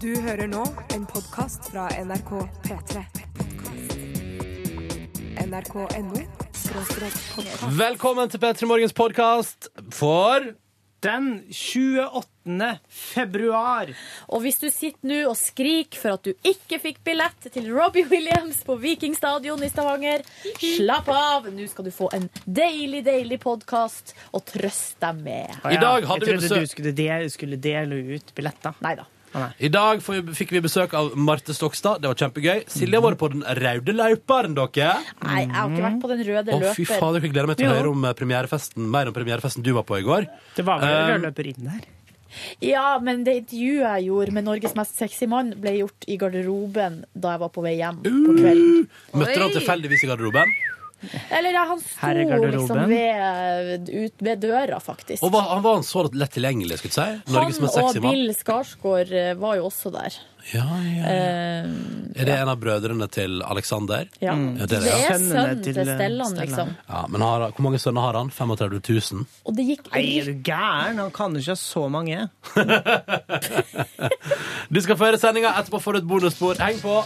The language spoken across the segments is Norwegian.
Du hører nå en podkast fra NRK P3. NRK.no skråstrek podkast. Velkommen til P3 Morgens podkast for Den 28. februar. Og hvis du sitter nå og skriker for at du ikke fikk billett til Robbie Williams på Vikingstadion i Stavanger, slapp av! Nå skal du få en deilig, deilig podkast å trøste deg med. I dag hadde vi Jeg trodde besøk- du skulle dele, skulle dele ut billetter. Nei da. I dag får vi- fikk vi besøk av Marte Stokstad. Det var kjempegøy. Silje Mhm. har vært på den røde løperen, dere. Nei, jeg har ikke vært på den røde Å, fy løper. fader, jeg gleder meg til å Jo. høre om eh, premierefesten, mer om premierefesten du var på i går. Det var vel Eh, um, rødløper inn der. Ja, men det intervjuet jeg gjorde med Norges mest sexy mann, ble gjort i garderoben da jeg var på vei hjem Uh. på kvelden. Møtte du ham Oi. tilfeldigvis i garderoben? Eller ja, han sto Her i garderoben. liksom ved, ut, ved døra, faktisk. Og var, han var han så lett tilgjengelig, skulle jeg si? Norges han mest sexy og mann. Bill Skarsgård eh, var jo også der. Ja, ja. Eh, Er det en av brødrene til Alexander? ja. Ja, det er Mm. Det det, ja. er Sønnene sønnen til til, eh, Stellan, Stellan. liksom. ja men har, hvor mange sønner har han? 35 000? Og det gikk Nei, er du gæren? Han kan jo ikke ha så mange. Du skal få høre sendinga. Etterpå får du et bonusspor. Heng på.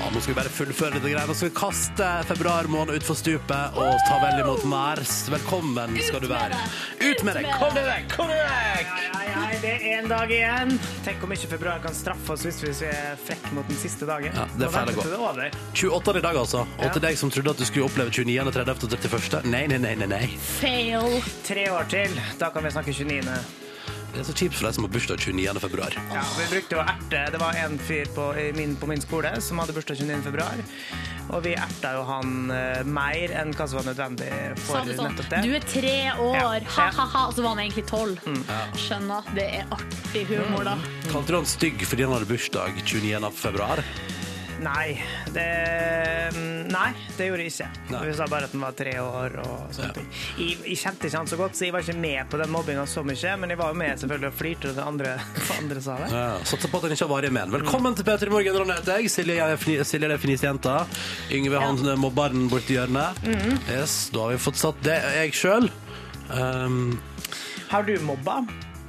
Ja, nå skal vi bare fullføre dette greiene. Nå skal vi kaste februarmåneden utfor stupet og ta vel imot Mars. Velkommen skal du være. Ut med deg! Kom deg vekk! Kom deg vekk! det er én dag igjen. Tenk om ikke februar kan straffe oss hvis vi er frekke mot den siste dagen. Ja, det er feil å gå. 28 i dag, altså. Og til deg som trodde at du skulle oppleve 29., 30. og 31. Nei, nei, nei, nei. nei. fail. Tre år til. Da kan vi snakke 29. Det er så kjipt for deg som har bursdag 29. februar. Ja, vi brukte å erte. Det var en fyr på i min, på min skole som hadde bursdag 29. februar. Og vi erta jo han eh, mer enn hva som var nødvendig Sa for du sånn nettopp det. Du er tre år, Ja. Mm. ha-ha-ha. Og så var han egentlig tolv. Skjønner. Det er artig humor, da. Kalte du han stygg fordi han hadde bursdag 29. februar? Nei, det, mm, nei, det gjorde jeg ikke. Nei. Vi sa bare at han var tre år og Ja. sånne ting. Jeg, jeg kjente ikke han så godt, så jeg var ikke med på den mobbinga så mye. Men jeg var jo med selvfølgelig og flirte når andre, andre sa det. Ja, Satser på at han ikke har varig men. Velkommen til P3 Morgen, Ronny heter jeg. Silje er fni- Silje er det finisjenta. Yngve han mobberen borti hjørnet. Mm. Yes, da har vi fått satt det. Jeg sjøl um, Har du mobba?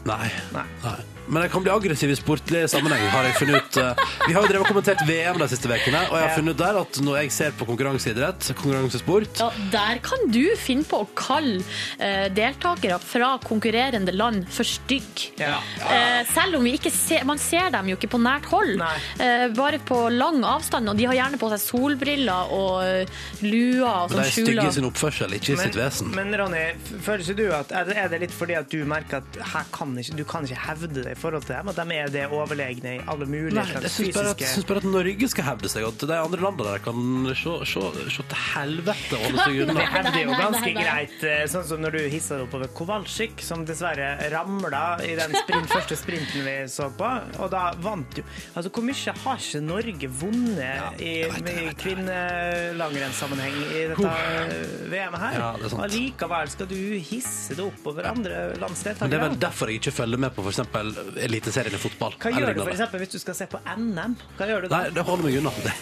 nei. Nei. nei. Men jeg kan bli aggressiv i sportlig sammenheng, har jeg funnet ut. Eh, Vi har jo drevet og kommentert VM de siste ukene, og jeg har Ja. funnet ut der at når jeg ser på konkurranseidrett, konkurransesport Ja, der kan du finne på å kalle eh, deltakere fra konkurrerende land for stygg. Ja. Eh, selv om vi ikke ser, man ser dem jo ikke på nært hold, Nei. eh, bare på lang avstand. Og de har gjerne på seg solbriller og eh, luer og sånn Men de er stygge i skjuler. sin oppførsel, ikke i sitt vesen. men Ronny, f- føler ikke du at er det- er det litt fordi at du merker at her kan ikke, du kan ikke hevde det i forhold til dem? At de er det overlegne i alle mulige Nei, jeg slags syns bare, at- fysiske syns bare at Norge skal hevde seg, og at de andre landene der kan se, se, se til helvete og holde seg unna. Det hevder jo Nei, nei, nei, ganske nei. greit, eh, sånn som når du hisser deg oppover Kowalczyk, som dessverre ramla i den sprint, første sprinten vi så på. Og da vant jo Altså, hvor mye har ikke Norge vunnet jeg vet i, det, jeg i vet det, jeg kvinnelangrennssammenheng i dette eh, VM her? Ja, det er sant. Og likevel skal du hisse deg oppover andre lands Men det er deltakere. vel derfor jeg ikke følger med på f.eks. Eliteserien i fotball. Hva eller gjør du lignende. for eksempel hvis du skal se på NM? Hva gjør du da? Nei, det holder meg unna. Det.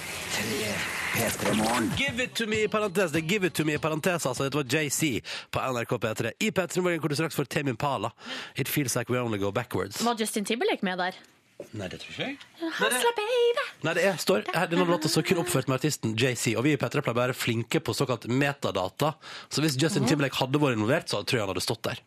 Give it to me i parentes. Det er give it to me i parentes, altså. Det var JC på NRK P3. I P3 Morgen hvor du straks får Tame Impala. It feels like we only go backwards. Var Justin Timberlake med der? Nei, det tror ikke jeg. Hustla, baby! Nei, det er, står her, Denne låta står kun oppført med artisten JC, og vi i P3 pleier å være flinke på såkalt metadata. Så hvis Justin Timberlake hadde vært involvert, så tror jeg han hadde stått der.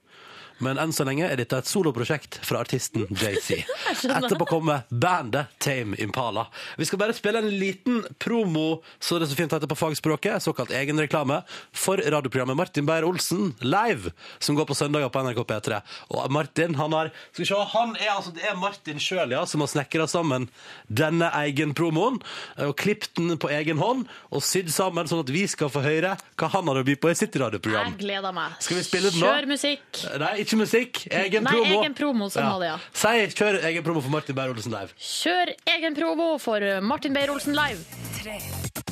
Men enn så lenge er dette et soloprosjekt fra artisten JC. Etterpå kommer bandet Tame Impala. Vi skal bare spille en liten promo, så det er så fint heter på fagspråket, såkalt egenreklame, for radioprogrammet Martin Beyer-Olsen live, som går på søndager på NRK P3. Og Martin, han har Skal vi se, han er altså Det er Martin sjøl, ja, som har snekra sammen denne egen promoen, eh, og klippet den på egen hånd, og sydd sammen, sånn at vi skal få høre hva han har å by på i sitt radioprogram. Jeg gleder meg. Skal vi spille den nå? Kjør musikk. Nei, ikke musikk. Egen Nei, promo. egen promo, sånn var det, ja. Si, kjør egen promo for Martin Beyer-Olsen live. Kjør egen promo for Martin Beyer-Olsen live.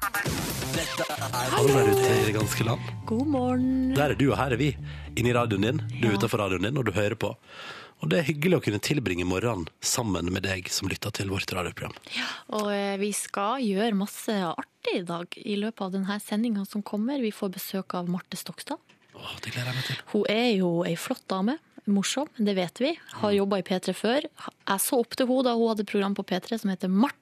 Alle der ute i det ganske land. God morgen. Der er du, og her er vi. Inni radioen din. Du er utenfor radioen din, og du hører på. Og det er hyggelig å kunne tilbringe morgenen sammen med deg som lytter til vårt radioprogram. Og eh, vi skal gjøre masse artig i dag i løpet av denne sendinga som kommer. Vi får besøk av Marte Stokstad. Åh, det gleder jeg meg til. Hun er jo ei flott dame. Morsom, det vet vi. Har Mm. jobba i P3 før. Jeg så opp til henne da hun hadde et program på P3 som heter Marte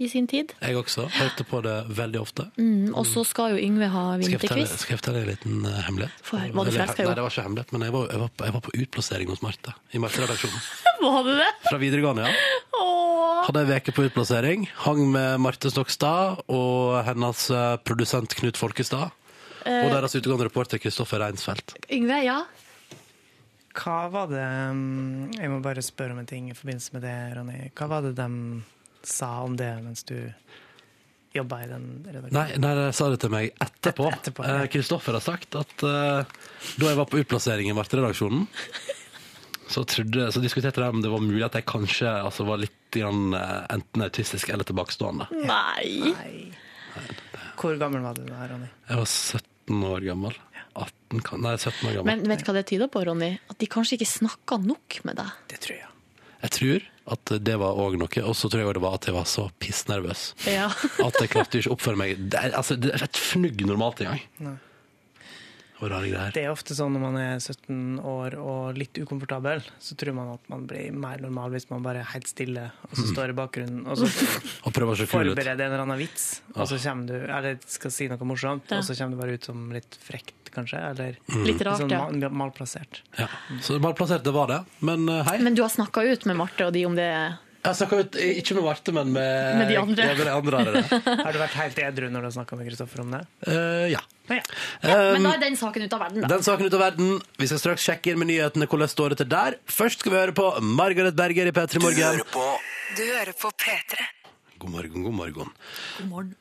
i sin tid. Jeg også. Hørte på det veldig ofte. Mm, Og så skal jo Yngve ha Skal jeg fortelle, vinterquiz. skal jeg fortelle en liten eh, hemmelighet? Få høre. Var du Eller, forelska i Nei, henne? det var ikke hemmelighet, men jeg var, jeg var, jeg var på utplassering hos Marte. I Marte-redaksjonen. Var det det? Fra videregående, ja. Åh. Hadde ei uke på utplassering. Hang med Marte Stokstad og hennes eh, produsent Knut Folkestad. Og deres utegående reporter Kristoffer Reinsfeldt. Yngve, ja. Hva var det um, Jeg må bare spørre om en ting i forbindelse med det, Ronny. Hva var det de sa om det mens du jobba i den redaksjonen? Nei, nei, de sa det til meg etterpå. Et- etterpå, ja. Eh, Kristoffer har sagt at eh, da jeg var på utplassering i Marte-redaksjonen, så, trodde, så diskuterte de om det var mulig at jeg kanskje altså, var litt grann, eh, enten autistisk eller tilbakestående. Nei. Hvor gammel var du da, Ronny? Jeg var 17 år gammel. 18, kan- nei, 17 år gammel. Men vet du hva det tyder på, Ronny? At de kanskje ikke snakka nok med deg. Det tror jeg. Jeg tror at det var òg noe. Og så tror jeg også det var at jeg var så pissnervøs Ja. at jeg klarte ikke å oppføre meg Det er, altså, det er et fnugg normalt engang. Nei. Og rare greier. Det er ofte sånn når man er 17 år og litt ukomfortabel, så tror man at man blir mer normal hvis man bare er helt stille, og så står i bakgrunnen, og så Og prøver å se kul ut. forbereder en eller annen vits, og så kommer du, eller skal si noe morsomt, Ja. og så kommer du bare ut som litt frekt, kanskje, eller Litt rart, sånn ja. mal malplassert. Ja. Så malplassert, det var det. Men eh, hei. Men du har snakka ut med Marte og de om det. Jeg snakka ut eh, ikke med Marte, men med, Med de andre. Ja, med de andre er det. Har du vært helt edru når du har snakka med Kristoffer om det? Eh, ja. um, Ja, ja. Men da er den saken ute av verden, da. Den saken ut av verden. Vi skal straks sjekke inn med nyhetene hvordan står det til der. Først skal vi høre på Margaret Berger i P3 Morgen. Du hører på P3. God morgen, god morgen.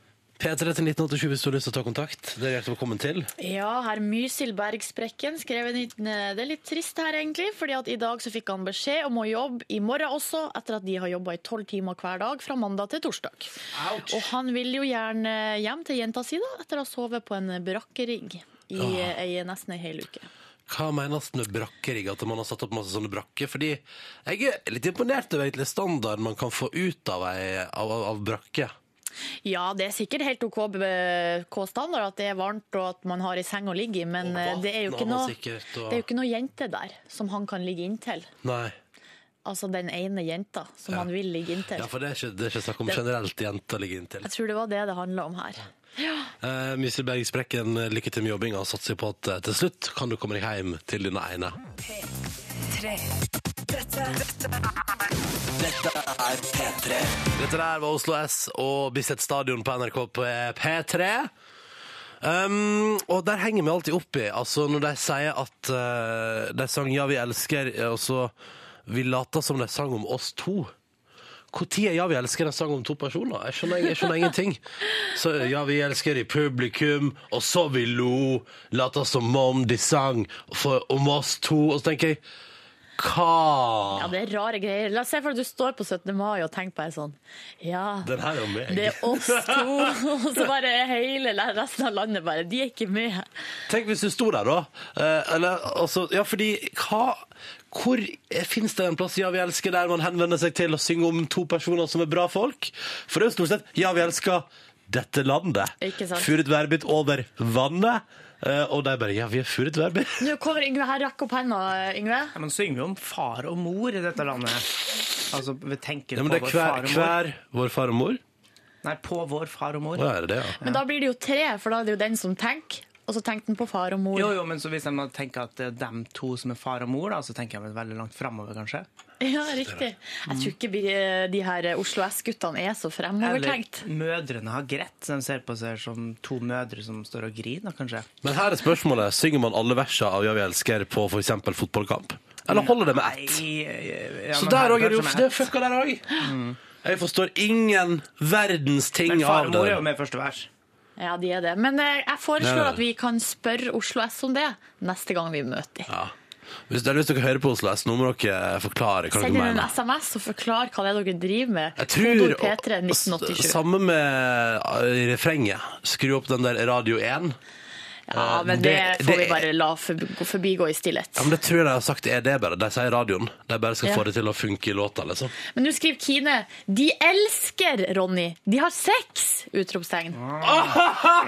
P3 til 1987 hvis du har lyst til å ta kontakt. Det er hjertelig velkommen til. Ja, herr Mysil Bergsprekken skrev en liten eh, Det er litt trist her, egentlig. fordi at i dag så fikk han beskjed om å jobbe i morgen også, etter at de har jobba i tolv timer hver dag fra mandag til torsdag. Og han vil jo gjerne hjem til jenta si, da, etter å ha sovet på en brakkerigg i ei- nesten ei hel uke. Hva menes med brakkerigg? At man har satt opp masse sånne brakker? Fordi jeg er litt imponert over egentlig standarden man kan få ut av, ei, av, av- av brakke. Ja, det er sikkert helt OK be- K standard at det er varmt og at man har ei seng å ligge i, men Og eh, det er jo vann ikke har man noe sikkert, Det og- er jo ikke noe jente der som han kan ligge inntil. Nei. Altså den ene jenta som han vil ligge inntil. Ja, for det er ikke, det er ikke snakk om generelt jenter ligger inntil. Jeg tror det var det det handla om her. Uh, Mysil Berg Sprekken, lykke til med jobbinga og satser på at eh, til slutt kan du komme deg hjem til dine ene. Tre. Dette, dette, Dette der var Oslo S og Bislett Stadion på NRK på eh, P3. Um, og der henger vi alltid opp i, altså når de sier at eh, de sang 'Ja, vi elsker', eh, og så vi later som de sang om oss to. Når er 'Ja, vi elsker' en sang om to personer? Jeg skjønner, jeg skjønner ingenting. Så eh, 'Ja, vi elsker' i publikum, og så vi lo, later som om de sang for, om oss to, og så tenker jeg Ja, Hva? det er rare greier. La oss se for deg at du står på 17. mai og tenker på ei sånn. Ja, Den her er jo meg. det er oss to. Og så bare er hele resten av landet bare De er ikke med. Tenk hvis du sto der, da. Eh, eller, altså, ja, fordi hva Hvor fins det en plass Ja, vi elsker der man henvender seg til å synge om to personer som er bra folk? For det er jo stort sett Ja, vi elsker dette landet. Ikke sant. Furet værbitt over vannet. eh, og de bare Ja, vi er furet værbitt. Nå kommer Yngve her. Rekk opp henda, Yngve. Ja, Man synger jo om far og mor i dette landet. Altså, vi tenker Ja, men på det er vår hver, far og mor. hver vår far og mor. Nei, på vår far og mor. Å, er det det, ja. Men da blir det jo tre, for da er det jo den som tenker. Og så tenkte han på far og mor. Jo, jo, men så hvis jeg tenker at det er dem to som er far og mor, da, så tenker jeg vel veldig langt framover, kanskje. Ja, riktig. Jeg tror ikke de, de her Oslo S-guttene er så Eller fremovertenkt. mødrene har grett, så de ser på seg som to mødre som står og griner, kanskje. Men her er spørsmålet. Synger man alle versene av Ja, vi elsker på f.eks. fotballkamp? Eller holder det med ett? Nei, ja, Så men der her òg er det jo kanskje med det er ett. fucka der òg. Jeg forstår ingen verdens ting Mm. Men av far og det. mor er jo med i første vers. Ja, de er det. Men eh, jeg Nei, nei. foreslår at vi kan spørre Oslo S om det neste gang vi møter dem. Ja. Hvis dere, hvis dere hører på Oslo S, nå må dere eh, forklare hva dere Send inn en mener. SMS og forklar hva det er dere driver med. Jeg tror Kodord P3 1987. Samme med eh, refrenget. Skru opp den der Radio 1. Ja, Eh, men det, det- får det- vi bare la forbi- forbigå i stillhet. Ja, men det tror jeg de har sagt er det bare. De sier i radioen. De bare skal Ja. få det til å funke i låta, liksom. Men nå skriver Kine De elsker Ronny. De har sex! Utropstegn.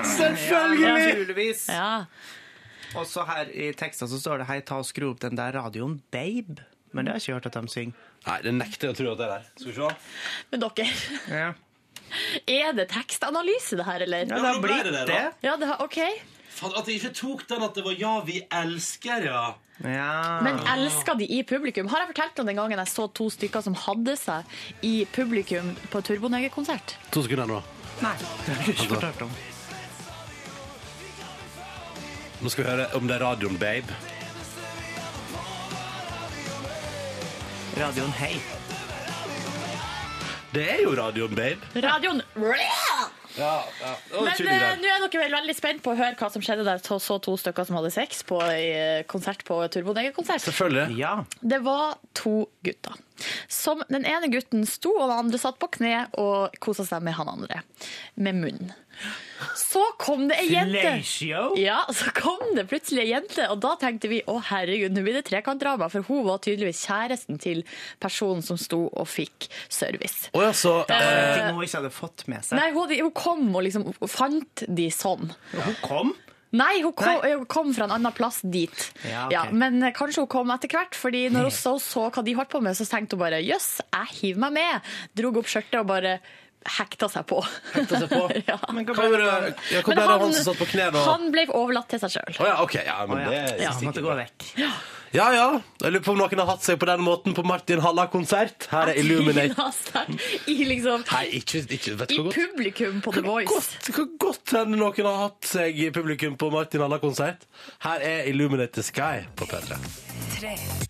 Selvfølgelig! Naturligvis. Ja. Og så her i teksten så står det Hei, ta og skru opp den der radioen, babe. Men det har jeg ikke hørt at de synger. Nei, det nekter jeg å tro at det er der. Skal vi se. Men dere, Ja. er det tekstanalyse, det her, eller? Ja, Ja, det har nå ble blitt det det. det, da. det har, OK. Faen, at jeg ikke tok den at det var 'Ja, vi elsker', ja. Ja. Men elsker de i publikum? Har jeg fortalt om den gangen jeg så to stykker som hadde seg i publikum på Turboneger-konsert? To sekunder nå. Nei, det har jeg ikke fortalt om. Nå skal vi høre om det er radioen, babe. Radioen Hei. Det er jo radioen, babe. Radioen Ja, ja. Å, Men tydelig eh, der. nå er dere vel veldig spent på å høre hva som skjedde der to, så to stykker som hadde sex på eh, konsert på Turboneger-konsert. Selvfølgelig. Ja. Det var to gutter. Som den ene gutten sto, og den andre satt på kne og kosa seg med han andre. Med munnen. Så kom det ei jente. Fellatio. Ja, så kom det plutselig ei jente, og da tenkte vi å herregud, nå blir det trekantdrama. For hun var tydeligvis kjæresten til personen som sto og fikk service. Å ja, så eh, Ting hun ikke hadde fått med seg. Nei, hun, hun kom og liksom fant de sånn. Hun kom. Nei, hun kom, hun kom fra en annen plass dit. Ja, ok. men eh, kanskje hun kom etter hvert, fordi når hun så, så hva de holdt på med, så tenkte hun bare jøss, jeg hiver meg med. Drog opp skjørtet og bare hekta seg på. Hekta seg på? ja. Men hva Hva ble var det ja, hva Men ble det han som satt på knærne og han ble overlatt til seg sjøl. Å ja, OK. Ja, men Å, det ja. er Ja, sikkert måtte gå vekk. Ja, ja. Jeg lurer på om noen har hatt seg på den måten på Martin Halla-konsert. Her er Illuminate. I liksom Nei, ikke, ikke vet i du hvor godt. publikum på The Voice. Godt, hvor godt hende noen har hatt seg i publikum på Martin Halla-konsert. Her er Illuminate the Sky på P3.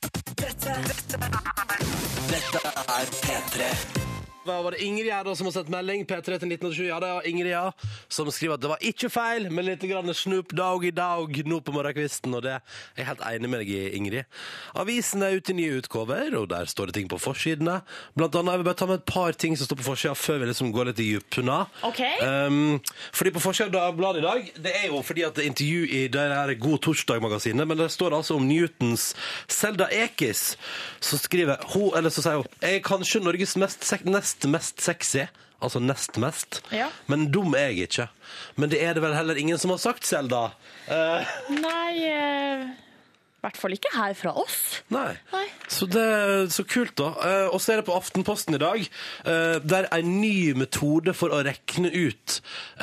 Da var det Ingrid her da som har sett melding. P3 til 1907. Ja, det er Ingrid, ja. Som skriver at det var ikke feil, men litt grann Snoop Dogg i dag nå på morgenkvisten. Og det er jeg helt enig med deg i, Ingrid. Avisen er ute i nye utgaver, og der står det ting på forsidene. Blant annet, jeg vil bare ta med et par ting som står på forsida, før vi liksom går litt i dypene. Ok. Um, fordi på forsida av Dagbladet i dag, det er jo fordi at det er intervju i det her God torsdag-magasinet, men det står altså om Newtons Selda Ekiz, som skriver hun, eller så sier hun Jeg er kanskje Norges mest, sek- nest mest sexy. Altså nest mest. Ja. Men dum er jeg ikke. Men det er det vel heller ingen som har sagt, Selda. Nei eh, I hvert fall ikke her fra oss. Nei. Nei. Så det er så kult, da. Eh, og så er det på Aftenposten i dag, eh, der en ny metode for å rekne ut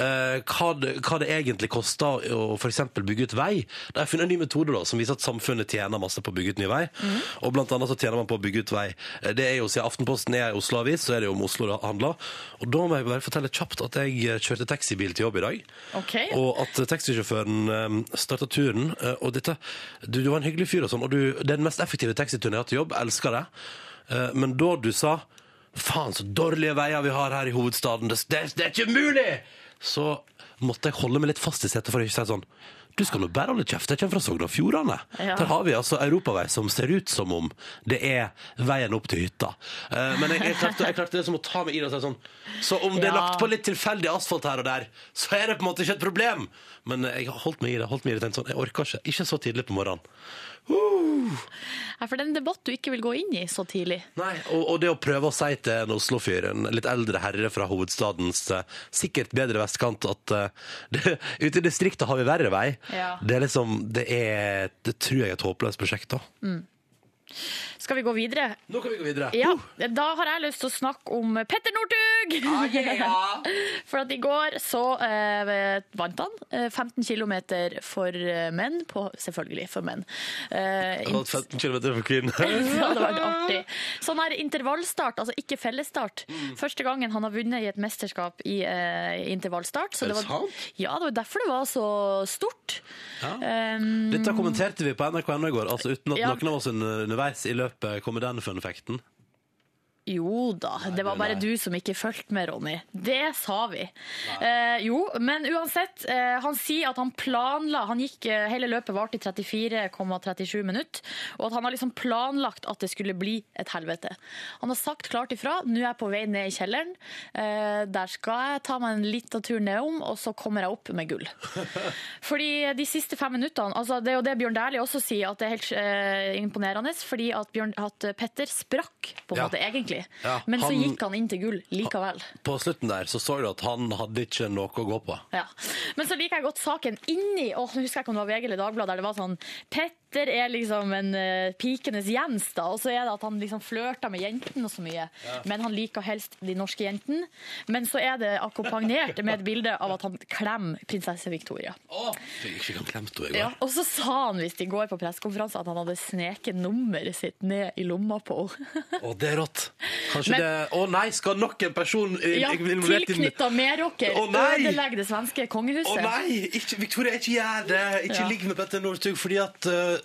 eh, hva, det, hva det egentlig koster å f.eks. bygge ut vei. De har funnet en ny metode da, som viser at samfunnet tjener masse på å bygge ut ny vei. Mhm. Og blant annet så tjener man på å bygge ut vei. Eh, Det er jo, Siden Aftenposten er en Oslo-avis, så er det jo om Oslo det handler. Og da må jeg bare fortelle kjapt at jeg eh, kjørte taxibil til jobb i dag. Ok. Og og at taxisjåføren um, starta turen. eh, Og dette, du, du var en hyggelig fyr og sånn, og du, det er den mest effektive taxituren jeg har hatt til jobb. Jeg elsker det. Eh, men da du sa faen, så dårlige veier vi har her i hovedstaden, det, det, det er ikke mulig! Så måtte jeg holde meg litt fast i setet for å ikke si sånn. Du skal nå bare holde kjeft, jeg kommer fra Sogn og Fjordane. Ja. Der har vi altså europavei som ser ut som om det er veien opp til hytta. Eh, men jeg, jeg, klarte, jeg klarte det som å ta meg i det og si sånn. Så om det er Ja. lagt på litt tilfeldig asfalt her og der, så er det på en måte ikke et problem. Men eh, jeg har holdt meg i det. holdt meg i det, tenkt sånn, Jeg orker ikke. Ikke så tidlig på morgenen. Ja, for det er en debatt du ikke vil gå inn i så tidlig. Nei, og, og det å prøve å si til en Oslo-fyr, en litt eldre herre fra hovedstadens eh, sikkert bedre vestkant, at eh, det, ute i distriktet har vi verre vei, Ja. det er liksom Det er, det tror jeg er et håpløst prosjekt, da. Skal vi gå videre? Nå kan vi gå videre. Ja, Da har jeg lyst til å snakke om Petter Northug! For at i går så eh, vant han eh, 15 km for eh, menn, på, selvfølgelig for menn. Eh, Jeg har hatt 15 km for kvinner. ja, det var artig. Sånn her intervallstart, altså ikke fellesstart. Mm. Første gangen han har vunnet i et mesterskap i eh, intervallstart. Så Er det det var, sant? ja, det var derfor det var så stort. Um, Dette kommenterte vi på NRK i går, altså uten at Ja. noen av oss underveis i løpet kom med den fun-effekten. Jo da, det var nei, bare nei. du som ikke fulgte med, Ronny. Det sa vi. Eh, jo, men uansett. Eh, han sier at han planla han gikk, eh, Hele løpet varte i 34,37 minutter. Og at han har liksom planlagt at det skulle bli et helvete. Han har sagt klart ifra. Nå er jeg på vei ned i kjelleren. Eh, der skal jeg ta meg en liten tur nedom, og så kommer jeg opp med gull. Fordi de siste fem minuttene altså Det er jo det Bjørn Dæhlie også sier, at det er helt eh, imponerende. Fordi at, Bjørn, at Petter sprakk, på en Ja. måte, egentlig. Ja, Men så han- gikk han inn til gull likevel. På slutten der så så du at han hadde ikke noe å gå på. Ja. Men så liker jeg godt saken inni Åh, nå husker jeg ikke om det var VG eller Dagbladet, der det var sånn Petter er liksom en eh, pikenes Jens, da. Og så er det at han liksom flørter med jentene så mye. Men han liker helst de norske jentene. Men så er det akkompagnert med et bilde av at han klemmer prinsesse Victoria. Fikk ikke han klemt henne i går. Ja, og så sa han visst i går på pressekonferanse at han hadde sneket nummeret sitt ned i lomma på henne. Å, det er rått. Kanskje Men- det Å nei, skal nok en person i- Ja, involvert i den- tilknytta medrocker. Å, nei! Ødelegge det svenske Å kongehuset. nei! Ikke, Victoria, ikke gjør det! Ikke Ja. ligg med Petter Northug, fordi at eh,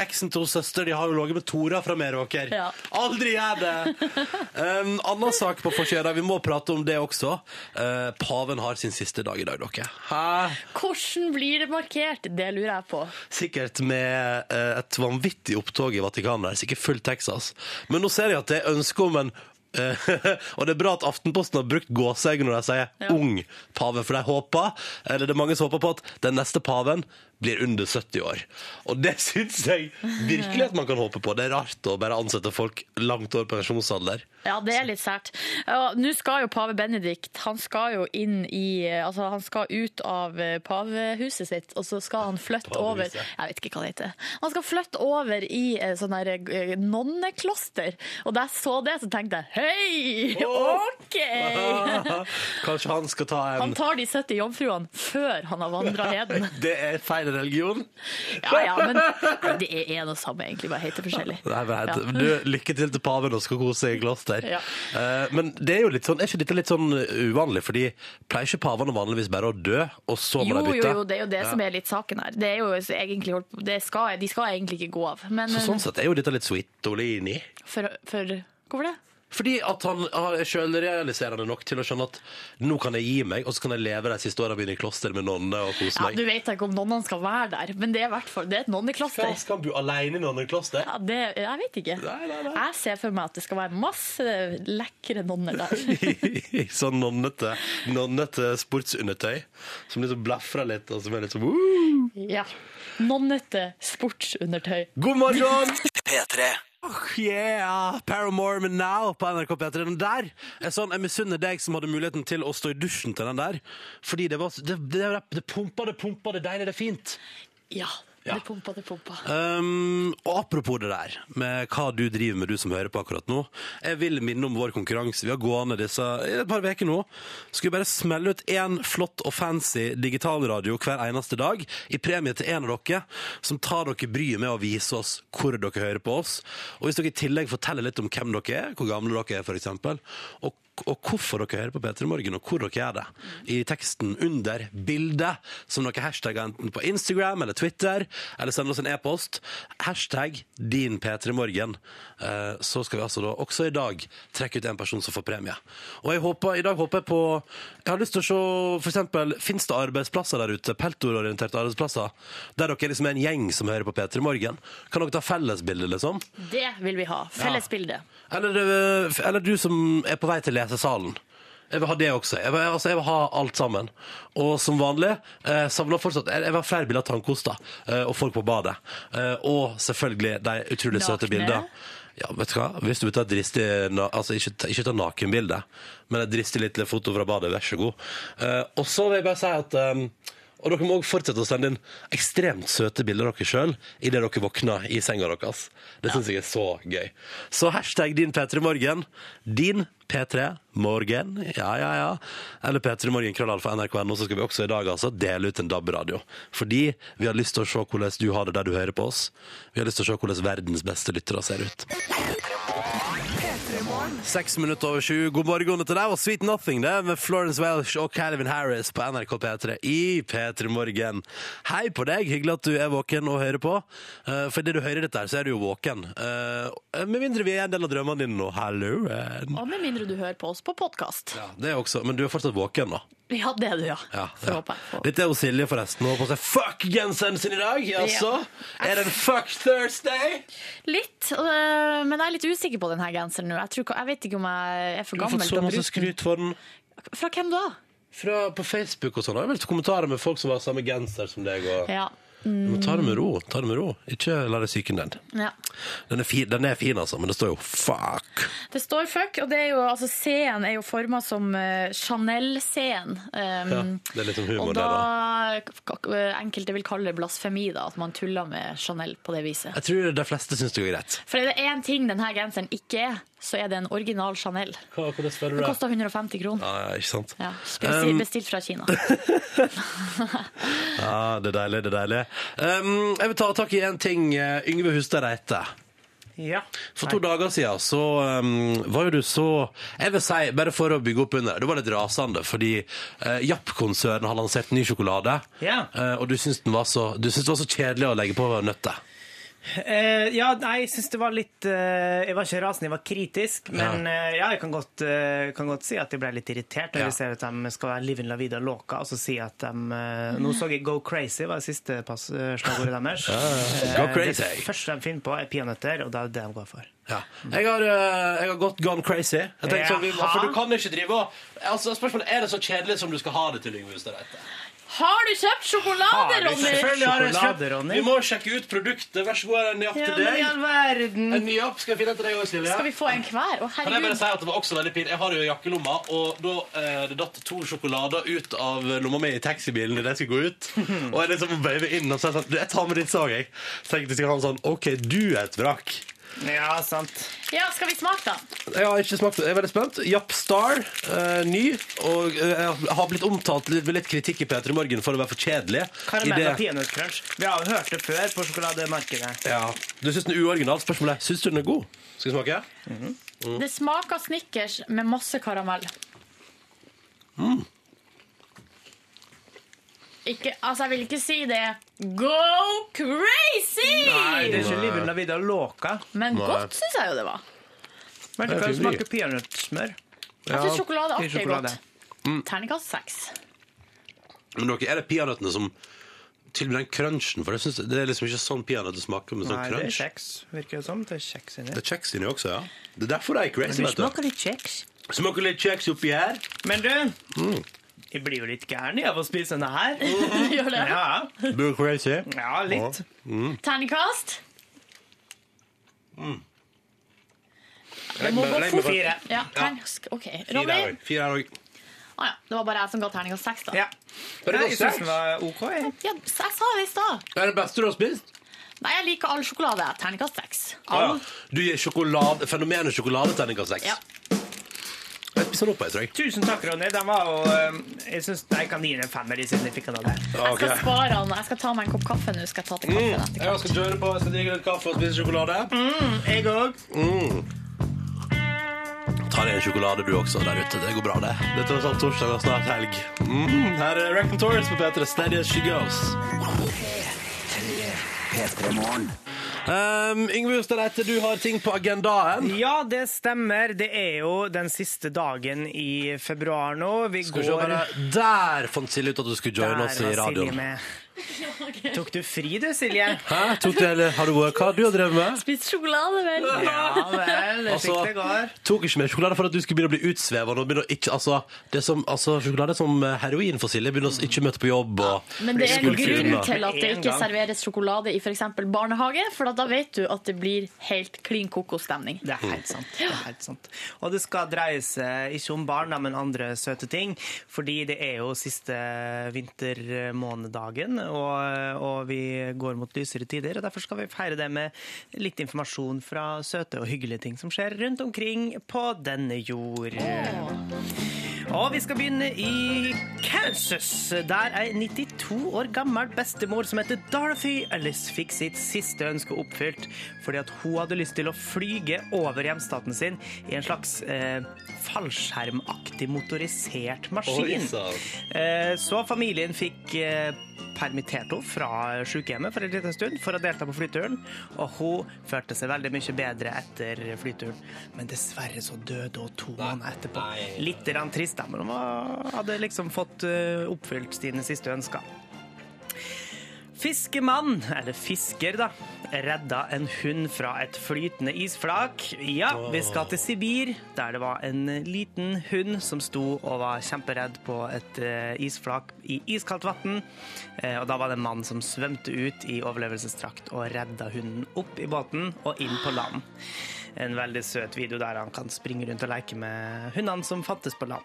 eksen til hennes søster de har jo ligget med Tora fra Meråker. Ja. Aldri gjør det! um, Annen sak på forsida, vi må prate om det også. Eh, paven har sin siste dag i dag, dere. Hæ? Hvordan blir det markert? Det lurer jeg på. Sikkert med eh, et vanvittig opptog i Vatikanet. der, Sikkert full Texas. Men nå ser jeg at det er ønske om en eh, og det er bra at Aftenposten har brukt gåseøyne når de sier Ja. 'ung pave', for de håper, eller det er mange som håper på at den neste paven blir under 70 år. Og det syns jeg virkelig at man kan håpe på. Det er rart å bare ansette folk langt over pensjonsalder. Ja, det er litt sært. Og Nå skal jo pave Benedikt han skal jo inn i Altså, han skal ut av eh, pavehuset sitt, og så skal han flytte over Pavehuset. Jeg vet ikke hva det heter. Han skal flytte over i eh, sånn der eh, nonnekloster. Og da jeg så det, så tenkte jeg hei, Åh! OK! Ah, Kanskje han skal ta en Han tar de 70 jomfruene før han har vandra heden. Det er feil religion. Ja, ja, men nei, det er en og samme, egentlig, bare heter forskjellig. Nei, men, Ja. helt- du, lykke til til paven og skal kose seg i kloster. Ja. Eh, men det er jo litt sånn, er ikke dette litt sånn uvanlig? Fordi pleier ikke pavene vanligvis bare å dø, og så må Jo, jo, de bytte? jo, det er jo det som er litt saken her. Det er jo egentlig, holdt på- det skal, de skal egentlig ikke gå av. Men eh, Så sånn sett er jo dette litt Suitolini. for, for Hvorfor det? Fordi at han han er sjølrealiserende nok til å skjønne at nå kan jeg gi meg, og så kan jeg leve de siste åra mine i kloster med nonner og kose Ja, meg. Du vet da ikke om nonnene skal være der, men det er, i hvert fall- det er et Hva nonnekloster. skal han bo aleine i nonnekloster? Ja, det, jeg vet ikke. Nei, nei, nei. Jeg ser for meg at det skal være masse lekre nonner der. I sånn nonnete, nonnete sportsundertøy som liksom blafrer litt, og som er litt sånn «Woo!» Ja. Nonnete sportsundertøy. God morgen! P3. Yeah! Paramore med Now på NRK P3. Den der er sånn, Jeg misunner deg som hadde muligheten til å stå i dusjen til den der. Fordi det var Det, det, det pumpa, det pumpa, det er deilig, det er fint. Ja. Ja. Det pumpa, det pumpa. Um, og apropos det der med hva du driver med, du som hører på akkurat nå. Jeg vil minne om vår konkurranse. Vi har gående disse i et par uker nå. Skal vi bare smelle ut én flott og fancy digitalradio hver eneste dag i premie til en av dere som tar dere bryet med å vise oss hvor dere hører på oss. Og hvis dere i tillegg forteller litt om hvem dere er, hvor gamle dere er f.eks., og og hvorfor dere hører på P3 Morgen, og hvor dere gjør det. I teksten under bildet, som dere hashtagger enten på Instagram eller Twitter, eller sender oss en e-post. Hashtag din P3 Morgen. Eh, Så skal vi altså da også i dag trekke ut en person som får premie. Og jeg håper, i dag håper jeg på Jeg har lyst til å se for eksempel, Fins det arbeidsplasser der ute, peltororienterte arbeidsplasser, der dere liksom er en gjeng som hører på P3 Morgen? Kan dere ta fellesbilde, liksom? Det vil vi ha. Fellesbilde. Eller, øh, eller du som er på vei til lesesalen. Jeg vil ha det også. Jeg vil, altså, jeg vil ha alt sammen. Og som vanlig eh, savner fortsatt Jeg jeg vil ha flere bilder av tannkoster eh, og folk på badet. Eh, og selvfølgelig de utrolig søte Nakne. bildene. Ja, vet du hva? Hvis du vil ta et dristig na- Altså, ikke, ta- ikke ta nakenbilde, men et dristig lite foto fra badet, vær så god. Eh, og så vil jeg bare si at eh, Og dere må også fortsette å sende inn ekstremt søte bilder av dere sjøl idet dere våkner i senga deres. Det syns jeg er så gøy. Så hashtag din P3morgen. Din P3morgen. Ja, ja, ja. Eller P3morgen krøllalfa nrk.no, så skal vi også i dag altså dele ut en DAB-radio. Fordi vi har lyst til å se hvordan du har det der du hører på oss. Vi har lyst til å se hvordan verdens beste lyttere ser ut. P3. Seks minutter over sju. God morgen til deg, og Sweet Nothing det, med Florence Welsh og Calvin Harris på NRK P3 i P3 Morgen. Hei på deg, hyggelig at du er våken og hører på. Eh, For det du hører dette her, så er du jo våken. Eh, Med mindre vi er en del av drømmene dine nå. Halloen. Og med mindre du hører på oss på podkast. Ja, det er også, men du er fortsatt våken, da. Ja, det er du, ja. Ja, Får håpe. Får- Dette er jo Silje, forresten. Hun har på seg fuck-genseren sin i dag, jaså? Er det en fuck Thursday? Litt, øh, men jeg er litt usikker på denne genseren nå. Jeg, tror, ikke- jeg vet ikke om jeg er for Du har gammel fått til å så masse bruke den. skryt for den. Fra hvem da? Fra, på Facebook og sånn. Jeg har vel kommentarer med folk som har samme genser som deg. Og... Ja. Du må ta det med ro. ta det med ro Ikke la deg syke ned. ja. Den er fin, den er fin altså, men det står jo fuck. Det står fuck, og det er jo, altså, C-en er jo forma som eh, Chanel-C-en. Um, Ja, det er litt sånn humor, og da, k- k- Enkelte vil kalle det blasfemi, da, at man tuller med Chanel på det viset. Jeg tror de fleste syns det går greit. For er det én ting denne genseren ikke er, så er det en original Chanel. Hva, hvordan spør du Den det? koster 150 kroner. Ja, ja, ikke sant? Ja. Um, Bestilt fra Kina. Ja, det er deilig, det er deilig. Um, jeg vil ta tak i en ting eh, Yngve Hustad Reite. Ja. For to dager siden så um, var jo du så Jeg vil si, bare for å bygge opp under, du var litt rasende fordi eh, Japp-konsernet har lansert ny sjokolade, Ja. Eh, og du syns den var så, du syns det var så kjedelig å legge på nøttet. Eh, ja, nei, jeg syns det var litt eh, Jeg var ikke rasende, jeg var kritisk. Men eh, ja, jeg kan godt, eh, kan godt si at jeg ble litt irritert når Ja. jeg ser at de skal være livin la vida loca, og så si at de eh, Nå så jeg Go Crazy var det siste pass, eh, slagordet deres. Go Eh, crazy. Det første de finner på, er peanøtter, og det er det de går for. Ja. Jeg, har, eh, jeg har gått gone crazy. Jeg tenkte sånn, vi, må- Jaha. for du kan ikke drive og altså, Spørsmålet er det så kjedelig som du skal ha det til, Yngve Hustad Reite? Har du kjøpt sjokolade, Ronny? Selvfølgelig har jeg kjøpt- Sjokolade, Ronny. Vi må sjekke ut produktet. Vær så god, er en japp Ja, til men i deg. all verden! En ny japp skal jeg finne til deg også, Silje. Skal vi få en hver? Å, Kan jeg bare herregud. si at det var også veldig pinlig? Jeg har det jo i jakkelomma, og da eh, det datt to sjokolader ut av lomma mi i taxibilen da jeg skulle gå ut. Og jeg liksom bøyde inn og sa sånn Jeg tar med ditt sag, jeg. Så tenkte sikkert han sånn OK, du er et vrak. Ja, sant. Ja, skal vi smake, da? Jeg har ikke smakt det. Jeg er veldig spent. Japp Star, eh, ny. Og eh, jeg har blitt omtalt litt, med litt kritikk i P3 Morgen for å være for kjedelig. I Karamell og det- peanøttcrunch. Vi har jo hørt det før på sjokolademarkedet. ja. Du syns den er uoriginal? Spørsmålet er syns du den er god. Skal vi smake? Mm. Det smaker Snickers med masse karamell. Mm. Ikke, altså, jeg vil ikke si det. Go Nei, det crazy! er ikke livin la vida loca. Men godt syns jeg jo det var. Men du Det er kan fint. smake peanøttsmør. Jeg syns sjokolade er det er artig sjokolade. Mm. godt. Terningkast seks. Men dere, er det peanøttene som tilbyr den crunchen? For jeg synes det er liksom ikke sånn peanøtter smaker, men sånn Nei, det er crunch. kjeks, virker det som. Det er kjeks inni. Det er kjeks inni også, ja. Det er derfor det er crazy. Det vet du. smaker litt kjeks. Smaker litt kjeks oppi her. Men du, Mm. jeg blir jo litt gæren jeg, av å spise denne her. Gjør det? Ja, Blir crazy. ja litt. Terningkast? Mm. Det må gå fort. Fire. Ja, terningkast. OK. Fire Ronny? her også. Fire her òg. Ah, ja. Det var bare jeg som ga terningkast seks, da. Ja. Nei, jeg syns den var OK. jeg. Ja, så jeg sa det i stad. Det er det beste du har spist. Nei, jeg liker all sjokolade. jeg. Terningkast seks. Ah, ja. Du gir sjokolade, fenomenet sjokoladeterningkast seks. Ja. Jeg spiser den opp, jeg, tror jeg. Tusen takk, Ronny. Den var jo eh, Jeg syns Nei, jeg kan gi den en femmer i siden jeg fikk den av deg. Jeg Ah, skal ok. Mm. spare den. Jeg skal ta meg en kopp kaffe nå. Skal jeg ta til kaffen etterpå. Jeg skal kjøre på, jeg skal drikke litt kaffe og spise sjokolade. Jeg òg. Ta deg en sjokolade du også der ute. Det går bra, det. Det er tross alt torsdag og snart helg. Mm, her er Rack and Torres på P3. Steady as she goes. Um, Yngve Hustad Reite, du har ting på agendaen. Ja, det stemmer. Det er jo den siste dagen i februar nå. Vi Skal vi se, går bare Der fant Silje ut at du skulle joine oss i Der var Silje radioen. med. Tok du fri du, Silje? Hæ? Tok du, eller, har du vært hva du har drevet med? Spis sjokolade, vel. Ja vel, det er slik det går. Altså, tok ikke mer sjokolade for at du skulle begynne å bli utsvevende. Og begynne å ikke, altså, det som, altså, sjokolade er som heroin for Silje. Begynne å ikke møte på jobb. Og, Men det er en Skulle grunn kunne. til at det En ikke gang. serveres sjokolade i f.eks. barnehage, for da vet du at det blir helt klin kokos-stemning. Det er helt sant. det er helt sant. Og det skal dreie seg ikke om barn, da, men andre søte ting. Fordi det er jo siste vintermånedagen, og, og vi går mot lysere tider. og Derfor skal vi feire det med litt informasjon fra søte og hyggelige ting som skjer rundt omkring på denne jord. Og vi skal begynne i Kansas, der ei 92 år gammel bestemor som heter Dorothy Ellis, fikk sitt siste ønske oppfylt fordi at hun hadde lyst til å flyge over hjemstaten sin i en slags eh, fallskjermaktig motorisert maskin. Oi, sann. Eh, Så familien fikk eh, permittert henne fra sykehjemmet for en liten stund for å delta på flyturen, og hun følte seg veldig mye bedre etter flyturen. Men dessverre så døde hun to måneder etterpå. Litt grann trist, da, men hun var- hadde liksom fått eh, oppfylt sine siste ønsker. Fiskemann, eller fisker da, redda en hund fra et flytende isflak. Ja, vi skal til Sibir, der det var en liten hund som sto og var kjemperedd på et eh, isflak i iskaldt vann. Eh, Og da var det en mann som svømte ut i overlevelsesdrakt og redda hunden opp i båten og inn på land. En veldig søt video der han kan springe rundt og leke med hundene som fattes på land.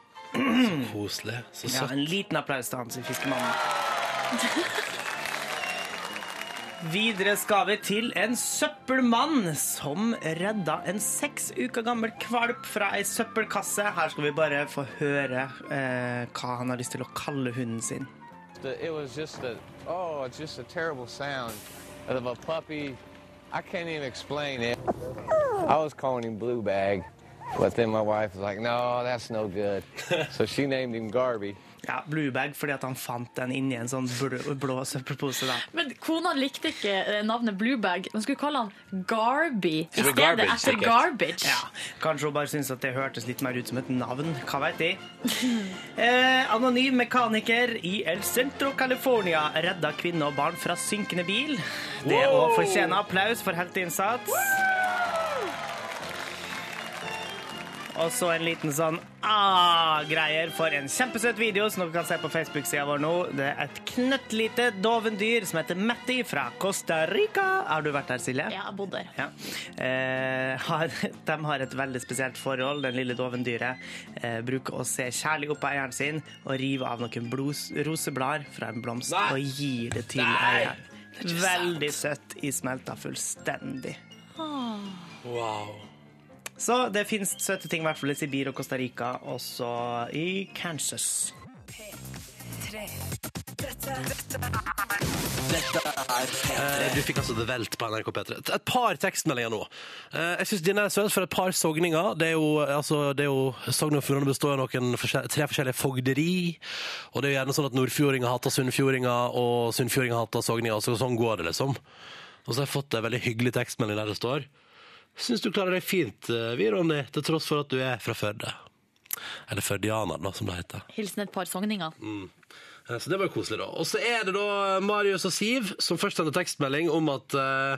Koselig. Så Ja, søtt. en liten applaus til han til fiskemannen. Videre skal vi til en søppelmann som redda en seks uker gammel kvalp fra ei søppelkasse. Her skal vi bare få høre eh, hva han har lyst til å kalle hunden sin. the- it was just a oh it's just a terrible sound of a puppy i can't even explain it i was calling him blue bag but then my wife was like no that's no good so she named him garby Ja, Bluebag, fordi at han fant den inni en sånn blå, blå søppelpose. da. Men kona likte ikke eh, navnet Bluebag. Hun skulle kalle han Garby i var stedet Garbage, etter sikkert. Garbage. Ja, Kanskje hun bare syntes at det hørtes litt mer ut som et navn. Hva vet de? Eh, anonym mekaniker i El Centro California redda kvinne og barn fra synkende bil. Det å fortjene applaus for helteinnsats. Og så en liten sånn ah-greier for en kjempesøt video som dere kan se på Facebook-sida vår nå. Det er et knøttlite dovendyr som heter Matti fra Costa Rica. Har du vært der, Silje? Ja, jeg bodde der. Ja. Eh, har, de har et veldig spesielt forhold. Den lille dovendyret eh, bruker å se kjærlig opp på eieren sin og rive av noen blos, roseblader fra en blomst Nei. og gi det til eieren. Veldig søtt. Ismelta fullstendig. Wow. Så det fins søte ting i hvert fall i Sibir og Costa Rica, også i Kansas. Eh, Du fikk altså The Velt på NRK P3. Et- Et par tekstmeldinger nå. Eh, Jeg synes denne er søt for et par sogninger. Det er jo, altså, det er jo Sogn og Fjordane består av noen forskjell- tre forskjellige fogderi. Og det er jo gjerne sånn at nordfjordinger hater sunnfjordinger, og sunnfjordinger hater sogninger. Så sånn går det, liksom. Og så har jeg fått en veldig hyggelig tekstmelding der det står Syns du klarer deg fint, eh, vi, Ronny, til tross for at du er fra Førde. Eller førdianer, da, som det heter. Hilsen et par sogninger. Eh, Så det var jo koselig, da. Og så er det da Marius og Siv som først sender tekstmelding om at eh,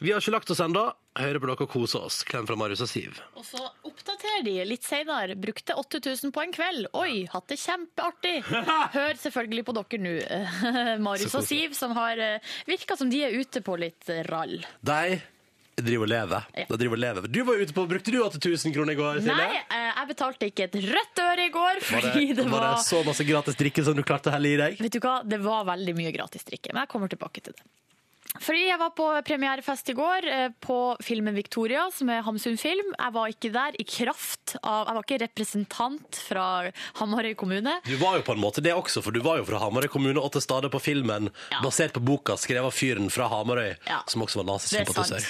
vi har ikke lagt oss ennå. Hører på dere og koser oss. Klem fra Marius og Siv. Og så oppdaterer de litt senere. Brukte 8000 på en kveld. Oi, hatt det kjempeartig! Hør selvfølgelig på dere nå. eh, Marius Så og Siv, som har eh, virka som de er ute på litt eh, rall. De driver og lever. Ja. De driver og lever. Du var ute på, Brukte du 8000 kroner i går? Silje? Nei, eh, jeg betalte ikke et rødt øre i går, Var fordi det, det var det var så masse gratis drikke som du klarte å helle i deg? Vet du hva, det var veldig mye gratis drikke, men jeg kommer tilbake til det. Fordi jeg var på premierefest i går eh, på filmen Victoria, som er Hamsun film. Jeg var ikke der i kraft av Jeg var ikke representant fra Hamarøy kommune. Du var jo på en måte det også, for du var jo fra Hamarøy kommune og til stede på filmen Ja. basert på boka skrevet av fyren fra Hamarøy, Ja. som også var nazisympatisør.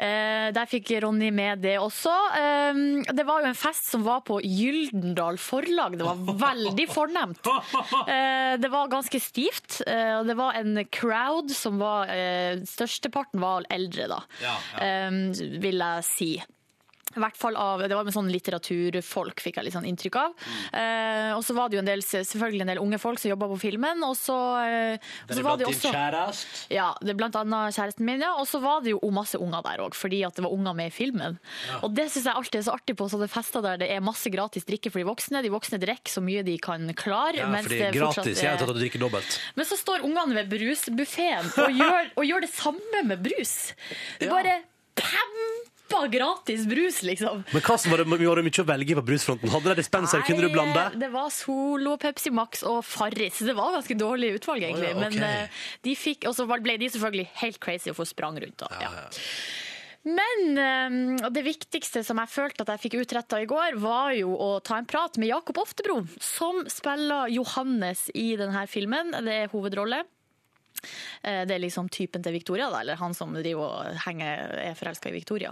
Eh, der fikk Ronny med det også. Eh, det var jo en fest som var på Gyldendal forlag. Det var veldig fornemt. Eh, det var ganske stivt, eh, og det var en crowd som var eh, Størsteparten var eldre, da, Ja, ja. eh, vil jeg si. I hvert fall av, Det var med sånn litteraturfolk, fikk jeg litt sånn inntrykk av. Eh, og så var det jo en del, selvfølgelig en del unge folk som jobba på filmen. Og så, eh, og så var det jo også kjærest. ja, det er blant annet kjæresten min, ja. Og så var det jo masse unger der òg, fordi at det var unger med i filmen. Og det syns jeg alltid er så artig på sånne fester der det er masse gratis drikke for de voksne. De voksne drikker så mye de kan klare. Ja, mens fordi det fortsatt gratis. Jeg har tatt er... at du drikker dobbelt. Men så står ungene ved brusbuffeen og, gjør- og gjør det samme med brus. Det Ja. bare pampa gratis brus, liksom. Men hva som var det, var det mye å velge på brusfronten? Hadde de dispenser? Kunne du blande? Nei, Det var Solo, Pepsi Max og Farris. Det var ganske dårlig utvalg, egentlig. Å ja, ok. Men eh, de fikk, Og så ble de selvfølgelig helt crazy og for sprang rundt. Da. Ja. Men eh, det viktigste som jeg følte at jeg fikk utretta i går, var jo å ta en prat med Jakob Oftebro, som spiller Johannes i denne filmen. Det er hovedrolle. Eh, Det er liksom typen til Victoria, da, eller han som driver og henger, er forelska i Victoria.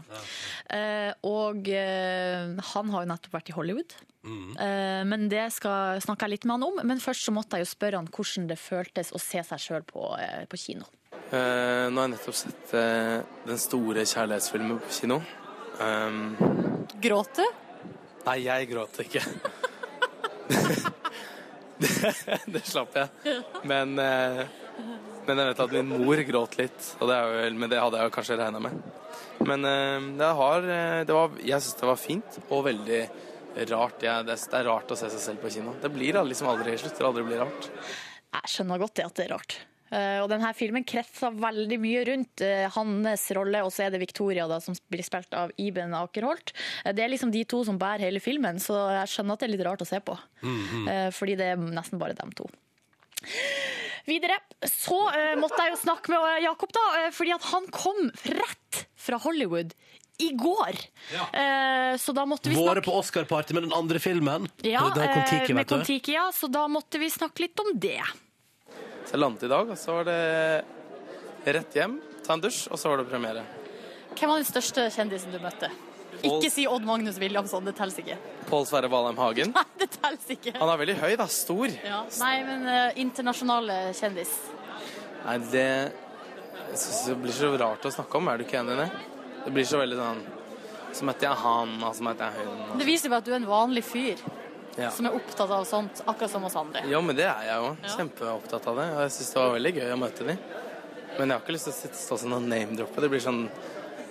Eh, Og eh, han har jo nettopp vært i Hollywood. Eh, Men det skal snakke jeg litt med han om. Men først så måtte jeg jo spørre han hvordan det føltes å se seg sjøl på, eh, på kino. Eh, nå har jeg nettopp sett eh, den store kjærlighetsfilmen på kino. Um, Gråt du? nei, jeg gråter ikke. det, det slapp jeg. Men, eh, men jeg vet at min mor gråt litt, og det er jo, vel- men det hadde jeg jo kanskje regna med. Men eh, det har, eh, det var, jeg syns det var fint og veldig rart. Jeg, det, er- det er rart å se seg selv på kino. Det blir liksom aldri slutter aldri å bli rart. Jeg skjønner godt det at det er rart. Eh, og denne filmen kretser veldig mye rundt eh, hans rolle, og så er det Victoria da, som blir spilt av Iben Akerholt. Eh, det er liksom de to som bærer hele filmen, så jeg skjønner at det er litt rart å se på. Mhm. Eh, fordi det er nesten bare dem to. Videre så eh, måtte jeg jo snakke med eh, Jakob, da, eh, fordi at han kom rett fra Hollywood i går. Eh, så da måtte vi snakke Våre på Oscar-party med den andre filmen. ja, det er der Kon-Tiki, eh, med vet du. Kon-Tiki, ja, så da måtte vi snakke litt om det. Så jeg landet i dag, og så var det rett hjem, ta en dusj, og så var det premiere. Hvem var den største kjendisen du møtte? Pål- Ikke si Odd Magnus Williamson, det telles ikke. Pål Sverre Valheim Hagen. Nei, det telles ikke. Han er veldig høy, da. Stor. Ja. Nei, men eh, internasjonale kjendis. Nei, det jeg synes det blir så rart å snakke om, er du ikke enig i det? Det blir så veldig sånn Som heter jeg han, og som heter jeg hun. og- Det viser jo bare at du er en vanlig fyr Ja. som er opptatt av sånt, akkurat som oss andre. ja, men det er jeg jo. Kjempeopptatt av det. Og jeg syns det var veldig gøy å møte de. Men jeg har ikke lyst til å sitte- stå sånn og name-droppe. Det blir sånn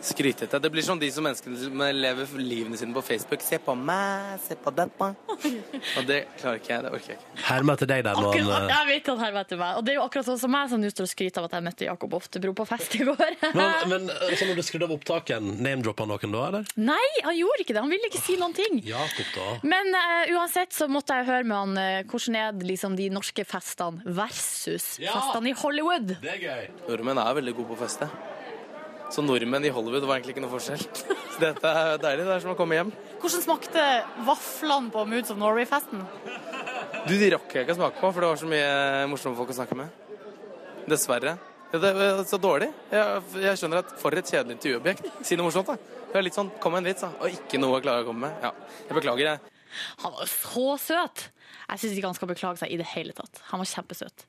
skrytete. Det blir sånn de som menneskene som lever livene sine på Facebook. Se på meg, se på dette. Og det klarer ikke jeg. Det orker jeg ikke. Hermer til deg der, nå. eh, Akkurat, jeg vet at her vet du meg. Og det er jo akkurat sånn som meg som nå står og skryter av at jeg møtte Jakob Oftebro på fest i går. Men, men eh, så når du skrudde av opptaken, name-droppa han noen da, eller? Nei, han gjorde ikke det. Han ville ikke si noen ting. Jakob, da. Men eh, uansett så måtte jeg høre med han eh, hvordan er det liksom de norske festene versus Ja. festene i Hollywood. Det er gøy. Nordmenn er veldig gode på å feste. Så nordmenn i Hollywood var egentlig ikke noe forskjell. Så dette er deilig. Det er som å komme hjem. Hvordan smakte vaflene på Moods of Norway-festen? Du, de rakk jeg ikke å smake på, for det var så mye morsomme folk å snakke med. Dessverre. Ja, det er så dårlig. Jeg, jeg skjønner at For et kjedelig intervjuobjekt. Si noe morsomt, da. Det er litt sånn, Kom med en vits, da. Og ikke noe å klare å komme med. Ja, Jeg beklager, jeg. Han var jo så søt! Jeg syns ikke han skal beklage seg i det hele tatt. Han var kjempesøt.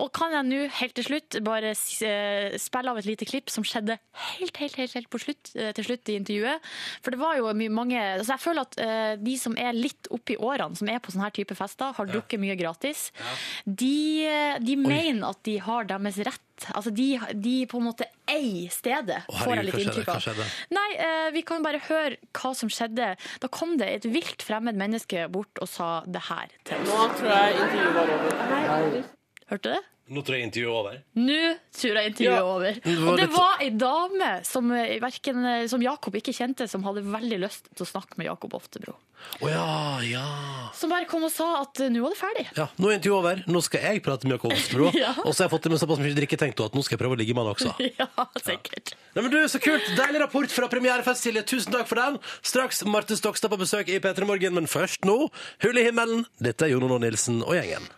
Og kan jeg nå helt til slutt bare s- eh, spille av et lite klipp som skjedde helt, helt, helt, helt på slutt, eh, til slutt i intervjuet? For det var jo my- mange altså Jeg føler at eh, de som er litt oppi årene, som er på sånne her type fester, har drukket mye gratis, de, eh, de mener at de har deres rett. Altså de, de på en måte eier stedet, får jeg herregud, litt hva skjedde? inntrykk av. Hva skjedde? Nei, eh, vi kan bare høre hva som skjedde. Da kom det et vilt fremmed menneske bort og sa det her til oss. Nå tror jeg intervjuet var over. Hørte du det? Nå tror jeg intervjuet er over. Nå tror jeg intervjuet er over. var Og det litt- var ei dame som, eh, hverken, eh, som Jakob ikke kjente, som hadde veldig lyst til å snakke med Jakob Oftebro. Å ja, ja. Som bare kom og sa at eh, nå var det ferdig. Ja, Nå er intervjuet over. Nå skal jeg prate med Jakob Oftebro. Ja. Og så har jeg fått i meg såpass mye drikketenkt at nå skal jeg prøve å ligge med han også. Ja, sikkert. Nei, men du, Så kult! Deilig rapport fra premierefest, Silje. Tusen takk for den. Straks Marte Stokstad på besøk i P3 Morgen, men først nå Hull i himmelen. Dette er Jon Arne Nilsen og gjengen.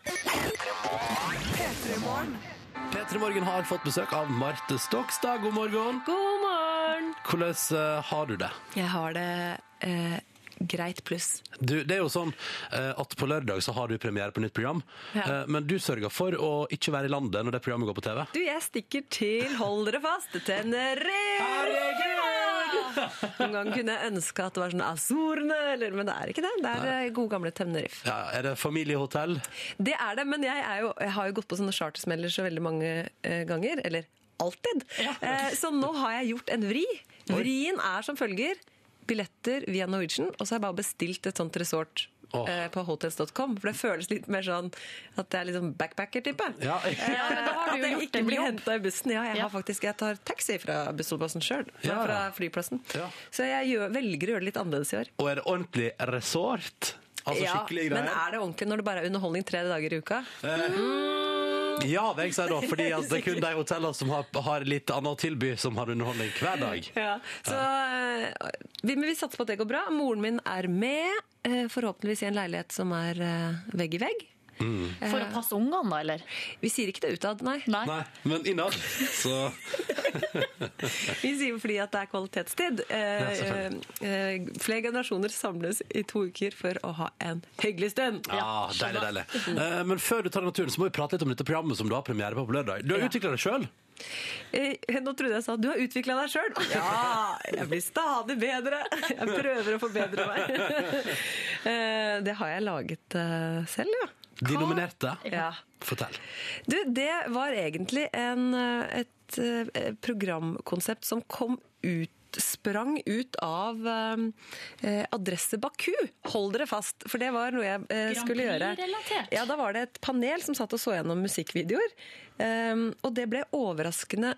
P3 Morgen har fått besøk av Marte Stokstad. God morgen. God morgen! Hvordan eh, har du det? Jeg har det eh, greit pluss. Du, det er jo sånn eh, at på lørdag så har du premiere på nytt program, Ja. eh, men du sørger for å ikke være i landet når det programmet går på TV. Du, jeg stikker til, hold dere fast, Tenerife! Noen ganger kunne jeg ønske at det var sånn Azorene, eller, men det er ikke det. Det er eh, gode gamle Tenerife. Ja, er det familiehotell? Det er det, men jeg, er jo, jeg har jo gått på sånne chartersmeller så veldig mange eh, ganger. Eller alltid. Eh, så nå har jeg gjort en vri. Vrien er som følger. Billetter via Norwegian, og så har jeg bare bestilt et sånt resort. Åh. eh, På hotels.com, for det føles litt mer sånn at jeg er litt sånn backpacker-type. Eh, Ja. Ja, men da har At du jo jeg gjort ikke en blir jobb. henta i bussen. Ja, jeg, Ja. har faktisk, jeg tar taxi fra bussholdeplassen sjøl. Ja. Fra flyplassen. Ja. Så jeg gjør, velger å gjøre det litt annerledes i år. Og er det ordentlig resort? Altså Ja, skikkelig greier? Men er det ordentlig når det bare er underholdning tre dager i uka? Eh, Ja, vil jeg si da, fordi at det er kun de hotellene som har, har litt annet å tilby, som har underholdning hver dag. Ja, så eh, vi, men vi satser på at det går bra. Moren min er med, eh, forhåpentligvis i en leilighet som er eh, vegg i vegg. For å passe ungene, da, eller? Vi sier ikke det utad, nei. Nei. Nei, men innad, så Vi sier jo fordi at det er kvalitetstid. Eh, selvfølgelig. eh, flere generasjoner samles i to uker for å ha en hyggelig stund. Ja, deilig, deilig. Eh, Men før du tar naturen, så må vi prate litt om dette programmet som du har premiere på på lørdag. Du har utvikla det sjøl. Eh, nå trodde jeg sa du har utvikla deg sjøl. Ja, jeg blir stadig bedre. Jeg prøver å forbedre meg. Eh, det har jeg laget eh, selv, ja. De nominerte. ja. Fortell. Du, det var egentlig en, eh, et eh, programkonsept som kom ut sprang ut av eh, Adresse Baku. Hold dere fast, for det var noe jeg eh, Grand skulle gjøre. Prix-relatert. Ja, Da var det et panel som satt og så gjennom musikkvideoer. Um, og det ble overraskende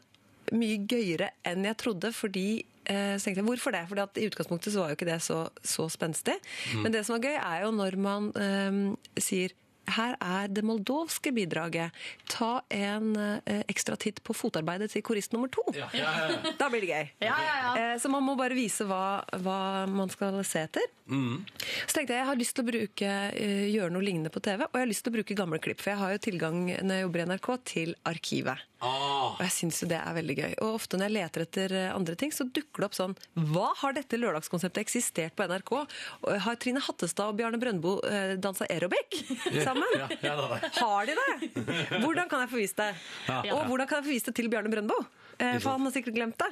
mye gøyere enn jeg trodde, fordi eh, så tenkte jeg, Hvorfor det? Fordi at I utgangspunktet så var jo ikke det så, så spenstig. Men det som var gøy, er jo når man um, sier her er det moldovske bidraget. Ta en eh, ekstra titt på fotarbeidet til korist nummer to. Da blir det gøy. Eh, Så man må bare vise hva, hva man skal se etter. Mm. Så tenkte jeg jeg har lyst til å bruke, eh, gjøre noe lignende på TV, og jeg har lyst til å bruke gamle klipp. For jeg har jo tilgang når jeg jobber i NRK til arkivet. Ah. Og jeg syns jo det er veldig gøy. Og ofte når jeg leter etter eh, andre ting, så dukker det opp sånn Hva har dette lørdagskonseptet eksistert på NRK? Og Har Trine Hattestad og Bjarne Brøndbo eh, dansa aerobic sammen? Ja, ja, da, da. Har de det? Hvordan kan jeg få vist det? Og hvordan kan jeg få vist det til Bjarne Brøndbo? Eh, For han har sikkert glemt det.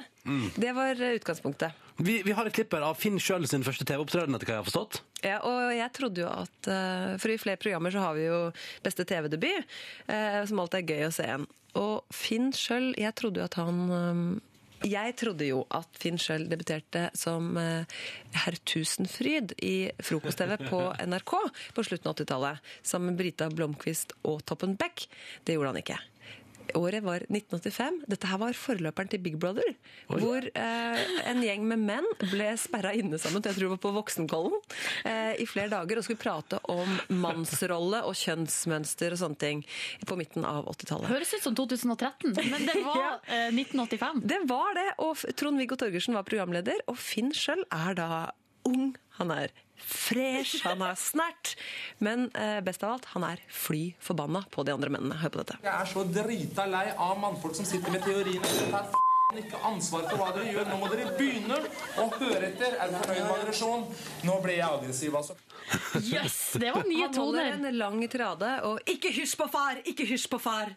Det var eh, utgangspunktet. Vi, vi har et klipp her av Finn sjøl sin første TV-opptreden, etter hva jeg har forstått. Ja, og jeg trodde jo at eh, For i flere programmer så har vi jo beste TV-debut, eh, som alltid er gøy å se igjen. Og Finn sjøl, jeg trodde jo at han eh, Jeg trodde jo at Finn sjøl debuterte som eh, herr Tusenfryd i frokost-TV på NRK på slutten av 80-tallet, sammen med Brita Blomkvist og Toppen Beck. Det gjorde han ikke. Året var 1985. Dette her var forløperen til Big Brother. Hvor eh, en gjeng med menn ble sperra inne sammen, jeg tror det var på Voksenkollen, eh, i flere dager og skulle prate om mannsrolle og kjønnsmønster og sånne ting på midten av 80-tallet. Høres ut som 2013, men det var Ja. eh, 1985. Det var det, og F- Trond-Viggo Torgersen var programleder, og Finn sjøl er da ung, han er fresh, han er snert, men eh, best av alt, han er fly forbanna på de andre mennene. Hør på dette. Jeg er så drita lei av mannfolk som sitter med teoriene. Ta f***en ikke ansvar for hva dere gjør. Nå må dere begynne å høre etter. Er du fornøyd med moderasjon? Nå ble jeg aggressiv, altså. Jøss, det var nye Han holder toner. en lang tirade og 'ikke hysj på far', 'ikke hysj på far'.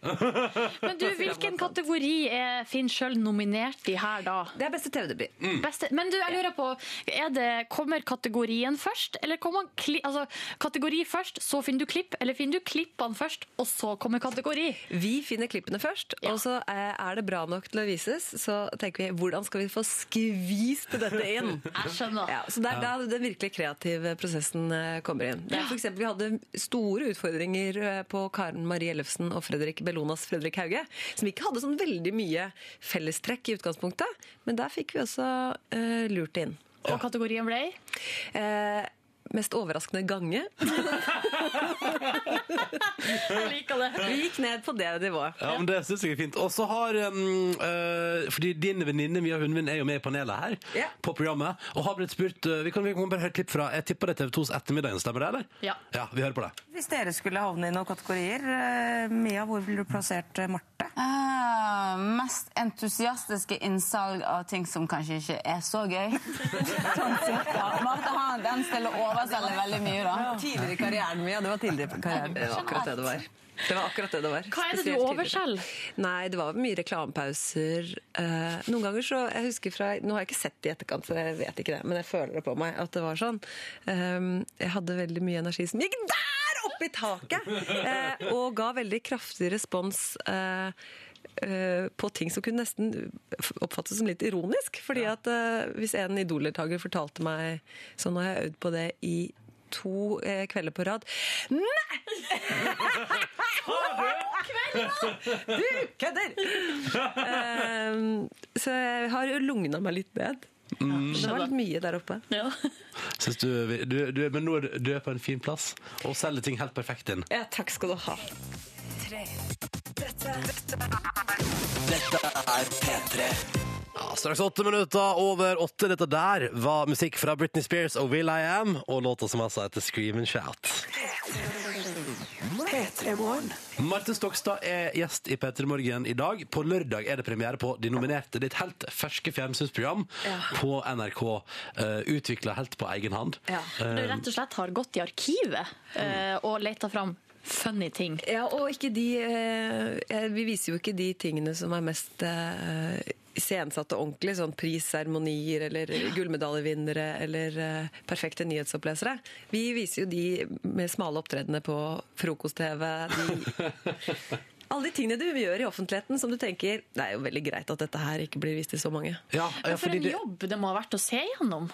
Men du, hvilken kategori er Finn sjøl nominert i her, da? Det er beste TV-debut. Mm. Beste. Men du, jeg lurer på, er det, kommer kategorien først? Eller kommer kli, altså, kategori først, så finner du klipp? Eller finner du klippene først, og så kommer kategori? Vi finner klippene først, og så eh, er det bra nok til å vises. Så tenker vi 'hvordan skal vi få skvist dette inn'? Jeg skjønner. Ja, så Det er da den virkelig kreative prosessen eh, kommer inn. Det er for eksempel, vi hadde store utfordringer eh, på Karen Marie Ellefsen og Fredrik Bellonas Fredrik Hauge, som ikke hadde sånn veldig mye fellestrekk i utgangspunktet, men der fikk vi også eh, lurt det inn. Og kategorien ble? Eh, mest overraskende gange. Jeg liker det. Vi gikk ned på det nivået. Ja, men Det syns jeg er fint. Og så har um, eh, Fordi din venninne Mia Hundvin er jo med i panelet her, Ja. på programmet, og har blitt spurt eh, Vi kan, vi kan bare høre et klipp fra Jeg tipper det er TV 2s Ettermiddagen, stemmer det, eller? Ja. ja vi hører på det. Hvis dere skulle havne i noen kategorier, eh, Mia, hvor ville du plassert eh, Marte? Ah, mest entusiastiske innsalg av ting som kanskje ikke er så gøy. sånn cirka. Marte har en tendens til å overselge veldig mye, da. Tidligere i karrieren min, ja. Det var tidligere i karrieren. Det var akkurat det det var. Det var akkurat det det Hva er var. det du Spesielt tidligere. overselger? Nei, det var mye reklamepauser. Eh, noen ganger så Jeg husker fra Nå har jeg ikke sett det i etterkant, så jeg vet ikke det, men jeg føler det på meg at det var sånn. Eh, jeg hadde veldig mye energi som gikk der oppe i taket! eh, og ga veldig kraftig respons. eh, eh, på ting som kunne nesten oppfattes som litt ironisk. fordi at eh, Hvis en Idol-deltaker fortalte meg sånn, og jeg har øvd på det i to eh, kvelder på rad Nei! Du kødder! Ehm, så jeg har jo lugna meg litt ned. Det var litt mye der oppe. Synes du, du, du, men nå er du- du er på en fin plass og selger ting helt perfekt inn. Ja, takk skal du ha. P3. Dette er P3. Ja, straks åtte minutter over åtte. Dette der var musikk fra Britney Spears og Will I Am, og låta som altså heter Scream and Shout. Marte Stokstad er gjest i P3 Morgen i dag. På lørdag er det premiere på de nominerte. Ditt helt ferske fjernsynsprogram Ja. på NRK. Uh, Utvikla helt på egen hånd. Du rett og slett har gått i arkivet eh, og leta fram funny ting. Ja, og ikke de eh, eh, Vi viser jo ikke de tingene som er mest eh, iscenesatt og ordentlig, sånn prisseremonier eller gullmedaljevinnere eller eh, perfekte nyhetsopplesere. Vi viser jo de med smale opptredener på frokost-TV. De, alle de tingene du gjør i offentligheten som du tenker Det er jo veldig greit at dette her ikke blir vist til så mange. Ja, Men for en jobb det må ha vært å se gjennom.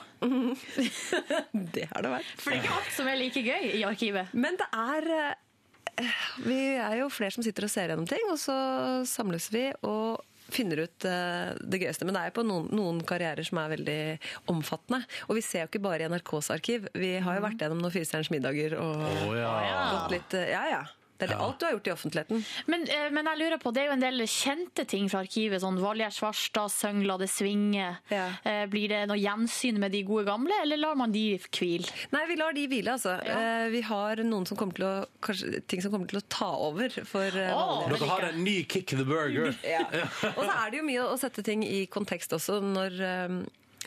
det har det vært. For det er ikke alt som er like gøy i arkivet. Men det er eh, Vi er jo flere som sitter og ser gjennom ting, og så samles vi og finner ut eh, det gøyeste. Men det er jo på noen, noen karrierer som er veldig omfattende. Og vi ser jo ikke bare i NRKs arkiv. Vi har jo vært gjennom noen Firestjerners middager og Å, ja. gått litt eh, Ja, ja. Det er alt du har gjort i offentligheten. Men, eh, men jeg lurer på, det er jo en del kjente ting fra arkivet. Sånn Valgjerd Svarstad, Søngla, Det svinger. Eh, Blir det noe gjensyn med de gode gamle, eller lar man de hvile? Nei, vi lar de hvile, altså. Eh, Vi har noen som kommer til å, kanskje, ting som kommer til å ta over for eh, vanlige Dere har en ny Kick the Burger. Ja. Og så er det jo mye å sette ting i kontekst også, når, eh,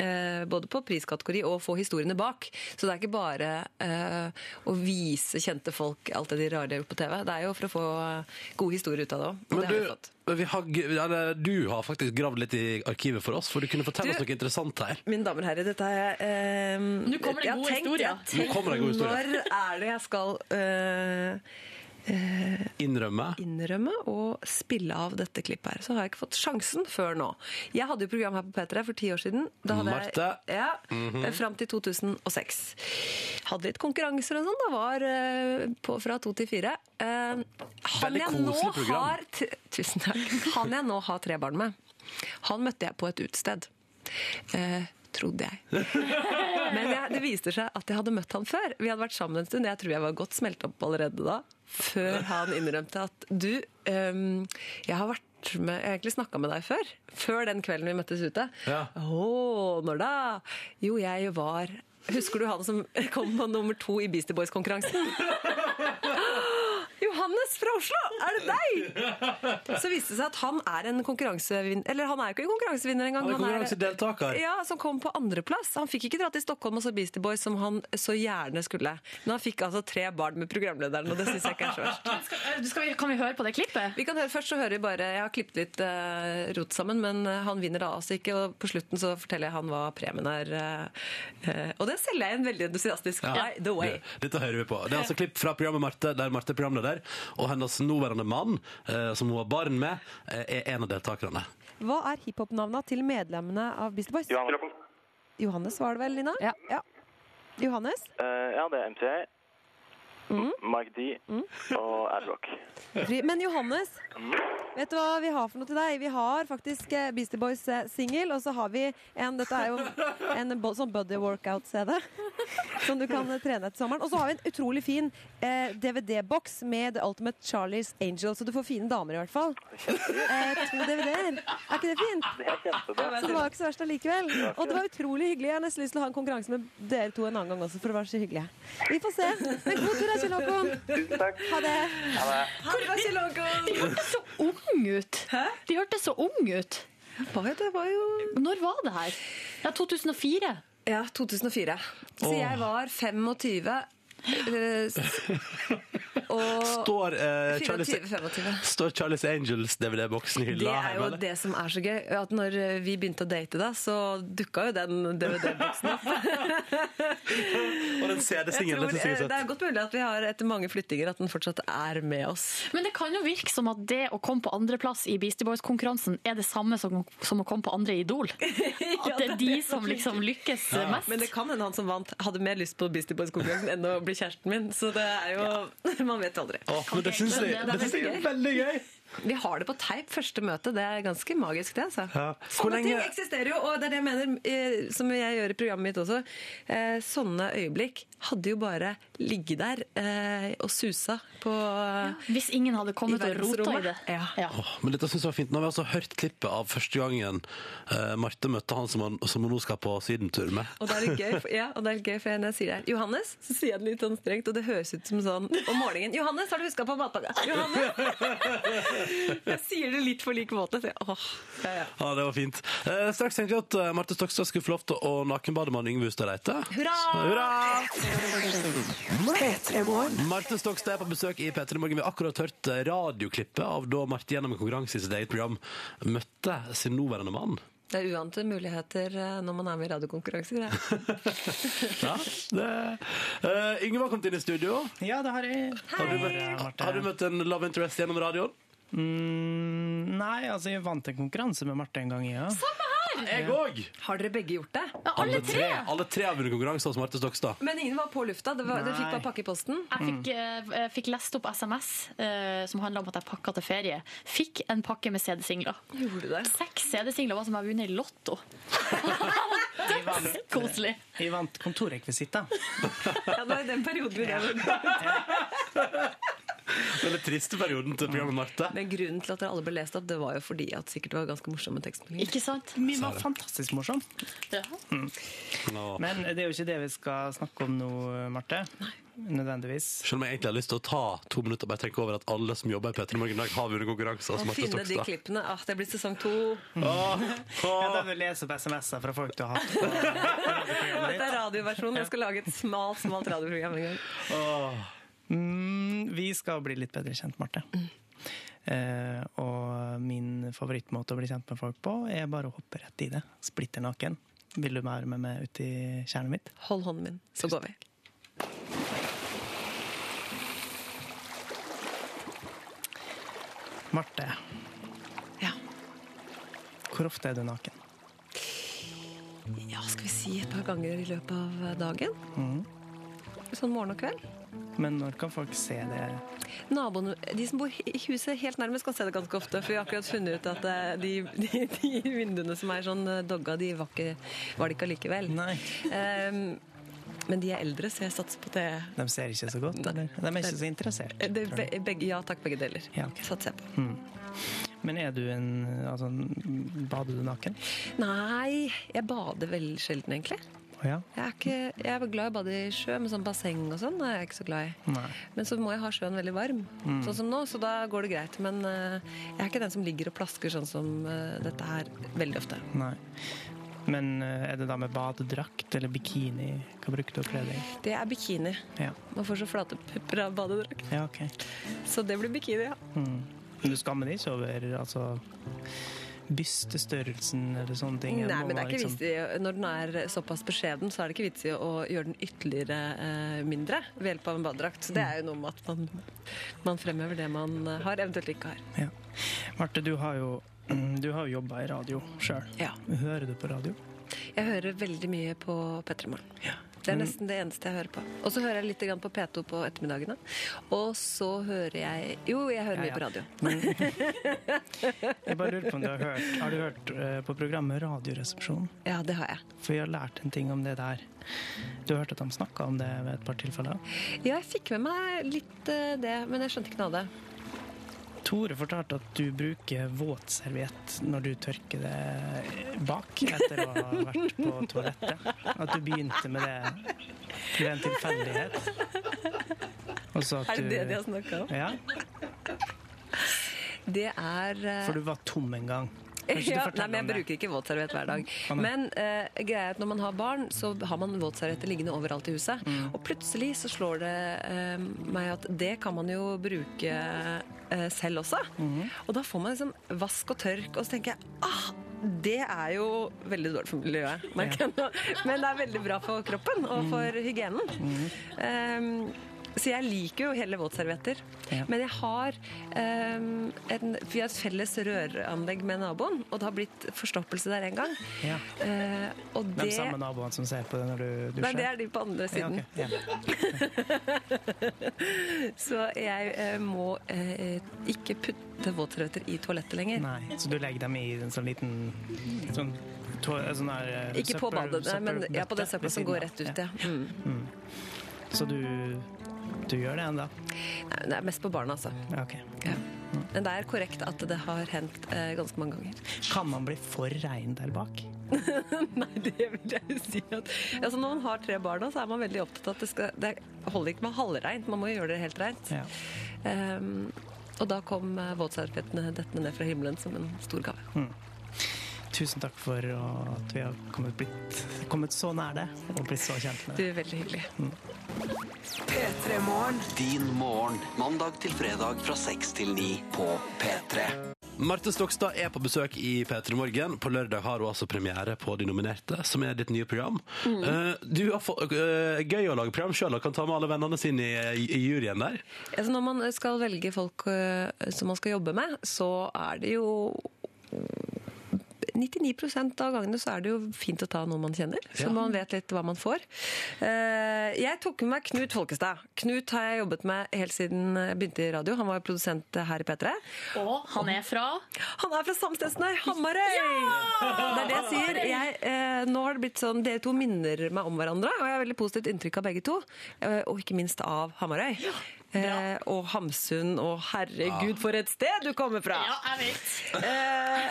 eh, både på priskategori og få historiene bak. Så det er ikke bare eh, å vise kjente folk alt det de rare de har gjort på TV. Det er jo for å få eh, gode historier ut av det òg. Og Men det har vi du, fått. vi har, g- eller, du har faktisk gravd litt i arkivet for oss, for du kunne fortelle Du- oss noe interessant her. Mine damer og herrer, dette er eh, Nå kommer det jeg har gode tenkt- historier. jeg har tenkt, Nå kommer det gode historier. Når er det jeg skal eh, eh, Innrømme. innrømme og spille av dette klippet her. Så har jeg ikke fått sjansen før nå. Jeg hadde jo program her på P3 for ti år siden. Da hadde Marte. Jeg, ja, eh, Mhm. Fram til 2006. Hadde litt konkurranser og sånn. Da var eh, på fra to til fire. Eh, han Veldig jeg koselig nå program. har t Tusen takk. Han jeg nå har tre barn med, han møtte jeg på et utested. Eh, trodde jeg. Men jeg, det viste seg at jeg hadde møtt han før. Vi hadde vært sammen en stund. Jeg tror jeg var godt smelt opp allerede da. Før han innrømte at du, ehm, jeg har vært med, jeg har egentlig snakka med deg før. Før den kvelden vi møttes ute. Ja. Å, når da? Jo, jeg var Husker du han som kom på nummer to i Beastie Boys-konkurransen? Johannes fra Oslo, er det deg? Så viste det seg at han er en konkurransevinner Eller han er jo ikke en konkurransevinner engang. Han er konkurransedeltaker. Ja, som kom på andreplass. Han fikk ikke dra til Stockholm og så Beastie Boys som han så gjerne skulle. Men han fikk altså tre barn med programlederen, og det syns jeg ikke er så verst. kan Eh, vi høre på det klippet? Vi kan høre Først så hører vi bare Jeg har klippet litt eh, rot sammen, men eh, han vinner da altså ikke. Og på slutten så forteller jeg han hva premien er. eh, eh, og det selger jeg inn veldig entusiastisk. By the way. Det, dette hører vi på. Det er altså klipp fra programmet Marte, der Marte er programleder, og hennes nåværende mann, eh, som hun har barn med, eh, er en av deltakerne. Hva er hiphop-navnet til medlemmene av Beastie Boys? Johannes. Johannes var det vel, Lina? Ja. Johannes? Eh, ja, det er MCA, Mm. Mike D og Adrock. Fri- Men Johannes, vet du hva vi har for noe til deg? Vi har faktisk eh, Beastie Boys-singel, og så har vi en Dette er jo en bo- sånn buddy workout-CD som du kan eh, trene etter sommeren. Og så har vi en utrolig fin eh, DVD-boks med The Ultimate Charlies Angel, så du får fine damer i hvert fall. Eh, to DVD-er. Er ikke det fint? Det er kjempebra. Så det var ikke så verst allikevel. Det var ikke Og det var utrolig hyggelig. Jeg har nesten lyst til å ha en konkurranse med dere to en annen gang også, for det var så hyggelig. Vi får se. Men god tur da, Kjell Håkon. Tusen takk. Ha det. Ha det. Ha det bra, Kjell De hørtes så ung ut! De hørtes så ung ut. Når var det her? Ja, 2004. Ja, 2004. Så Åh. jeg var 25. eh, s- og Står, eh, Charlie's, 24, 25. står Charlie's Angels DVD-boksen i Det hylla er hjemme, jo eller? det som er så gøy. At når eh, vi begynte å date, da, så dukka jo den DVD-boksen opp. Og den Jeg CD-singelen. tror, Det synes eh, jeg er det er søtt. godt mulig at vi har etter mange flyttinger at den fortsatt er med oss. Men det kan jo virke som at det å komme på andreplass i Beastie Boys-konkurransen er det samme som, som å komme på andre i Idol. At det er de som liksom lykkes mest. Men det kan hende han som vant, hadde mer lyst på Beastie Boys-konkurransen enn å bli kjæresten min. Så det er jo Man vet aldri. Å, men det syns jeg det, Det er synes jeg er veldig gøy! Vi har det på teip, første møte. Det er ganske magisk, det. altså. Ja. Hvor Sånne ting lenge- eksisterer jo, og det er det jeg mener, eh, som jeg gjør i programmet mitt også. Eh, Sånne øyeblikk hadde jo bare ligget der eh, og susa på Hvis ingen hadde kommet og rota i det. Åh, men dette synes jeg var fint. Nå har vi altså hørt klippet av første gangen eh, Marte møtte han som, han som hun nå skal på sydentur med. Og det er litt gøy, for, ja, og det er litt gøy, for når jeg sier det her Johannes, så sier jeg det litt sånn strengt, og det høres ut som sånn om morgenen. Johannes, har du huska på matpakka? Johannes! Jeg sier det litt på lik måte. Så jeg, åh, ja, ja. Ja, det var fint. Eh, straks tenkte jeg at eh, Marte Stokstad skulle få lov til å nakenbade med han Yngve Hustad Reite. Hurra! Marte Stokstad er på besøk i P3 Morgen. Vi har akkurat hørt eh, radioklippet av da Marte gjennom en konkurranse i sitt eget program møtte sin nåværende mann. Det er uante muligheter eh, når man er med i radiokonkurranser. det. Ja, det... Eh, Yngve har kommet inn i studio. Ja, det har jeg. Har du møtt, har du møtt en love interest gjennom radioen? Mm, nei, altså jeg vant en konkurranse med Marte en gang, ja. Jeg òg! Har dere begge gjort det? Alle tre har vunnet konkurranse hos Marte Stokstad. Men ingen var på lufta. Det var, dere fikk Nei. bare pakke i posten. Jeg fikk, eh, jeg fikk lest opp SMS eh, som handla om at jeg pakka til ferie. Fikk en pakke med CD-singler. Seks CD-singler var som jeg hadde vunnet i Lotto. Koselig. Jeg vant kontorrekvisitter. Ja, det var i den perioden vi drev. Den litt triste perioden til programmet Marte. Men grunnen til at dere alle ble lest opp, det var jo fordi at sikkert det var ganske morsomme tekstmeldinger. Ikke sant? Min var fantastisk morsom. Men det er jo ikke det vi skal snakke om nå, Marte. Nødvendigvis. Selv om jeg egentlig har lyst til å ta to minutter og bare tenke over at alle som jobber i P3 Morgen i dag, har vunnet konkurranse hos Å Marte finne de Stokstad. klippene. Ah, det blir sesong to. Jeg kan jo lese opp SMS-er fra folk du har hatt. Dette er radioversjonen. Jeg skal lage et smalt, smalt radioprogram en gang. Mm, vi skal bli litt bedre kjent, Marte. Mm. Eh, og min favorittmåte å bli kjent med folk på er bare å hoppe rett i det. Splitter naken. Vil du være med meg ut i kjernen mitt? Hold hånden min, så går vi. Marte. Hvor ofte er du naken? Ja, skal vi si et par ganger i løpet av eh, dagen? Mm. Sånn morgen og kveld. Men når kan folk se det? Naboene, De som bor i huset helt nærmest, kan se det ganske ofte. For vi har akkurat funnet ut at eh, de, de, de vinduene som er sånn eh, dogga, de var, ikke, var det ikke allikevel. Ehm, men de er eldre, så jeg satser på at det. De ser ikke så godt, eller? De er ikke så interessert. det tror be, jeg. begge, ja takk, begge deler. Ja, ok. Satser jeg på. Mm. Men er du en Altså, bader du naken? Nei, jeg bader veldig sjelden, egentlig. Å ja? Jeg er, ikke, jeg er glad i å bade i sjø, men sånn basseng og sånn er jeg ikke så glad i. Nei. Men så må jeg ha sjøen veldig varm, Mm. sånn som nå, så da går det greit. Men eh, jeg er ikke den som ligger og plasker sånn som eh, dette her veldig ofte. Nei. Men eh, er det da med badedrakt eller bikini? Hva bruker du å kle deg i? Det er bikini. Ja. Man får så flate pupper av badedrakt. Ja, ok. Så det blir bikini, ja. Mm. Men du skammer deg ikke over altså, bystestørrelsen eller sånne ting? Nei, Må men det man er ikke liksom- vits i, Når den er såpass beskjeden, så er det ikke vits i å gjøre den ytterligere eh, mindre ved hjelp av en badedrakt. Så det Mm. er jo noe med at man, man fremhever det man eh, har, eventuelt ikke har. Marte, du har jo, mm, du har jo jobba i radio sjøl. Hører du på radio? Jeg hører veldig mye på P3 Morgen. Det er nesten det eneste jeg hører på. Og så hører jeg litt grann på P2 på ettermiddagene. Og så hører jeg Jo, jeg hører mye på radio. Jeg bare lurer på om du har hørt Har du hørt eh, på programmet Radioresepsjonen? Ja, det har jeg. For jeg har lært en ting om det der. Du hørte at de snakka om det ved et par tilfeller? Ja, jeg fikk med meg litt eh, det, men jeg skjønte ikke noe av det. Tore fortalte at du bruker våtserviett når du tørker det bak etter å ha vært på toalettet. At du begynte med det ved en tilfeldighet. Og så at Er det du- det de har snakket om? Ja, Det er eh, For du var tom en gang. Kan ikke du ja, nei, fortelle men Jeg om det? bruker ikke våtserviett hver dag. Ah, nei. Men eh, greia er at når man har barn, så har man våtservietter liggende overalt i huset. Mm. Og plutselig så slår det eh, meg at det kan man jo bruke eh, selv også. Mm. Og da får man liksom vask og tørk, og så tenker jeg ah, det er jo veldig dårlig for miljøet, Mm. merker jeg nå. Men det er veldig bra for kroppen og for hygienen. Um, Så jeg liker jo hele våtservietter. Ja. Men jeg har ehm, en, Vi har et felles røranlegg med naboen, og det har blitt forstoppelse der en gang. Ja. Eh, og Hvem det samme naboene som ser på det når du dusjer? Nei, det er de på andre siden. Ja, ok. Ja. Så jeg eh, må eh, ikke putte våtservietter i toalettet lenger. Nei, så du legger dem i en sånn liten sånn, to, sånn her, eh, Ikke på søppel- badet, nei, men ja, på det søppelbøtte ved søppelet som siden går av. rett ut. Ja. Mm. Mm. Så du, du gjør det ennå? Nei, det er mest på barna, altså. Ja. Men det er korrekt at det har hendt eh, ganske mange ganger. Kan man bli for rein der bak? Altså, når man har tre barna, så er man veldig opptatt av at det, skal, det holder ikke med halvreint, man må jo gjøre det helt reint. Ja. Ehm, og da kom eh, våtserviettene dettende ned fra himmelen som en stor gave. Mm. Tusen takk for å- at vi har kommet, blitt, kommet så nær det, og blitt så kjent med Du det. er veldig hyggelig. Din morgen. Mandag til fredag fra seks til ni på P3. Marte Stokstad er på besøk i P3 Morgen. På lørdag har hun altså premiere på De nominerte, som er ditt nye program. Mm. Eh, du har få, eh, gøy å lage program sjøl og kan ta med alle vennene sine i, i juryen der. Altså, når man skal velge folk øh, som man skal jobbe med, så er det jo 99 av gangene så er det jo fint å ta noen man kjenner, Ja. så man vet litt hva man får. Eh, Jeg tok med meg Knut Folkestad. Knut har jeg jobbet med helt siden jeg begynte i radio. Han var jo produsent her i P3. Og han er fra? Han er fra samme Nei, Hamarøy! Det er det jeg sier. Jeg, eh, nå har det blitt sånn, Dere to minner meg om hverandre, og jeg har veldig positivt inntrykk av begge to. Eh, og ikke minst av Hamarøy. Eh, og Hamsun, og herregud, for et sted du kommer fra! Ja, jeg vet. Eh,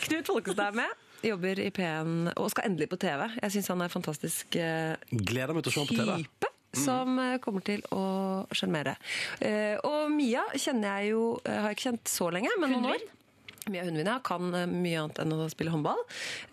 Knut Folkestad er med. Jobber i P1 og skal endelig på TV. Jeg syns han er en fantastisk eh, Gleder meg til å se ham på Mm. TV. type som eh, kommer til å sjarmere. Eh, Og Mia kjenner jeg jo eh, Har jeg ikke kjent så lenge, men noen år. Mia Hundvin ja, kan eh, mye annet enn å spille håndball,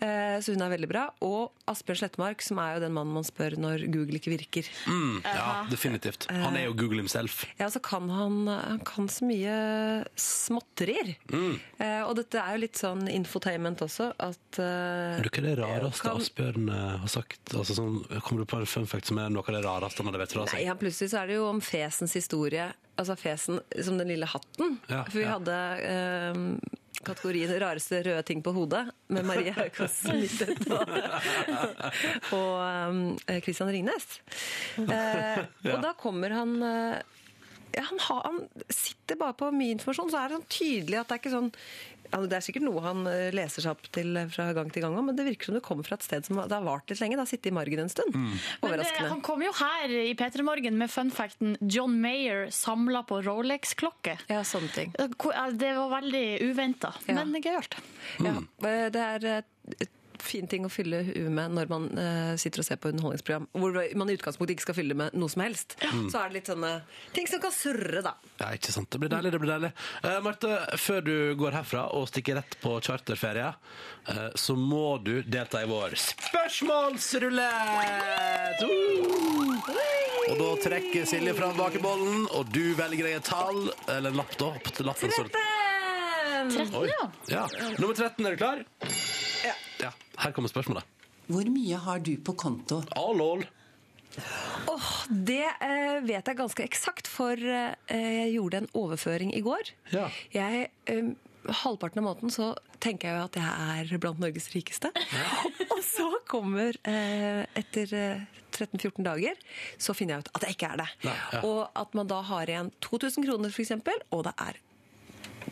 Eh, så hun er veldig bra. Og Asbjørn Slettemark, som er jo den mannen man spør når Google ikke virker. Mm, ja, definitivt. Han er jo Google himself. Ja, så kan han, han kan så mye småtterier. Mm. Eh, og dette er jo litt sånn infotainment også, at eh, Er det ikke det rareste kan- Asbjørn eh, har sagt? Altså, sånn, kommer du på en fun fact som er noe av det rareste han har levert fra Nei, seg? ja, plutselig så er det jo om fesens historie. Altså fesen som den lille hatten. Ja, For vi ja. hadde eh, kategorien 'rareste røde ting på hodet' med Marie Haukås Smith og, og eh, Christian Ringnes. Eh, Ja. Og da kommer han eh, ja, han, har, han sitter bare på mye informasjon, så er det sånn tydelig at det er ikke sånn ja, Det er sikkert noe han eh, leser seg opp til eh, fra gang til gang, også, men det virker som det kommer fra et sted som det har vart litt lenge. Det har sittet i margen en stund. Mm. Men det, Overraskende. han kom jo her i P3 Morgen med funfacten John Mayer samla på Rolex-klokke. Eh, Ja, sånne ting. Det var veldig uventa, men eh, gøyalt. Ja, eh, det er eh, et fin ting å fylle huet med når man eh, sitter og ser på underholdningsprogram, hvor man i utgangspunktet ikke skal fylle med noe som helst. Mm. Så er det litt sånne ting som kan surre, da. Ja, ikke sant. Det blir deilig. det blir deilig. Eh, Marte, før du går herfra og stikker rett på charterferie, eh, så må du delta i vår spørsmålsrulett! Uh! Og da trekker Silje fram bakebollen, og du velger deg et tall, eller en lapp, da. På lappen, står det- 13, Oi. ja. Nummer 13, er du klar? Ja. Ja. Her kommer spørsmålet. Hvor mye har du på konto? Ah, lol. Åh, Det eh, vet jeg ganske eksakt, for eh, jeg gjorde en overføring i går. Jeg, eh, halvparten av måneden så tenker jeg jo at jeg er blant Norges rikeste. Og så kommer, eh, etter eh, 13-14 dager, så finner jeg ut at jeg ikke er det. Nei, ja. Og at man da har igjen 2000 kroner, for eksempel, og det er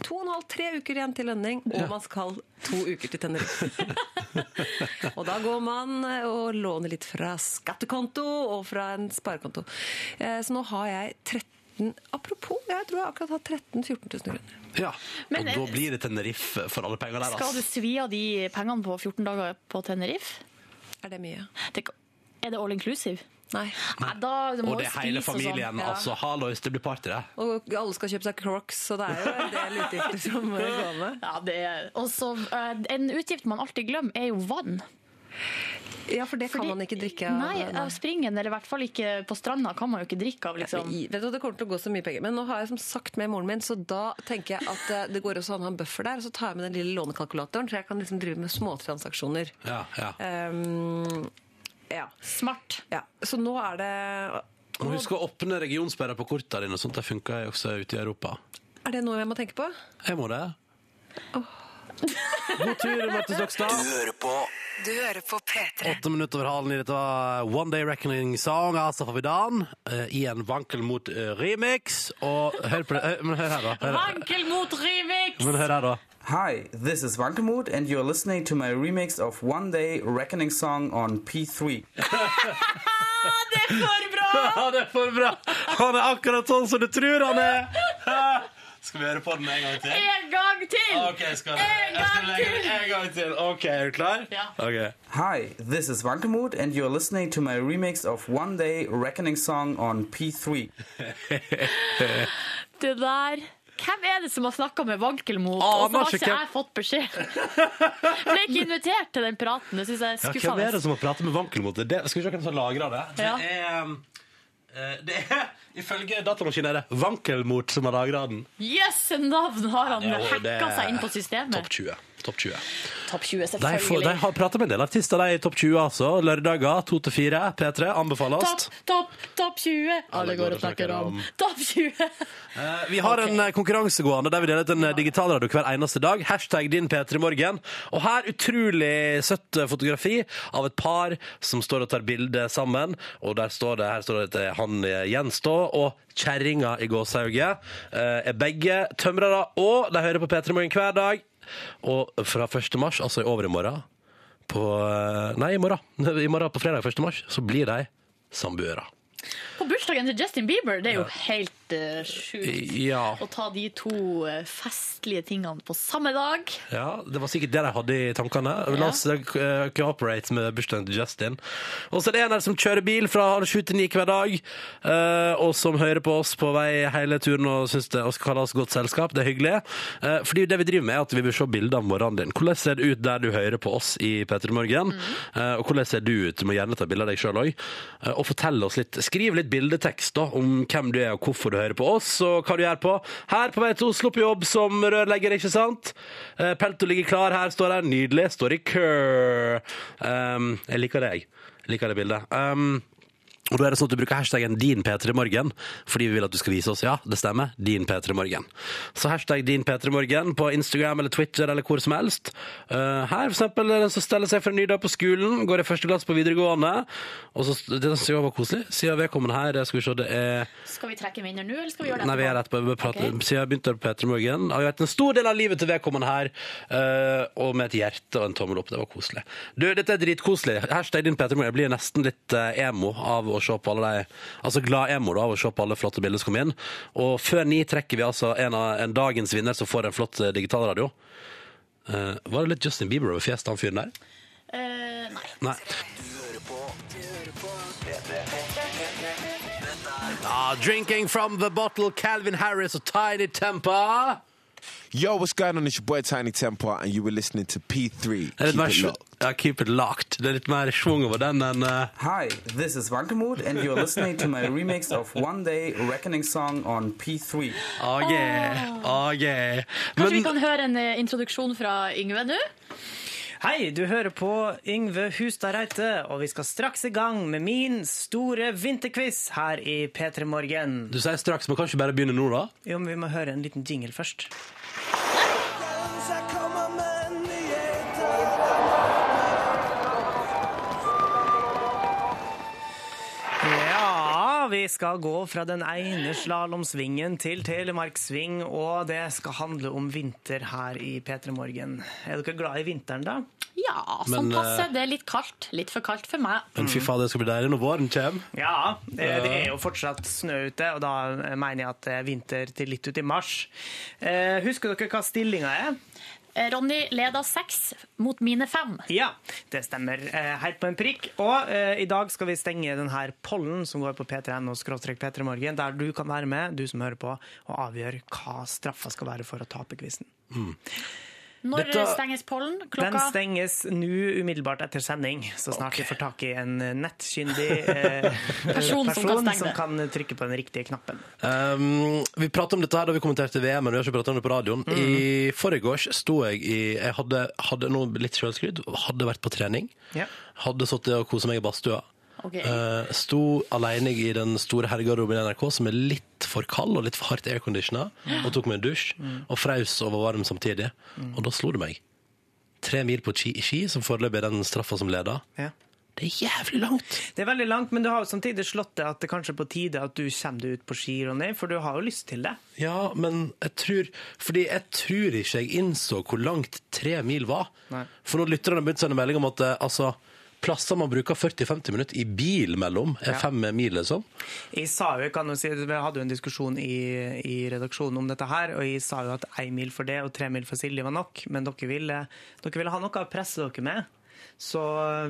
to og en halv, tre uker igjen til lønning, og man skal to uker til Tenerife. og da går man eh, og låner litt fra skattekonto og fra en sparekonto. Eh, Så nå har jeg 13 Apropos, jeg tror jeg akkurat har 13 000-14 000 kroner. Ja. Men, og eh, da blir det Tenerife for alle penger der, Skal du altså. svi av de pengene på 14 dager på Tenerife? Er det mye? er det all inclusive? Nei. da, du må Og det er jo spise hele og familien. sånn. Ja. altså, Hallois, det blir party, det. Og alle skal kjøpe seg crocs, så det er jo en del utgifter som må gå med. Ja, det er- Og så, eh, en utgift man alltid glemmer, er jo vann. Ja, for det kan man ikke drikke av. Nei, Nei. altså, av springen, eller i hvert fall ikke på stranda, kan man jo ikke drikke av, liksom. I- Vet du, hva, Det kommer til å gå så mye penger. Men nå har jeg som sagt med moren min, så da tenker jeg at eh, det går også an å ha en buffer der. Og så tar jeg med den lille lånekalkulatoren, så jeg kan liksom drive med småtransaksjoner. Ja, ja. Ehm, ja. Smart. Ja. Så nå er det Må huske å åpne regionsperra på korta dine, sånn at det funker jo også ute i Europa. Er det noe jeg må tenke på? Jeg må det. God tur, Marte Stokstad. Du hører på Du hører på P3. Åtte minutter over halen i dette var One Day Reckoning Song av Asaf Avidan eh, i en vankel mot eh, remix. Og hør på det eh, Men hør her, da. Hør her. Vankel mot remix! Hi, this is Vankamut, and you're listening to my remix of One Day Reckoning Song on P3. Det er for bra! Han er for bra! Han er akkurat sånn som du tror han er! Skal vi høre på den en gang til? En gang til! Ok, skal jeg- En jeg skal gang legge til! den en gang til. Ok, er du klar? Ja. Okay. Hi, this is Vankamut, and you're listening to my remix of One Day Reckoning Song on P3. Det der Hvem er det som har snakka med Vankelmo? Ah, Og så har Marcia, ikke hvem- jeg fått beskjed. Ble ikke invitert til den praten. Det syns jeg er Ja, hvem skuffende. er det som har pratet med vankel mot det? det? Skal vi se hvem som lagrer det? Ja. Det er, um, eh, det er Ifølge datamaskinen er det Vankelmot som har lagra den. Yes, navn har han Ja, det er hacka seg inn på systemet. Topp 20. Topp 20. Topp 20, De, får, de har prata med en del artister, de er i topp 20, altså. Lørdager 2 til 4. P3 anbefales. Topp, topp, topp 20. Alle går og snakker om topp 20. Eh, Vi har en eh, konkurranse gående der vi deler ut en eh, digital radio hver eneste dag. Hashtag din P3morgen. Og her utrolig søtt eh, fotografi av et par som står og tar bilde sammen. Og der står det, her står det at eh, han eh, gjenstår, og kjerringa i gåsehauget eh, er begge tømrere. Og de hører på P3morgen hver dag. Og fra 1. mars, altså i over i morgen på, eh, Nei, i morgen. I morgen på fredag 1. mars, så blir de samboere. På bursdagen til Justin Bieber, det er jo helt eh, sjukt Ja. å ta de to eh, festlige tingene på samme dag. Ja, Det var sikkert det de hadde i tankene. La oss eh, cooperate med bursdagen til Justin. Og så er det en her som kjører bil fra halv sju til ni hver dag, eh, og som hører på oss på vei hele turen og syns det og skal kalle oss godt selskap. Det er hyggelig. Eh, Fordi det vi driver med, er at vi vil se bilder av morgenen din. Hvordan ser det ut der du hører på oss i P3 Morgen? Eh, Og hvordan ser du ut? Du må gjerne ta bilde av deg sjøl òg. Og fortell oss litt. Skriv litt bildetekst da, om hvem du er, og hvorfor du hører på oss, og hva du gjør på. Her på vei til Oslo på jobb som rørlegger, ikke sant? Eh, Pelto ligger klar, her står her. Nydelig. Står i kø. Um, jeg liker det, jeg. Jeg Liker det bildet. Um, og da er det sånn at du bruker hashtaggen din P3morgen, fordi vi vil at du skal vise oss, ja, det stemmer, din P3morgen. Så hashtag din P3morgen på Instagram eller Twitter eller hvor som helst. Eh, her for eksempel er det en som steller seg for en ny dag på skolen, går i første klasse på videregående, og så, det synes jeg var koselig, siden vedkommende her, skal vi se, det er... Skal vi trekke vinner nå, eller skal vi gjøre det Nei, vi er rett på vi prater, Siden jeg begynte på P3 Morgen, har jeg vært en stor del av livet til vedkommende her, eh, og med et hjerte og en tommel opp. Det var koselig. Du, dette er dritkoselig. Hashtag din P3 Morgen. Jeg blir nesten litt eh, emo av å se på alle de Altså glad emo da, av å se på alle flotte bilder som kom inn. Og før ni trekker vi altså en, av, en dagens vinner som får en flott eh, digitalradio. Eh, var det litt Justin Bieber over fjeset, han fyren der? Eh, nei. Nei. Ah, drinking from the bottle, Calvin Harris og Tiny Temper. Yo, what's going on? It's your boy Tiny Temper, and you were listening to P3. Det er litt Keep mer it sj- locked. Ja, keep it locked. Det er litt mer schwung over den enn eh, Hi, this is Vankamut, and you're listening to my remix of One Day Reckoning Song on P3. Oh yeah, oh yeah. Kanskje Ah. vi kan høre en eh, introduksjon fra Yngve nå? Hei, du hører på Yngve Hustad Reite, og vi skal straks i gang med min store vinterquiz her i P3 Morgen. Du sier straks, men kan ikke bare begynne nå, da? Jo, men vi må høre en liten jingle først. Ja, vi skal gå fra den ene slalåmsvingen til Telemarksving, og det skal handle om vinter her i P3 Morgen. Er dere glad i vinteren, da? Ja, sånn Men, eh, passe. Det er litt kaldt. Litt for kaldt for meg. Men fy faen, det skal bli deilig når våren kommer. Ja, det, Ja. det er jo fortsatt snø ute, og da mener jeg at det er vinter til litt ut i mars. Eh, husker dere hva stillinga er? Eh, Ronny leder seks mot mine fem. Ja, det stemmer. Eh, helt på en prikk. Og eh, i dag skal vi stenge den her pollen som går på p3.no p3morgen, der du kan være med, du som hører på, og avgjøre hva straffa skal være for å tape quizen. Når Dette- stenges pollen? Den Klokka stenges nå umiddelbart etter sending, så snart vi får tak i en nettkyndig eh, Person som kan stenge som det. kan trykke på den riktige knappen. Um, vi pratet om dette her da vi kommenterte VM, men vi har ikke pratet om det på radioen. Mhm. I forgårs sto jeg i Jeg hadde, hadde nå litt selvskryt, hadde vært på trening. Ja. Hadde sittet og koset meg i badstua. Eh, sto alene i den store herregarderoben i NRK, som er litt for kald og litt for hardt airconditioner, og tok meg en dusj. Mm. Og fraus og var varm samtidig. Og da slo det meg. Tre mil på ski, ski som foreløpig er den straffa som leder. Det er jævlig langt. Det er veldig langt, men du har jo samtidig slått deg at det kanskje er på tide at du kommer deg ut på ski, Ronny, for du har jo lyst til det. Ja, men jeg tror Fordi jeg tror ikke jeg innså hvor langt tre mil var. For når lytterne begynte å sende melding om at eh, altså, plasser man bruker 40-50 minutter i bil mellom, er Ja. fem mil, liksom. Jeg sa jo, jeg kan jo si, Vi hadde jo en diskusjon i, i redaksjonen om dette her, og jeg sa jo at én mil for det og tre mil for Silje var nok, men dere ville, dere ville ha noe å presse dere med. Så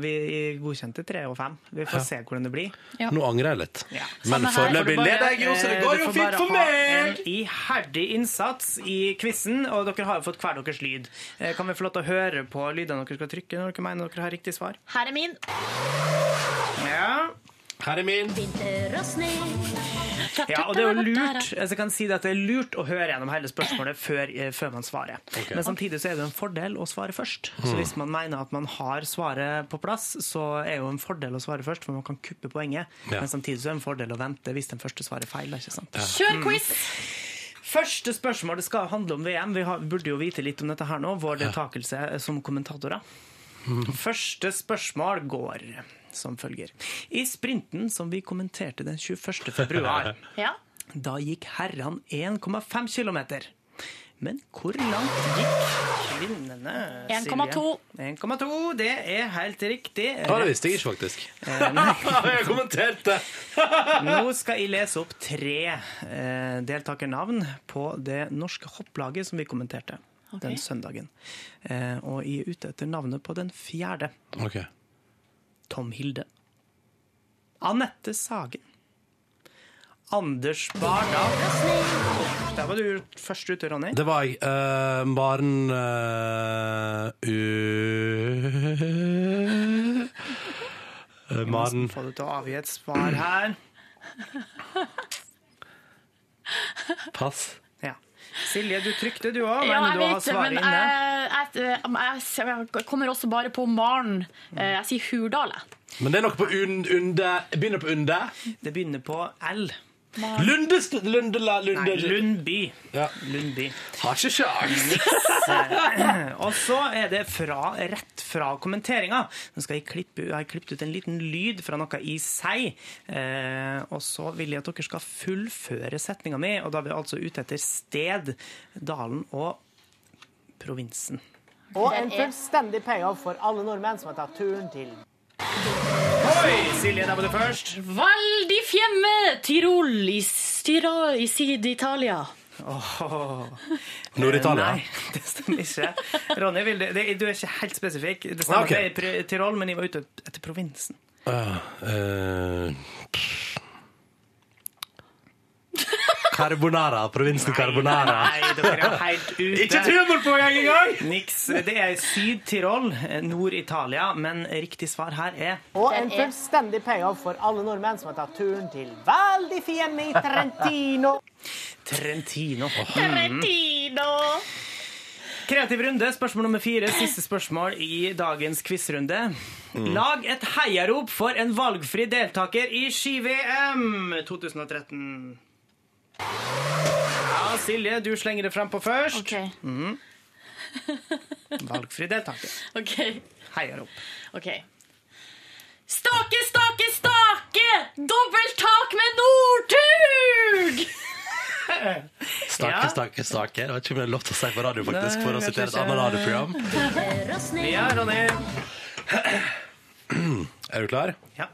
vi godkjente tre og fem. Vi får Ja. se hvordan det blir. Nå angrer jeg litt. Sånn Men her foreløpig får du bare- leder jeg jo, så det eh, går du jo får fint bare for ha meg! En iherdig innsats i quizen, og dere har jo fått hver deres lyd. Eh, Kan vi få lov til å høre på lydene dere skal trykke når dere mener dere har riktig svar? Her er min. Ja. Her er min. eh, Ja, og det er jo lurt altså, jeg kan si det at det er lurt å høre gjennom hele spørsmålet før, eh, før man svarer. Ok. Men samtidig så er det jo en fordel å svare først. Så Mm. hvis man mener at man har svaret på plass, så er jo en fordel å svare først, for man kan kuppe poenget. Ja. Men samtidig så er det en fordel å vente hvis den første svarer feil. da, ikke sant? Ja. Mm. Kjør quiz! Første spørsmål det skal handle om VM. Vi har, burde jo vite litt om dette her nå, vår Ja. Hmm. deltakelse eh, som kommentatorer. Første spørsmål går som følger. I sprinten som vi kommenterte den 21. februar, Ja. da gikk herrene 1,5 km. Men hvor langt gikk kvinnene? Silje? 1,2. 1,2, det er helt riktig. Ja, det visste jeg ikke, faktisk. jeg kommenterte! Nå skal jeg lese opp tre eh, deltakernavn på det norske hopplaget som vi kommenterte Ok. den søndagen. Eh, og jeg er ute etter navnet på den fjerde. Ok. Tom Hilde. Anette Sagen. Anders Bardal. Der var du først ute, Ronny. Det var jeg. Eh, Maren eh, u- Eh, Maren Få det til å avgi et svar her. Pass. Ja. Silje, du trykte du òg, Ja, jeg men du har vet det, svaret men eh, inne. jeg, jeg, jeg, jeg kommer også bare på Maren. Eh, Jeg sier Hurdal, jeg. Men det er noe på un, unde Begynner på unde? Det begynner på L. Lundest, Lundela, Lunde... Nei, Lundby. Ja. Lundby. Har ikke sjans! Eh, Og så er det fra, rett fra kommenteringa. Nå skal jeg klippe jeg har klippet ut en liten lyd fra noe i seg. Eh, og så vil jeg at dere skal fullføre setninga mi, og da er vi altså ute etter sted, dalen og provinsen. Og en fullstendig payoff for alle nordmenn som har tatt turen til Oi, Silje, der var du først. Val di Fiemme, Tirol, i, Tirol, i Syd-Italia. Åh. Nord-Italia. Eh, Nei, det stemmer ikke. Ronny, vil du, det, du er ikke helt spesifikk. Det stemmer Ok. at det er i Pri- Tirol, men jeg var ute etter provinsen. Uh, eh, Carbonara. Provinsen Carbonara. Nei, dere er jo helt ute. Ah. Ikke trommelpoeng engang! Niks. Det er Syd-Tirol, Nord-Italia, men riktig svar her er Og en fullstendig payoff for alle nordmenn som har tatt turen til Val di Fiemme i Trentino. Trentino. Trentino! Kreativ runde, spørsmål nummer fire. Siste spørsmål i dagens quizrunde. Lag et heiarop for en valgfri deltaker i ski-VM 2013. Ja, Silje, du slenger det frem på først. Mhm. Valgfri deltaker. OK. Heiarop. ok. Stake, stake, stake! Dobbelttak med Northug! Stakke, stakke, stakke. Det var ikke om det er lov til å si på radio, faktisk, for å sitere et annet radioprogram. Ja, Ronny. Er du klar? Ja.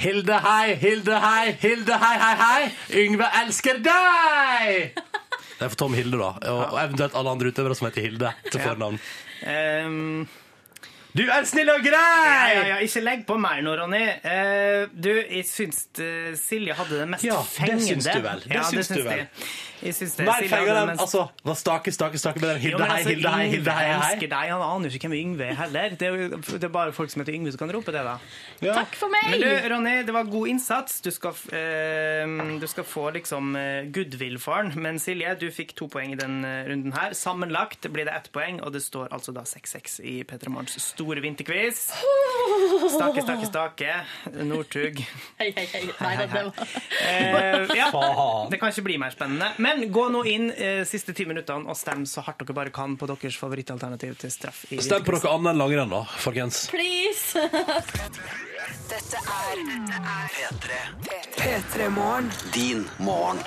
Hilde hei, Hilde hei, Hilde hei, hei, hei. Yngve elsker deg! Det er for Tom Hilde, da. Og og eventuelt alle andre utøvere som heter Hilde til fornavn. Ehm, Du er snill og grei! Ja, ja, ja, ikke legg på meg nå, Ronny. Eh, du, jeg syns eh, Silje hadde det mest Ja, det fengende. syns du vel. Det syns du vel. jeg. Jeg syns det. Mer Silje feiger hadde enn mest- altså, var stake, stake, stake med den Jo, Hilde, men hei, altså, Hilde, hei, Hilde, hei, Yngve hei. elsker deg, han aner jo ikke hvem Yngve er heller. Det er, jo, det er bare folk som heter Yngve som kan rope det, da. Takk for meg! Men du, Ronny, det var god innsats. Du skal, f- eh, du skal få liksom eh, goodwill for den. Men Silje, du fikk to poeng i den eh, runden her. Sammenlagt blir det ett poeng, og det står altså da 6-6 i P3 Morgens store vinterquiz. Stake, stake, stake. Northug. Hei, hei, hei. Nei, det var- Eh, ja. Faen. Det kan ikke bli mer spennende. Men gå nå inn eh, siste ti minuttene og stem så hardt dere bare kan på deres favorittalternativ til straff. i Stem på vinterquiz. noe annet enn langrenn, da, folkens. Please! Dette er P3. P3 Morgen. Din morgen.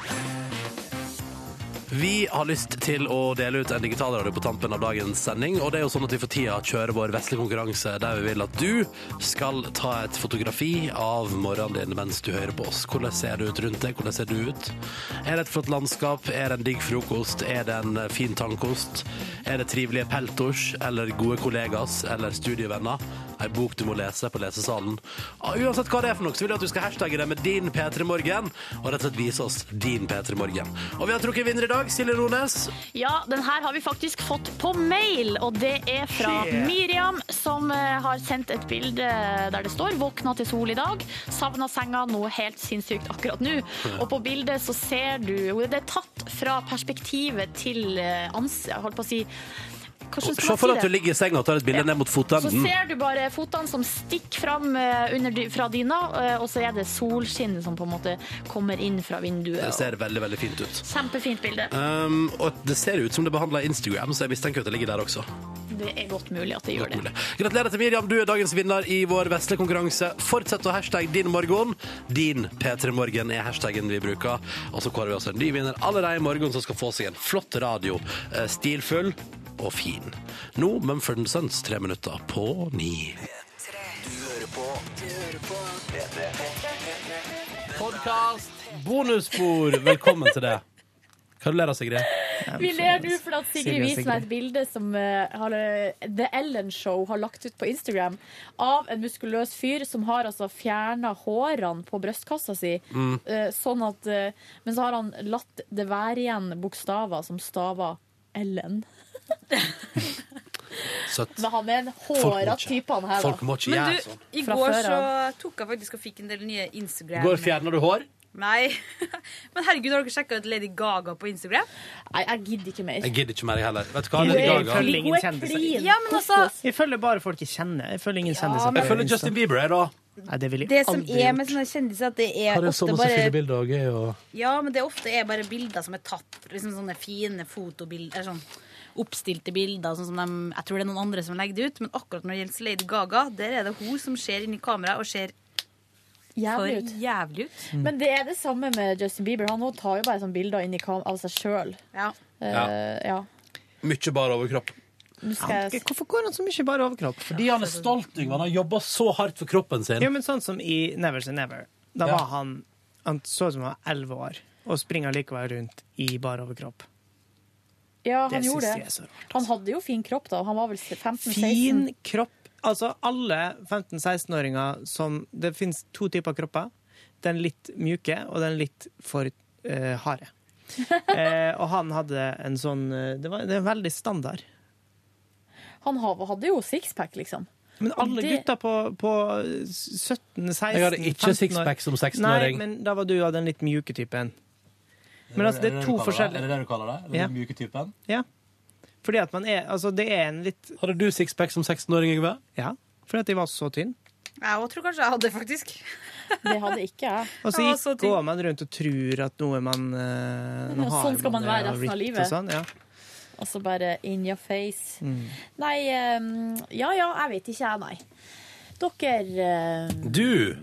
Vi har lyst til å dele ut en digitalradio på tampen av dagens sending. Og det er jo sånn at vi for tida kjører vår vesle konkurranse der vi vil at du skal ta et fotografi av morgenen din mens du hører på oss. Hvordan ser det ut rundt deg? Hvordan ser du ut? Er det et flott landskap? Er det en digg frokost? Er det en fin tannkost? Er det trivelige peltors? Eller gode kollegas? Eller studievenner? Ei bok du må lese på lesesalen? Ja, uansett hva det er for noe, så vil jeg at du skal hashtagge det med din P3morgen, og rett og slett vise oss din P3morgen. Og vi har trukket vinner i dag, Silje Nordnes. Ja, den her har vi faktisk fått på mail, og det er fra Shit. Miriam, som eh, har sendt et bilde eh, der det står 'Våkna til sol i dag', 'Savna senga', noe helt sinnssykt akkurat nå. Og på bildet så ser du Det er tatt fra perspektivet til eh, ans... Jeg holdt på å si Hvordan skal Se man si for deg at det? du ligger i senga og tar et bilde ned mot Så fotenden. ser du bare fotene som stikker fram eh, under, dy- fra dyna, eh, og så er det solskinn som på en måte kommer inn fra vinduet. Det ser veldig, veldig fint ut. Kjempefint bilde. Um, og det ser ut som det behandler Instagram, så jeg mistenker at det ligger der også. Det er godt mulig at det gjør det. Gratulerer til Miriam, du er dagens vinner i vår vesle konkurranse. Fortsett å hashtag din morgen. Din P3morgen er hashtaggen vi bruker. Og så kårer vi også en ny vinner allerede i morgen, som skal få seg en flott radio. Eh, Stilfull og fin. Nå Mumford Sons, tre minutter på ni. Du hører på Du hører på Podkast. Bonusspor, velkommen til det. Hva du ler av, Sigrid? Vi ler nå fordi at Sigrid Silje og viser meg et bilde som eh, har, eh, The Ellen Show har lagt ut på Instagram av en muskuløs fyr som har altså fjerna hårene på brystkassa si. Mm. eh, Sånn at eh, Men så har han latt det være igjen bokstaver som staver Ellen. Søtt. Men han er en må håra ikke- type, han her. da. folk må ikke gjøre sånn. I Fra går før så av. tok jeg faktisk og fikk en del nye Instagram Går fjerner du hår? Nei. Men herregud, har dere sjekka ut Lady Gaga på Instagram? Nei, jeg gidder ikke mer. Jeg gidder ikke mer, jeg heller. Vet du hva? Jeg Lady følger Gaga. ingen kjendiser. Ja, men altså Jeg følger bare folk jeg kjenner. Jeg følger ingen kjendiser. Jeg følger Justin Bieber, jeg, da. Nei, det vil jeg Det som aldri er gjort. sånn- med sånne kjendiser, at det er Har jeg så ofte masse fine bare bilder og gøy og Ja, men det er ofte er bare bilder som er tatt. Liksom sånne fine fotobilder. eller Sånn oppstilte bilder. Sånn som de, jeg tror det er noen andre som legger det ut. Men akkurat når det gjelder Lady Gaga, der er det hun som ser inn i kameraet og ser Jævlig ut. for jævlig ut. Mm. Men det er det samme med Justin Bieber. Han også tar jo bare sånne bilder inn i kam av seg sjøl. Ja. Ja. ja. mye bar overkropp? Nå skal jeg s- Hvorfor går han så mye bare overkropp? Fordi han er stolt, Yngve. Han har jobba så hardt for kroppen sin. Ja, men sånn som i Never Say Never. Da Ja. var han Han så ut som han var elleve år, og springer likevel rundt i bar overkropp. Ja, Det han gjorde synes det. jeg er så rart, han hadde jo fin kropp, da. Han var vel 15-16. Fin kropp. Altså, alle 15-16-åringer som Det finnes to typer kropper. Den litt mjuke, og den litt for eh, harde. Eh, og han hadde en sånn eh, Det, var, det er veldig standard. Han ha- hadde jo sixpack, liksom. Men alle det- gutta på, på 17-16 Jeg hadde ikke 15 år- sixpack som 16-åring. Nei, men da var du av den litt mjuke typen. Men altså, det er to forskjellige det du kaller det? Er det Ja. den mjuke typen? Ja. Fordi at man er Altså, det er en litt Hadde du sixpack som 16-åring, Yngve? Ja. Fordi at jeg var så tynn. Jeg også tror kanskje jeg hadde det, faktisk. Det hadde ikke jeg. Og så gikk, går man rundt og tror at noe man eh, nå Ja, har sånn skal man det, være og resten av ripped livet. Og sånn, ja. Og så bare in your face. Mm. Nei, ehm, ja ja, jeg vet ikke, jeg, nei. Dere ehm, Du!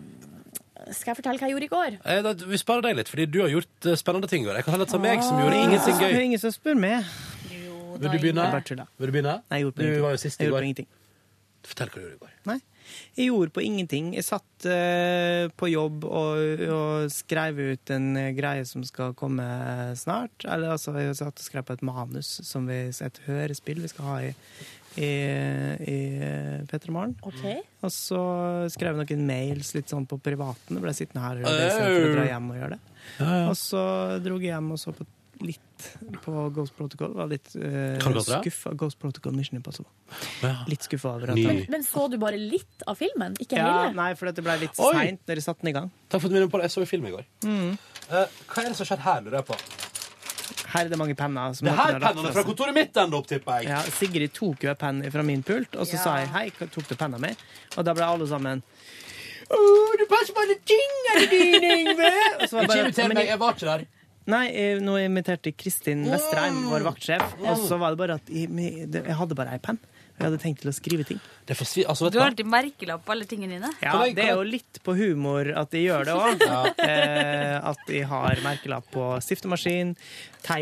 Skal jeg fortelle hva jeg gjorde i går? eh, da- Vi sparer deg litt, fordi du har gjort eh, spennende ting. i går. Jeg kan heller ta meg, som Ah, gjorde ingenting Det er gøy. ingen som spør meg. Vil du begynne? Jeg bare tuller. Vil du begynne? Nei, jeg gjorde på Du ingenting. var jo sist i Jeg gjorde går. på ingenting. Fortell hva du gjorde i går. Nei. Jeg gjorde på ingenting. Jeg satt eh, på jobb og, og skrev ut en eh, greie som skal komme snart. Eller altså, jeg satt og skrev på et manus som vi, et hørespill vi skal ha i, i, i P3 Morgen. Ok. Og så skrev jeg noen mails litt sånn på privaten. Jeg ble sittende her og lese for å dra hjem og gjøre det. Og så dro jeg hjem og så på litt på Ghost Protocol. Var litt eh, Hva kalte du det? skuffa. Ghost Protocol Mission Impossible. Litt skuffa over at Men, men så du bare litt av filmen? Ikke ja, hele? Nei, for det ble litt Oi! seint når de satte den i gang. Takk for at du minner på det. Jeg så jo film i går. Mm. Eh, hva er det som skjer her, lurer jeg på? Her er det mange penner. som Det jeg her kunne ha lagt pennene fra fra seg. kontoret mitt ender opp, tipper jeg. Ja, Sigrid tok jo en penn fra min pult, og så Ja. sa jeg hei, hva- tok du penna mi? Og da ble alle sammen Åh, du passer på alle tingene dine, Yngve! Og så var Ikke det bare- irriter Men meg, jeg- jeg var ikke der. Nei, eh, nå inviterte Kristin Vestreim, vår vaktsjef, og så var det bare at jeg, jeg hadde bare ei penn. og Jeg hadde tenkt til å skrive ting. altså, Du har alltid merkelapp på alle tingene dine. Ja, det er jo litt på humor at de gjør det òg. Eh, at de har merkelapp på stiftemaskin,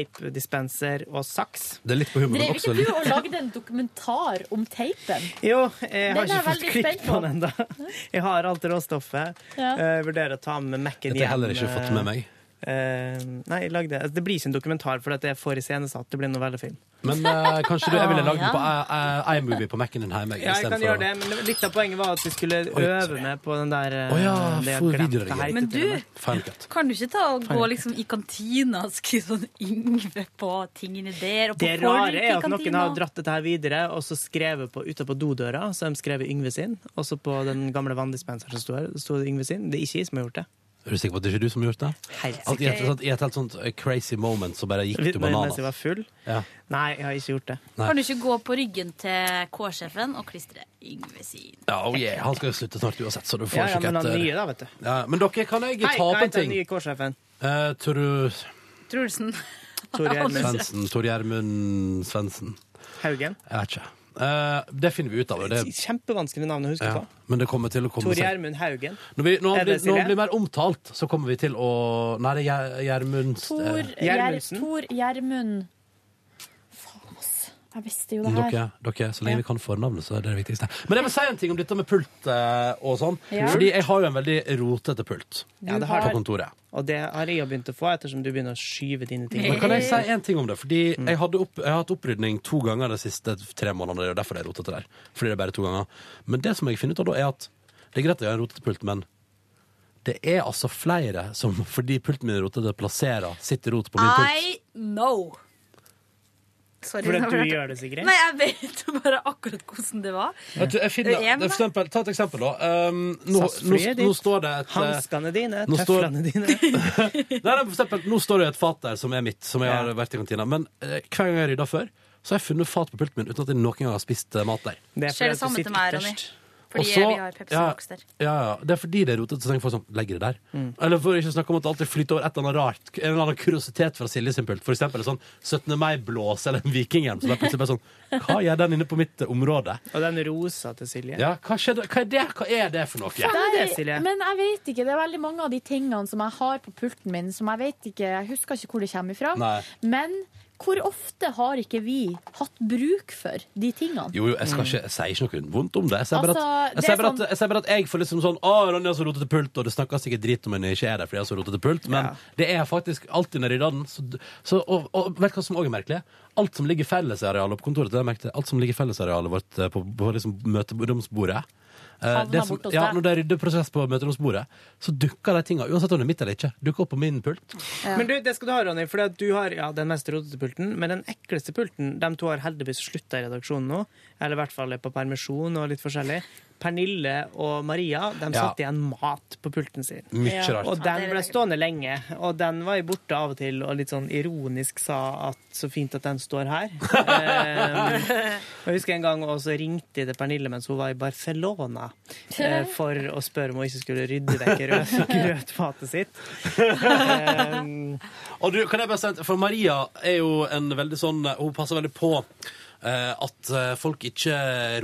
teipdispenser og saks. Det er litt på Drev ikke du og lagde en dokumentar om teipen? Jo, jeg Den er har ikke fått veldig klipp spent på på. den ennå. Jeg har alt råstoffet. Ja. Eh, vurderer å ta med Mac-en Dette har jeg heller ikke hjem, fått med meg. eh, nei, jeg lagde, altså, det blir ikke en dokumentar, for at det er for iscenesatt. Det blir en novellefilm. Men eh, kanskje du, jeg ville lagd den på Ja. eh, eh, iMovie på Mac-en din hjemme. Ja, jeg kan gjøre det, men litt av poenget var at vi skulle øve med på den der eh, Å ja, det jeg for glemte videoredigering. helt Men til og med. du, kan du ikke ta og gå liksom i kantina og skrive sånn Yngve på tingene der? Og på Det rare folk er i at noen kantina? har dratt dette her videre og så skrevet på, ute på dodøra, så har de skrevet Yngve sin. Også på den gamle vanndispenseren som sto her, sto det Yngve sin. Det er ikke jeg som har gjort det. Er du sikker på at det ikke er du som har gjort det? Helt At I et, sånt, I et helt sånt eh, crazy moment så bare gikk du Men- Mens jeg var bananas. full? Ja. Nei, jeg har ikke gjort det. Nei. Kan du ikke gå på ryggen til K-sjefen og klistre Yngve sin? Ja, oh yeah. Han skal jo slutte snart uansett, så du får Ja, ja, ikke men han etter. nye da, vet du. Ja, men dere, kan jeg ta Hei, hva opp en heter den ting? nye K-sjefen? Eh, tror du Trulsen. Tor Gjermund. Svendsen. Tor Gjermund Svendsen. Haugen. Jeg vet ikke. Eh, det finner vi ut av. og Det, Kjempevanskelig navn å huske ja, på. men det kommer til å komme Tor seg. Gjermund Haugen. Når, vi, når, Er han blir, det når Silje? han blir mer omtalt, så kommer vi til å Nei, det er Gjer- Gjermund Tor eh, Gjer- Tor Gjermund Faen, ass. Jeg visste jo det her. Dere, dere, så lenge vi kan fornavnet, så er det det viktigste. Men jeg vil si en ting om dette med pult eh, og sånn. Ja. Fordi jeg har jo en veldig rotete pult Ja, det har på du. kontoret. Og det har jeg jo begynt å få, ettersom du begynner å skyve dine ting. Men kan jeg Eh. si en ting om det? Fordi Mm. jeg, hadde opp, jeg har hatt opprydning to ganger de siste tre månedene, og derfor er jeg rotete der. Fordi det er bare to ganger. Men det som jeg finner ut av da, er at det er greit at jeg har en rotete pult, men det er altså flere som, fordi pulten min er rotete, plasserer sitt rot på min pult. I know. Sorry, Fordi nå du ble det- gjør det, Sigrid? Nei, jeg vet jo bare akkurat hvordan det var. Vet du, jeg finner, Em, for eksempel, ta et eksempel, da. Um, nå, nå, Saftflyet ditt, nå står det et eh, Hanskene dine, nå står- tøflene dine. Nei, nei, for eksempel, nå står det et fat der som er mitt, som jeg har vært i kantina. Men eh, hver gang jeg har rydda før, så har jeg funnet fat på pulten min uten at jeg noen gang har spist eh, mat der. Det er Skjer det samme til meg, Ronny? Fordi Og så- vi har Pepsi ja, Max der. Ja, ja, det er fordi det er rotete, så tenker folk sånn Legger det der? Eller for ikke å snakke om at det alltid flyter over et eller annet rart. En eller annen kuriositet fra Silje sin pult. For eksempel en sånn 17. mai-blås eller en vikinghjelm. Så det er plutselig bare sånn Hva gjør den inne på mitt eh, område? Og den rosa til Silje. Ja, hva, skjedde, hva, er det, hva er det for noe? Nei, men jeg vet ikke. Det er veldig mange av de tingene som jeg har på pulten min, som jeg vet ikke Jeg husker ikke hvor det kommer ifra. Nei. Men hvor ofte har ikke vi hatt bruk for de tingene? Jo, jo, jeg, skal ikke, jeg sier ikke noe vondt om det. Jeg sier bare Mm. Altså, at jeg, det er sier bare at, sånn- jeg, sier bare at jeg får liksom sånn Å, Ronny har så rotete pult, og det snakkes sikkert drit om henne ikke er der fordi jeg har så rotete pult, men det er faktisk alltid nedi den. Så, så, og, og vet du hva som òg er merkelig? Alt som ligger i fellesarealet på kontoret, det har jeg merket, alt som ligger i fellesarealet vårt eh, på, på liksom møteromsbordet eh, Havner det som, bort hos ja, deg. når det er ryddeprosess på møteromsbordet, så dukker de tinga, uansett om det er mitt eller ikke, dukker opp på min pult. Men du, det skal du ha, Ronny, for du har ja, den mest rotete pulten, men den ekleste pulten De to har heldigvis slutta i redaksjonen nå, eller i hvert fall er på permisjon og litt forskjellig. Pernille og Maria de Ja. satte igjen mat på pulten sin. Mykje Ja. rart. Ja, Og det den er ble det. stående lenge. Og den var jeg borte av og til og litt sånn ironisk sa at så fint at den står her. Ehm, og jeg husker en gang også ringte jeg til Pernille mens hun var i Barcelona eh, for å spørre om hun ikke skulle rydde vekk rød- grøtfatet sitt. Og du, kan jeg bare si, at- for Maria er jo en veldig sånn Hun passer veldig på eh, at eh, folk ikke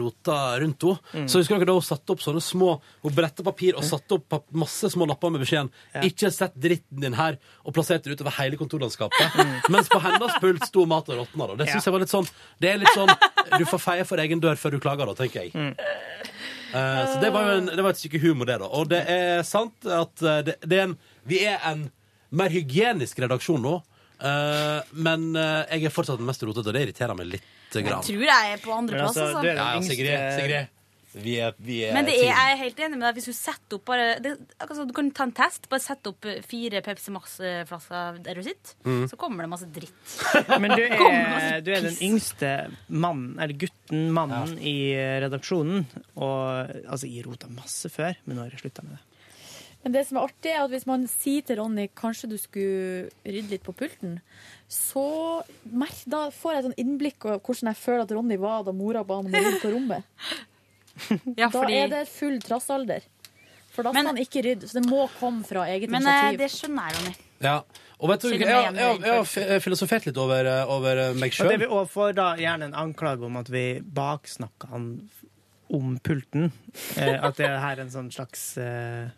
roter rundt henne. Så husker dere da hun satte opp sånne små Hun bretta papir og satte opp pap masse små lapper med beskjeden 'Ikke sett dritten din her', og plasserte det utover hele kontorlandskapet. Mens på hennes pult sto mat og råtna. da. Det synes Ja. jeg var litt sånn Det er litt sånn Du får feie for egen dør før du klager, da, tenker jeg. Eh, Så det var jo en, det var et stykke humor, det, da. Og det er sant at eh, det, det er en, vi er en mer hygienisk redaksjon nå. eh, men eh, jeg er fortsatt den mest rotete, og det irriterer meg litt. Grann. Jeg tror jeg er på andreplass, altså. ja, ja, Sigrid, Sigrid. Vi er, vi er Men det er, team. jeg er helt enig med deg. Hvis du setter opp bare det, er akkurat som Du kan ta en test. Bare sette opp fire Pepsi Max-flasker der du sitter, Mm. Mhm. så kommer det masse dritt. Men Eh, du Kommer det masse er, du er den piss. yngste mannen, eller gutten, mannen i redaksjonen. Og altså, jeg rota masse før, men nå har jeg slutta med det. Men det som er artig, er at hvis man sier til Ronny kanskje du skulle rydde litt på pulten, så mer, da får jeg et sånn innblikk av hvordan jeg føler at Ronny var da mora ba han om å rydde på rommet. Da fordi- er det full trassalder. For da skal han ikke rydde. Så det må komme fra eget Men eh, initiativ. det skjønner jeg, Ronny. Ja. Og vet du, Kjenner jeg, meg jeg, igjen i jeg, den jeg har fi- filosofert litt over, eh, over eh, Og det meg sjøl. vi også får da gjerne en anklage om at vi baksnakka han om pulten. Eh, at det er her en sånn slags eh,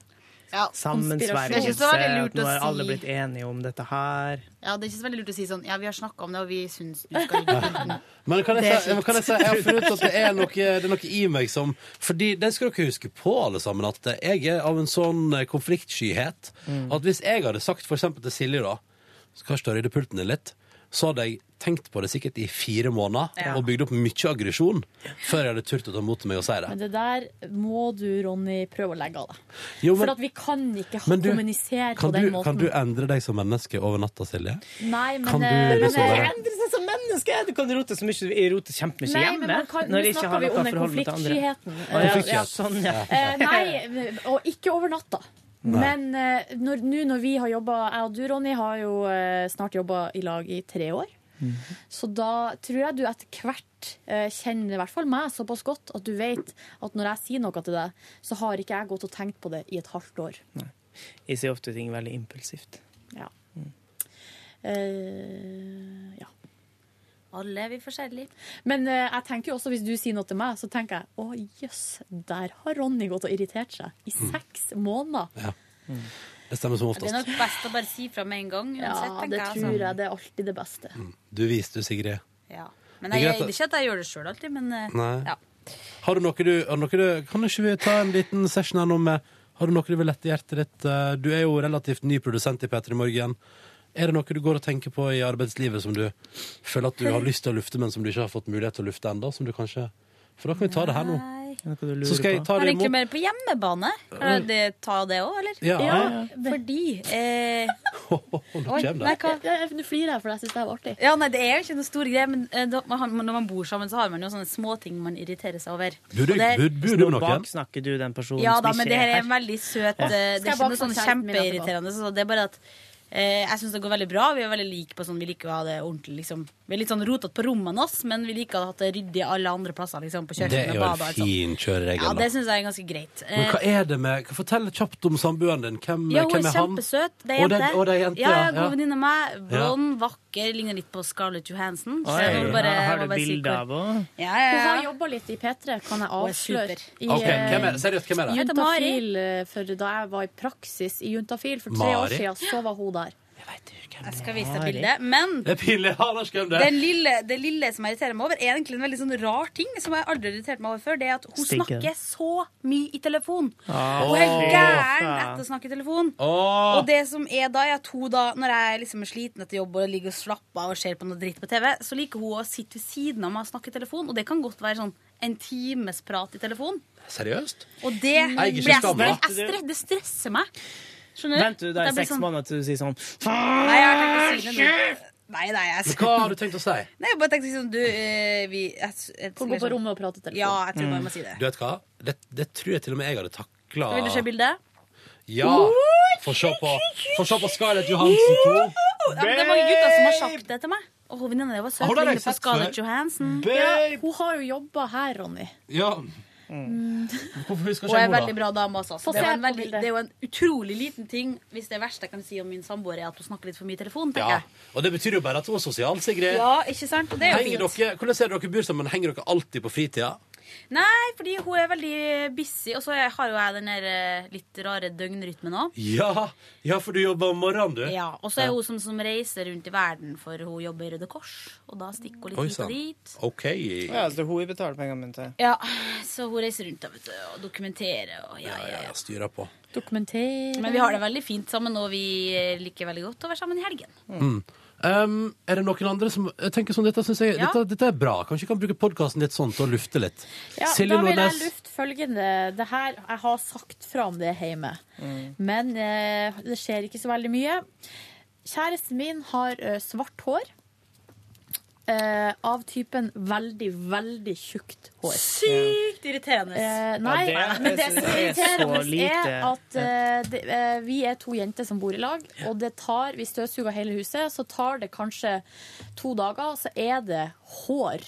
Ja, konspirasjon. Det er ikke sammensvergelse. så veldig lurt At nå å har alle si. blitt enige om dette her. Ja, Det er ikke så veldig lurt å si sånn Ja, vi har snakka om det, og vi syns du skal rydde på pulten. Men kan Det er jeg, si, fint. kan jeg si, jeg har funnet ut at det er noe, det er noe i meg som Fordi det skal dere huske på, alle sammen, at jeg er av en sånn eh, konfliktskyhet Mm. at hvis jeg hadde sagt for eksempel til Silje da Skal ikke du rydde pulten din litt? Så hadde jeg tenkt på det sikkert i fire måneder Ja. og bygd opp mye aggresjon før jeg hadde turt å ta mot meg og si det. Men det der må du, Ronny, prøve å legge av deg. Jo, men- For at vi kan ikke ha- Men du, kommunisere på Kan den du, måten. kan du endre deg som menneske over natta, Silje? Nei, men, Kan du eh, liksom men- bare- Endre seg som menneske! Du kan rote så mye. Jeg roter kjempemye Nei, hjemme. men man kan, nå når jeg ikke har snakker vi noe om den forhold til andre. konfliktskyheten. Å, ja, ja, sånn, ja. Eh, nei, og ikke over natta. Nei. Men eh, når, nå når vi har jobba Jeg og du, Ronny, har jo eh, snart jobba i lag i tre år. Så da tror jeg du etter hvert eh, kjenner i hvert fall meg såpass godt at du vet at når jeg sier noe til deg, så har ikke jeg gått og tenkt på det i et halvt år. Jeg sier ofte ting veldig impulsivt. Ja. Eh, ja. Alle er vi forskjellige. Men eh, jeg tenker jo også, hvis du sier noe til meg, så tenker jeg å jøss, der har Ronny gått og irritert seg i seks måneder. Ja. Det stemmer som Det er nok oftest. best å bare si fra med en gang. Uansett, Ja, tenker det jeg, altså. tror jeg. Mm. Det er alltid det beste. Du viste, du, Sigrid. Ja. Men Det er jeg, greit det at- er ikke at jeg gjør det sjøl alltid, men eh, Nei. ja. Har du noe du, har noe du Kan ikke vi ta en liten session her nå med Har du noe du vil lette hjertet ditt? Eh, Du er jo relativt ny produsent i P3 Morgen. Er det noe du går og tenker på i arbeidslivet som du føler at du har lyst til å lufte, men som du ikke har fått mulighet til å lufte ennå? Som du kanskje For da kan vi ta det her nå. Så skal jeg ta Har det egentlig imot. mer på hjemmebane. Har det, ta det òg, eller? Ja. Ja, Fordi eh, Nå kommer det. Nei, hva? Nå flirer jeg, for jeg syns det er artig. Ja, nei, Det er jo ikke noe stor greie, men eh, da, man, har- når man bor sammen, så har man jo sånne småting man irriterer seg over. Burde- Og det- burde- burde Så nå noen? baksnakker du den personen ja, som da, ikke men det her er er en her? veldig søt Ja. eh, Det Skal er jeg ikke bakse noe sånn kjæresten min etterpå? kjempeirriterende. Så det er bare at eh, jeg syns det går veldig bra. Vi er veldig like på sånn, vi liker å ha det ordentlig, liksom. Vi er litt sånn rotete på rommene oss, men vi liker å ha hatt det ryddig alle andre plasser, liksom. På Det er kjøkkenet og jo badet. en og alt sånt. fin Ja, kjøreregel. det da. syns jeg er ganske greit. Men hva er det med Fortell kjapt om samboeren din. Hvem, ja, hun er hvem er han? kjempesøt. Det er Og jente. det- og det er jente, ja, ja, ja, god ja. venninne av meg. Ja. Blond, vakker, ligner litt på Scarlett Johansson. Så Oi, jeg må bare, her har må du bare si bilde hvor- av henne. Ja, ja, Hun ja. har jobba litt i P3, kan jeg Hun er avsløre. super. I, Ok, eh, hvem er det? Seriøst, hvem er det? Juntafil, eh, for da jeg var i praksis i Juntafil for tre år Mari? siden, så var hun der. Jeg skal vise deg bildet. Men Det er pinlig. Ja, Lars, hvem det er? Den lille, det lille som jeg irriterer meg over, er egentlig en veldig sånn rar ting som jeg aldri har irritert meg over før. Det er at hun Stinker. snakker så mye i telefon. Ah, hun er fy gæren faen. etter å snakke i telefon. Åh. Og det som er da, er at hun da, når jeg liksom er sliten etter jobb og ligger og slapper av og ser på noe dritt på TV, så liker hun å sitte ved siden av meg og snakke i telefon. Og det kan godt være sånn en times prat i telefon. Seriøst? Og det Jeg er blir ikke jeg skammelig. stress, jeg stress, det stresser meg. Skjønner du? Venter du da i At jeg blir seks sånn- måneder til du sier sånn Nei, jeg har tenkt å si det nå. Nei, nei, jeg Men hva har du tenkt å si? Nei, jeg bare tenkte sånn du, eh, vi, jeg, jeg, Kan gå på rommet og prate telefon. Ja, jeg tror bare jeg må si det. Mm. Du vet hva? Det, det tror jeg til og med jeg hadde takla Vil du se bildet? Ja! Få se på, få se på Scarlett Johansen 2. Ja, men det er mange gutter som har sagt det til meg. Og hun venninna di var søt. Har du ligner det på sett Scarlett før? Johansen. Babe! Ja, hun har jo jobba her, Ronny. Ja. Hvorfor Og husker Mm. er en ikke jeg henne, veldig da? bra dame. Altså. Få Så Det, er se jo en på veldig, bildet. det er jo en utrolig liten ting, hvis det verste jeg kan si om min samboer, er at hun snakker litt for mye i telefon. tenker Ja. jeg. Og det betyr jo bare at hun var sosial, Sigrid. Ja, ikke sant? Og det er Henger jo fint. dere, hvordan er det dere bor sammen? Henger dere alltid på fritida? Nei, fordi hun er veldig busy, og så har jo jeg den der eh, litt rare døgnrytmen òg. Ja, ja, for du jobber om morgenen, du. Ja, og så er hun sånn som reiser rundt i verden, for hun jobber i Røde Kors. Og da stikker hun litt Oi hit og sann. dit. OK. Ja, så det er hun jeg betaler pengene mine til. Ja, så hun reiser rundt da, vet du, og dokumenterer. Og ja, ja, ja. Styrer på. Dokumenter Men vi har det veldig fint sammen, og vi eh, liker veldig godt å være sammen i helgen. Mm. Um, er det noen andre som jeg tenker sånn, dette, synes jeg, Ja. dette, dette er bra. Kanskje vi kan bruke podkasten litt sånn til å lufte litt. Ja, da vil jeg lufte følgende. Det her, jeg har sagt fra om det hjemme, Mm. men eh, det skjer ikke så veldig mye. Kjæresten min har eh, svart hår. eh, av typen veldig, veldig tjukt hår. Sykt irriterende. Eh, nei, Ja, det- men det jeg som synes er det er så irriterende, er lite. at eh, det, eh, vi er to jenter som bor i lag, og det tar, vi støvsuger hele huset, så tar det kanskje to dager, så er det hår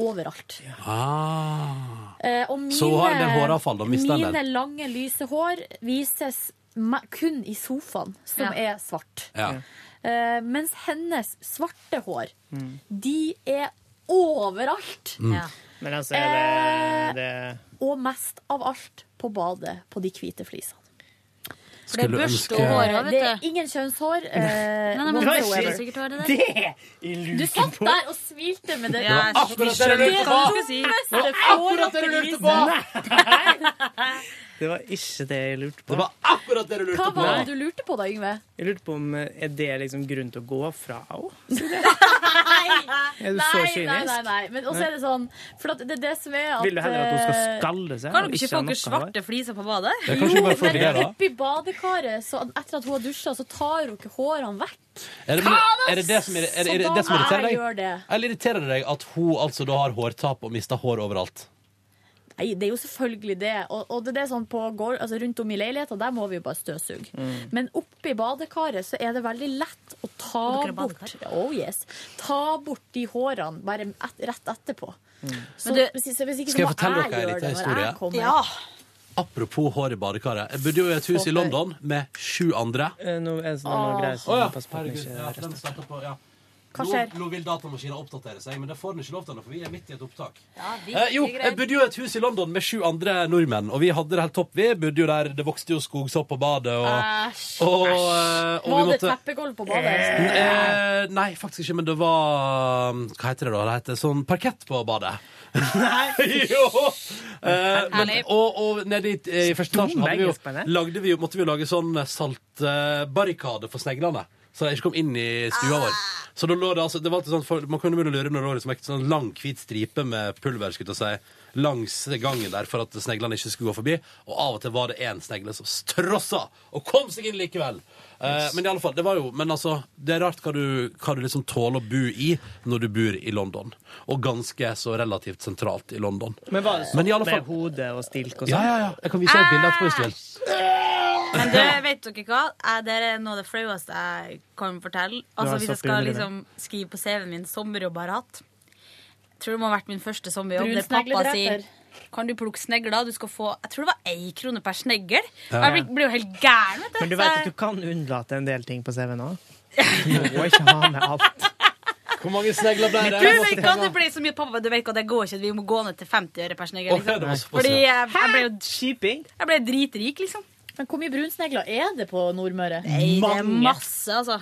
overalt. Ah. Eh, og mine, Så har det håravfall da, mister den mine den. lange, lyse hår vises me- kun i sofaen, som Ja. er svart. Ja. Eh, mens hennes svarte hår, de er overalt. Mm. Ja. Men altså, Eh, er det, det Og mest av alt på badet, på de hvite flisene. For det er Skulle børste ønske- og håret, vet Det er ingen kjønnshår. eh, Nei, nei, men whatsoever. kanskje- sikkert var det der. Det i Du satt der og smilte med det. Ja, jeg Det skjønner akkurat det jeg lurte på. dummeste Det var akkurat det jeg lurte på. Det var ikke det jeg lurte på. akkurat det du Hva var det du lurte på da, Yngve? Jeg lurte på om eh, er det liksom grunn til å gå fra henne? Nei, Er du så nei, nei, kynisk? nei, nei. Men også er det sånn For at det er det som er at Vil du heller at hun skal eh, skalle seg? Kan og dere ikke ha få dere noe hår? svarte fliser på badet? Det er kanskje bare for det, men da. oppi badekaret, så etter at hun har dusja, så tar hun ikke hårene vekk. Er det, er det det som, er det, er det, er det, det som Så da irriterer gjør deg? det. Eller irriterer det deg at hun altså da har hårtap og mister hår overalt? Nei, det er jo selvfølgelig det. Og, og det er det sånn på gård, altså rundt om i leiligheten, der må vi jo bare støvsuge. Mm. Men oppi badekaret så er det veldig lett å ta Dere har bort oh yes, Ta bort de hårene bare et, rett etterpå. Mm. Så, Men du- hvis, hvis ikke, så Skal jeg må fortelle dere en gjøre liten det når historie? jeg kommer. Ja. Apropos hår i badekaret. Jeg bodde jo i et hus i London med sju andre. Eh, Nå er det sånn noe Åh. greier som Å, ja. pass på at den Herregud, ikke ja, resten. den starter på, ja. Hva Nå, skjer? nå vil datamaskinen oppdatere seg, men det får den ikke lov til nå, for vi er midt i et opptak. viktige eh, jo, jeg greier. bodde jo i et hus i London med sju andre nordmenn, og vi hadde det helt topp. Vi bodde jo der, det vokste jo skogsopp på badet, og, Æsj. og, eh, og vi Var det måtte- teppegulv på badet? Eh, nei, faktisk ikke, men det var mm, Hva heter det da? Det heter sånn parkett på badet. Nei! jo! Eh, men, Herlig. og, og nede i, i første etasjen hadde vi Stor jo, begge, lagde vi, jo- måtte vi jo lage sånn saltbarrikade for sneglene. Så de ikke kom inn i stua Ah. vår. Så da lå det altså, det var alltid sånn, for, Man kunne begynne å lure når det lå liksom en sånn lang, hvit stripe med pulver skulle jeg til å si, langs gangen der for at sneglene ikke skulle gå forbi. Og av og til var det én snegle som strossa og kom seg inn likevel. Eh, men i alle fall, det var jo Men altså, det er rart hva du, hva du liksom tåler å bo i når du bor i London. Og ganske så relativt sentralt i London. Men var det sånn i alle fall- med hodet og stilk og sånn? Ja, ja, ja. Jeg kan vise deg et bilde etterpå hvis du vil. Men det, vet dere hva? Jeg, det er noe av det flaueste jeg kan fortelle. Du har Altså Hvis jeg satt skal under det. liksom skrive på CV-en min sommerjobb jeg har hatt Tror det må ha vært min første sommerjobb. Brun Der pappa snegledreper. sier kan du plukke snegler? Du skal få Jeg tror det var én krone per snegl. Ja. Og Jeg blir- blir jo helt gæren. vet Men du vet at du kan unnlate en del ting på CV-en òg? Du må ikke ha med alt. Hvor mange snegler ble Du vet hva, det blir så mye pappa, du vet hva, det går ikke. Vi må gå ned til 50 øre per snegl. Å, ja, det var Liksom. såpass, ja. Fordi jeg, jeg ble jo Shipping? Jeg ble dritrik, liksom. Men hvor mye brunsnegler er det på Nordmøre? Nei, det er Mm. masse, altså.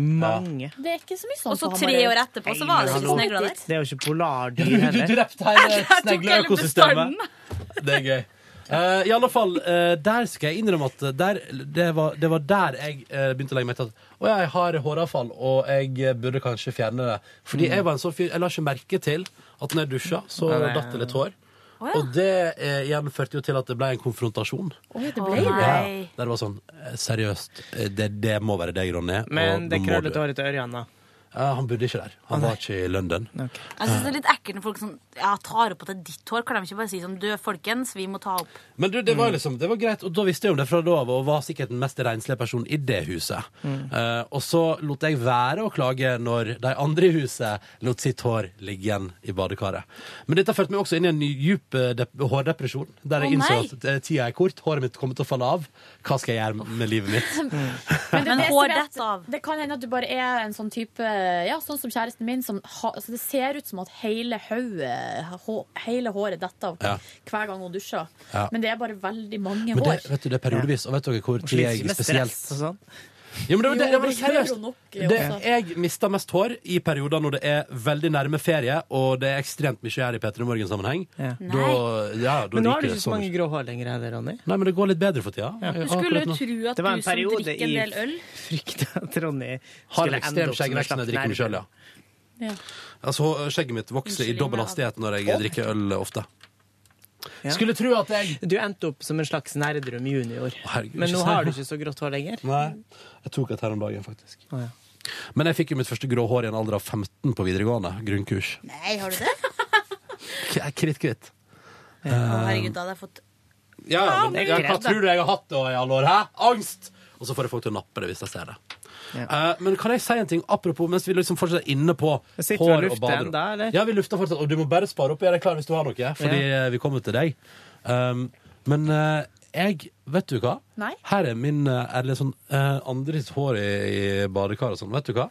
Mange. Det er ikke så mye sånn Og så på tre år Hamarøy. etterpå så var det ikke snegler der. Det er jo ikke polardyr heller. drepte hele snegleøkosystemet. Det er gøy. Eh, I alle fall, eh, der skal jeg innrømme at der, det, var, det var der jeg eh, begynte å legge meg til at å ja, jeg har håravfall, og jeg eh, burde kanskje fjerne det. Fordi Mm. jeg var en sånn fyr Jeg la ikke merke til at når jeg dusja, så Nei, nei, datt det litt hår. Å, ja. Og det eh, igjen førte jo til at det ble en konfrontasjon. Oi, det Ja, der det var sånn eh, Seriøst, eh, det, det må være deg, Ronny. og Men det nå må krøllete du- håret til Ørjan, da? Ja, Han bodde ikke der. Han var ikke i London. Jeg synes det er litt ekkelt når folk sånn, ja, tar opp at det er ditt hår. Kan de ikke bare si sånn, du, folkens, vi må ta opp. Men du, det Mm. var jo liksom, det var greit, og da visste jeg om det fra da av, og var sikkert den mest renslige personen i det huset. Mm. Eh, og så lot jeg være å klage når de andre i huset lot sitt hår ligge igjen i badekaret. Men dette førte meg også inn i en ny djup eh, dep hårdepresjon, der jeg Å, innså nei. at eh, tida er kort, håret mitt kommer til å falle av. Hva skal jeg gjøre med livet mitt? Men, det, er Men det som hår er at- detter av. Det kan hende at du bare er en sånn type Ja, sånn som kjæresten min. Som ha, altså det ser ut som at hele hodet hå- Hele håret detter av Ja. hver gang hun dusjer. Ja. Men det er bare veldig mange Men det, hår. vet du, det er periodevis, og vet dere hvor tid sliter ikke jeg med spesielt stress og sånn. Jo, men det, var- det, det, var Jo, det gjør seriøst. hun nok, ja, Det, også. jeg mister mest hår i perioder når det er veldig nærme ferie, og det er ekstremt mye her i P3 Morgen-sammenheng. Ja. Da, ja, da Men nå har ryker du det ikke så så mange mye. grå hår lenger heller, Ronny. Nei, men det går litt bedre for tida. Du skulle jo tro at Det var du en som periode drikker en i- del øl Frykta at Ronny Har skulle en ekstrem ende opp som en skjeggvekst når jeg drikker meg slags sjøl, ja. ja. Altså, skjegget mitt vokser i dobbel hastighet når jeg drikker øl ofte. Skulle tro at jeg Du endte opp som en slags Nerdrum junior. herregud, Men ikke nå si har du det. ikke så grått hår lenger. Nei. Jeg tok et her om dagen, faktisk. Å, ja. Men jeg fikk jo mitt første grå hår i en alder av 15 på videregående. Grunnkurs. Nei, har du det? K- Kritt, Å, kritt. Eh, herregud, da hadde jeg fått Ja, ja, men Jeg jeg, er hva redd, da. tror du jeg har hatt da i alle år? Hæ? Angst! Og så får jeg folk til å nappe det hvis jeg ser det. Eh, men kan jeg si en ting apropos mens vi liksom fortsatt er inne på Sitter du og hår og lufter baderom? enda, eller? Ja, vi lufter fortsatt. Og du må bare spare opp. Gjør deg klar hvis du har noe, fordi eh, vi kommer til deg. Um, men eh, jeg Vet du hva? Nei. Her er min eh, ærlige sånn eh, andre sitt hår i, i badekar og sånn. Vet du hva?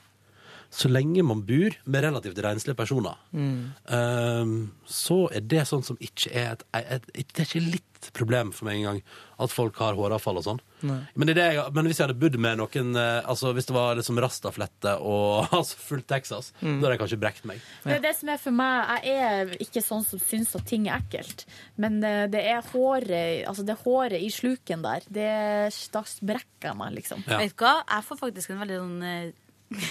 Så lenge man bor med relativt renslige personer, Mm. Ehm, så er det sånn som ikke er et, et, et Det er ikke litt problem for meg engang at folk har håravfall og sånn. Nei. Men, det er det jeg, men hvis jeg hadde bodd med noen eh, Altså Hvis det var liksom rastaflette og altså, fullt Texas, Mm. da hadde jeg kanskje brekt meg. Det er det som er for meg. Jeg er ikke sånn som syns at ting er ekkelt. Men eh, det er håret, altså det håret i sluken der. Det da brekker jeg meg, liksom. Vet du hva, jeg får faktisk en veldig sånn eh,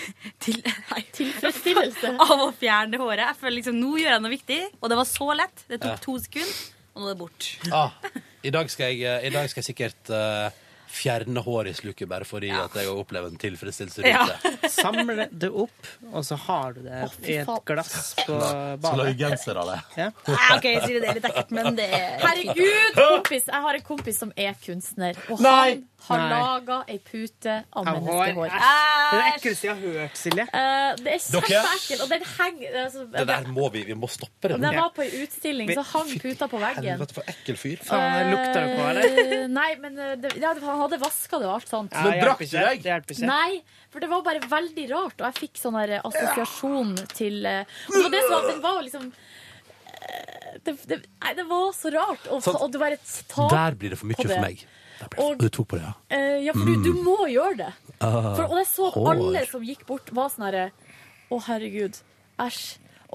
til, nei, Tilfredsstillelse. av å fjerne håret. Jeg føler liksom, Nå gjør jeg noe viktig, og det var så lett. Det Ja. tok to sekunder, og nå er det bort. Ah, i, dag skal jeg, eh, I dag skal jeg sikkert eh, fjerne håret i sluket, bare fordi at jeg opplever en tilfredsstillelse rundt Ja. det. Samle det opp, og så har du det i et glass på Så lager jeg badet. genser av det. Ja. Ah, ok, sier det er litt ekkelt, men det er Herregud, kompis! Jeg har en kompis som er kunstner, og Nei. han har Nei. laga ei pute av Av hår. menneskehår. Æsj! Det er det ekleste jeg har hørt, Silje. Eh, det er Dere? kjempeekkelt. Og den henger altså, Det der må vi, vi må stoppe det. Da jeg var på ei utstilling, så hang puta på veggen. Helvete, for ekkel fyr. Eh, Nei, men eh, det, ja, han hadde vaska det og alt sånt. Men brakk du deg? Nei, for det var bare veldig rart, og jeg fikk sånn her assosiasjon til eh, og Det var det som var, den var liksom eh, det, det, nei, det var så rart, og, Sant. og det var et tak Der blir det for mye på for meg. Og, Du tok på det, ja. eh, ja, for du, du må gjøre det. Ah, For, og jeg så at hår. alle som gikk bort, var sånn herre Å, herregud. Æsj.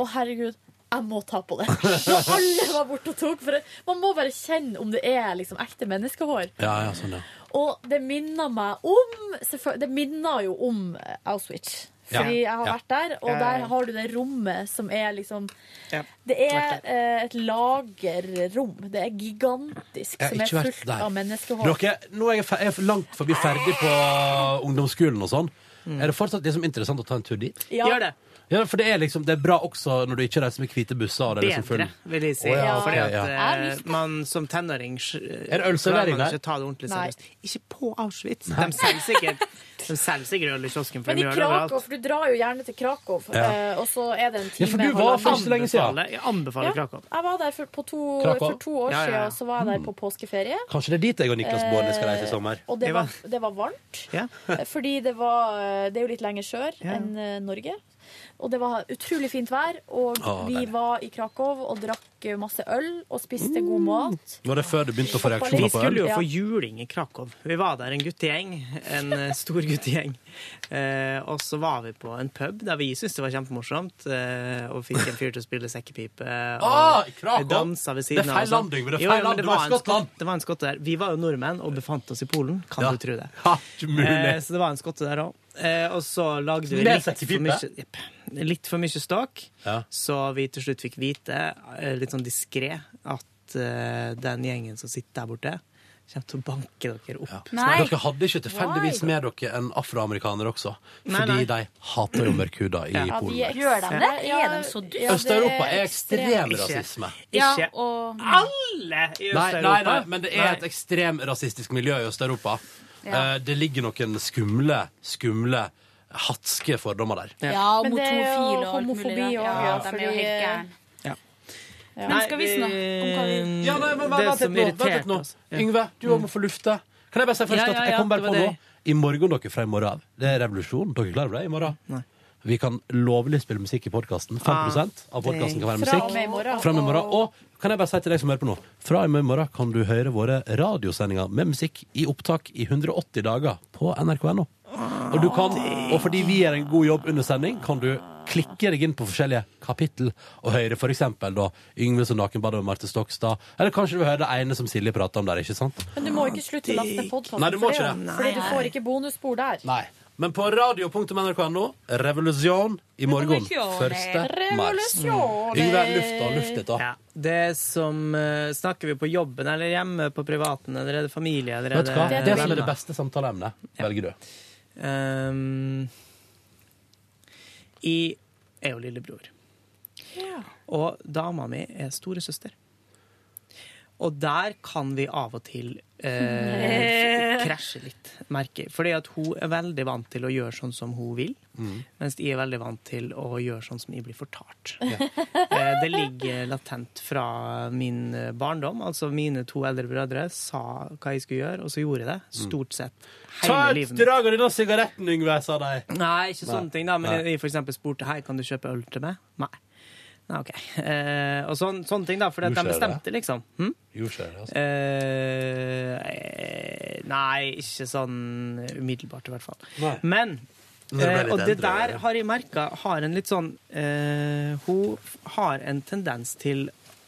Å, herregud. Jeg må ta på det. Og alle var borte og tok. For det. man må bare kjenne om det er liksom ekte menneskehår. Ja, ja, sånn, ja. Og det minner meg om selvføl- Det minner jo om eh, Auschwitz. Ja. Fordi jeg har Ja. vært der, og Ja, ja, ja. der har du det rommet som er liksom Ja. Det er eh, et lagerrom. Det er gigantisk, Jeg har som er ikke vært fullt der. av menneskehår. Dere, nå er jeg, fe- jeg er langt forbi ferdig på uh, ungdomsskolen og sånn. Mm. Er det fortsatt liksom interessant å ta en tur dit? Ja. Gjør det. Ja, for det er liksom, det er bra også når du ikke reiser med hvite busser. Og det er liksom full. Bedre, vil jeg si. Å, ja, ok, Fordi at ja. eh, man som tenåring Er det ølservering der? Ikke ta det ordentlig Nei. seriøst. Ikke på Auschwitz. De selger sikkert De selger sikkert øl i kiosken, for Men de i gjør det Krakow, overalt. for du drar jo gjerne til Krakow, Ja. eh, og så er det en time Ja, for du var for ikke så lenge siden. Anbefaler- Jeg anbefaler Krakow. Jeg var der for, på to, Krakow? for to år Ja, ja, ja. siden, og så var jeg der på påskeferie. Kanskje det er dit jeg og Niklas Baarli skal reise i Eh, sommer? Og det var, det var varmt, Ja. eh, fordi det, var, eh, det er jo litt lenger sør enn eh, Norge. Og det var utrolig fint vær, og Å, vi deilig. var i Krakow og drakk eh, masse øl og spiste Mm. god mat. Var det før du begynte å få Vi reaksjoner på skulle jo øl? få juling i Krakow. Vi var der en guttegjeng. En eh, stor guttegjeng. Eh, og så var vi på en pub der vi syntes det var kjempemorsomt, eh, og fikk en fyr til å spille sekkepipe. Og Ah, i Krakow! vi dansa ved Det er siden feil og sånn. land, Yngve, det er Jo, jo, feil men land. Du var er en Skottland. skot- Det var en skotte der. Vi var jo nordmenn og befant oss i Polen, kan du tro det. ikke mulig. Eh, så det var en skotte der òg. Eh, og så lagde vi Med litt for sekkepipe? mye Jepp. Litt for mye ståk, Ja. så vi til slutt fikk vite, eh, litt sånn diskré, at eh, den gjengen som sitter der borte, kommer til å banke dere opp. Men Dere hadde ikke tilfeldigvis med dere en afroamerikaner også, Nei, fordi nei. de hater jo mørkhuder i Polen. Gjør de det? Er de så dumme? Øst-Europa er ekstrem rasisme. Ja, Ikke og alle i Nei, nei, nei, men det er et ekstrem rasistisk miljø i Øst-Europa. Ja. Eh, Det ligger noen skumle, skumle, hatske fordommer der. Ja, Men mot det er jo homofile og alt mulig. homofobi der. også, Ja, de ja, er jo fordi- helt gærne. Ja. Men skal vi snakke om hva vi Ja, nei, men vent, vent, litt nå, vent litt nå. Yngve, du òg må få lufte. Kan jeg bare si først Ja, ja, at jeg ja, kom bare det på var nå det. I morgen, dere, fra i morgen av. Det er revolusjon. Dere er klare for det? I morgen? Vi kan lovlig spille musikk i podkasten. 5 av podkasten kan være Fra og med i musikk. morgen. Fra og med i morgen. Og kan jeg bare si til deg som hører på nå, fra og med i morgen kan du høre våre radiosendinger med musikk i opptak i 180 dager på nrk.no. Og, du kan, og fordi vi gjør en god jobb under sending, kan du klikke deg inn på forskjellige kapittel og høre for eksempel da Yngve som nakenbader med Marte Stokstad. Eller kanskje du hører det ene som Silje prater om der, ikke sant? Men du må ikke slutte å laste podkasten, Nei, du må ikke det. fordi du får ikke bonusspor der. Nei. Men på radio.nrk.no, revolusjon i morgen. Revolusjon. 1. mars. Revolusjon. Yngve, luft da, luft dette. Ja. Det som eh, Snakker vi på jobben eller hjemme, på privaten, eller er det familie? Eller Vet du hva? er Det som er det beste samtaleemnet, velger du. Um, jeg er jo lillebror. Og dama mi er storesøster. Og der kan vi av og til eh, Nei. krasje litt, merker jeg. Fordi at hun er veldig vant til å gjøre sånn som hun vil, Mm. mens jeg er veldig vant til å gjøre sånn som jeg blir fortalt. Eh, det ligger latent fra min eh, barndom. Altså mine to eldre brødre sa hva jeg skulle gjøre, og så gjorde jeg det. Stort sett hele Ta et livet mitt. drag av denne sigaretten, Yngve, sa de. Nei, ikke sånne Nei. ting, da. Men Nei. jeg- jeg for eksempel spurte hei, kan du kjøpe øl til meg. Nei. Nei, OK. Eh, og sånn, sånne ting, da. For de Jo, skjer det. bestemte, liksom. Hm? Jo, skjer det, altså. Eh, nei, ikke sånn umiddelbart, i hvert fall. Men Men det ble eh, litt Og det endret, der ja. har jeg merka har en litt sånn eh, Hun har en tendens til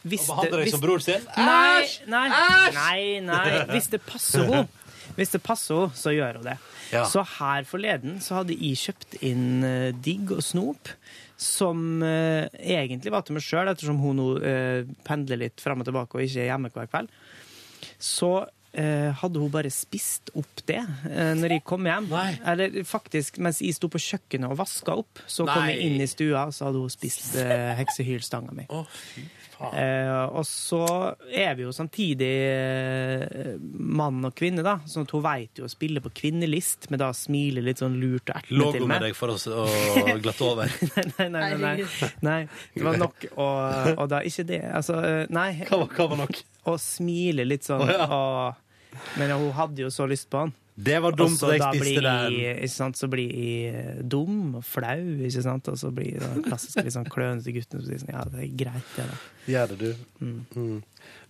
hvis Å behandle det- deg som hvis- bror sin? Nei, Æsj! nei, Æsj! nei, nei. Hvis det passer henne. Hvis det passer henne, så gjør hun det. Ja. Så her forleden så hadde jeg kjøpt inn eh, digg og snop, som eh, egentlig var til meg sjøl, ettersom hun nå eh, pendler litt fram og tilbake og ikke er hjemme hver kveld. Så eh, hadde hun bare spist opp det eh, når jeg kom hjem. Eller faktisk, mens jeg sto på kjøkkenet og vaska opp, så kom jeg Nei. inn i stua, så hadde hun spist eh, heksehylstanga mi. Ah. Eh, og så er vi jo samtidig eh, mann og kvinne, da, sånn at hun veit jo å spille på kvinnelist, men da smiler litt sånn lurt og ertende Låg til hun med meg. deg for å s- å glatte over? Nei, nei, nei, nei. nei. Det var nok å Og da ikke det. Altså, eh, nei. Hva var, nok? Å smile litt Å, sånn. ja. og- men hun hadde jo så lyst på han. Det var dumt Og så at jeg da spiste blir den. jeg- Ikke sant? Så blir jeg dum og flau, ikke sant? og så blir jeg den klassiske litt sånn klønete gutten som sier sånn Ja, det er greit, det, da. Gjør det, du. Mm.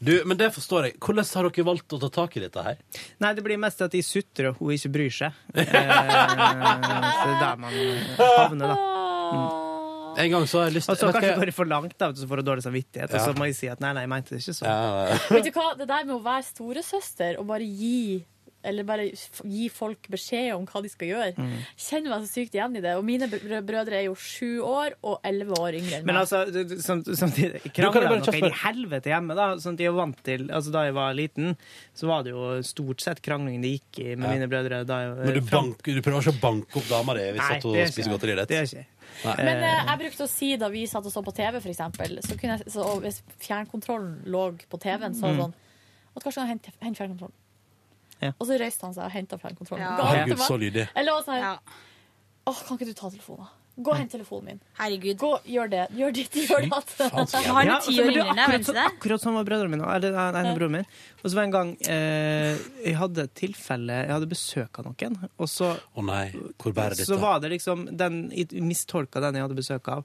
du. Men det forstår jeg. Hvordan har dere valgt å ta tak i dette her? Nei, det blir mest at de sutrer og hun ikke bryr seg. Eh, så det er der man havner, da. En gang så har jeg lyst Og Vet du hva så Altså, kanskje jeg- går det for langt, da, og så får du dårlig samvittighet. Og Ja. så må jeg si at nei, nei, jeg mente det ikke sånn. Vet du hva, det der med å være storesøster og bare gi eller bare f- gi folk beskjed om hva de skal gjøre. Mm. Kjenner meg så sykt igjen i det. Og mine br- brødre er jo sju år og elleve år yngre enn meg. Men altså, du- du- sam- samtidig kan jo krangler bare noe kjapt inn i spørre. helvete hjemme, da. Sånn at jeg er vant til Altså, da jeg var liten, så var det jo stort sett krangling det gikk i med Ja. mine brødre. Da jeg, Men du, fram- bank, du prøver ikke å banke opp dama di hvis Nei, at hun det gjør spiser ikke jeg. godteriet ditt? Det gjør ikke Nei. Men eh, jeg brukte å si da vi satt og så på TV, for eksempel, så kunne jeg, så, og hvis fjernkontrollen lå på TV-en, så var det Mm. sånn At kanskje han henter hent fjernkontrollen. Ja. Og så røyste han seg og henta fjernkontrollen. Ja. Ga den til meg. Herregud, så lydig. Eller også sånn her Åh, kan ikke du ta telefonen? da? Gå og hent telefonen min. Herregud. Gå, gjør det. Gjør ditt, gjør datt. Ja, og så er det akkurat, sånn- akkurat sånn var brødrene mine. Eller den ene broren min. Og så var det en gang eh, jeg hadde et tilfelle Jeg hadde besøk av noen, og så Å nei, hvor bærer dette? så var det liksom den, Jeg mistolka den jeg hadde besøk av,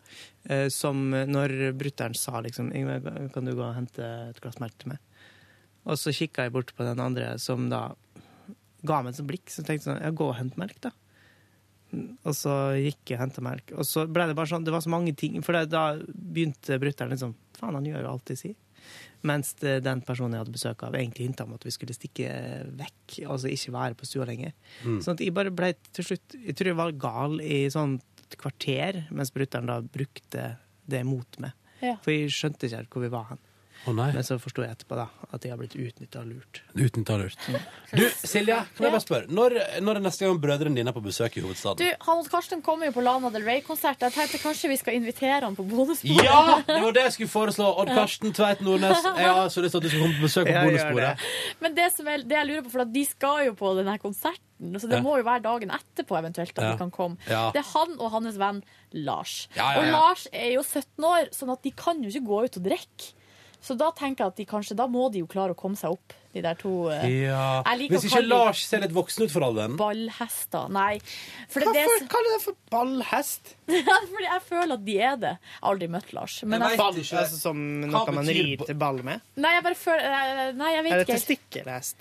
eh, som når brutter'n sa liksom «Yngve, Kan du gå og hente et glass melk til meg? Og så kikka jeg bort på den andre, som da ga meg et sånt blikk. Så tenkte jeg sånn Ja, gå og hent melk, da. Og så gikk jeg og henta melk. Og så ble det bare sånn, det var så mange ting For det- da begynte brutter'n liksom Faen, han gjør jo alt jeg sier. Mens det, den personen jeg hadde besøk av, egentlig hinta om at vi skulle stikke vekk. Altså ikke være på stua lenger. Mm. Sånn at jeg bare ble til slutt Jeg tror jeg var gal i sånn et kvarter, mens brutter'n da brukte det mot meg. Ja. For jeg skjønte ikke helt hvor vi var hen. Å nei. Men så forsto jeg etterpå da at jeg har blitt utnytta og lurt. Uten ta lurt. Du, Silje, kan jeg bare spørre. Når, når er neste gang brødrene dine er på besøk i hovedstaden? Du, Hans Karsten kommer jo på Lana Del Rey-konsert. Jeg tenkte kanskje vi skal invitere han på bonusbordet. Ja! Det var det jeg skulle foreslå. Odd Karsten Tveit Nordnes, jeg har så lyst til at du skal komme på besøk på Ja, gjør bonusbordet. Men det, som er, det jeg lurer på, for at de skal jo på denne konserten, så det Ja. må jo være dagen etterpå eventuelt at Ja. de kan komme. Ja. Det er han og hans venn Lars. Ja, ja, Og ja. Lars er jo 17 år, sånn at de kan jo ikke gå ut og drikke. Så da tenker jeg at de kanskje, da må de jo klare å komme seg opp, de der to eh, Ja. Jeg liker å Hvis ikke kalle de Lars ser litt voksen ut for alderen. Ballhester. Nei. Hvorfor kaller du det for ballhest? Fordi jeg føler at de er det. Jeg har aldri møtt Lars. Men jeg, altså, som Hva noe man betyr rir til ball med? nei, jeg bare føler eh, Nei, jeg vet Er det ikke. helt. testikkelhest?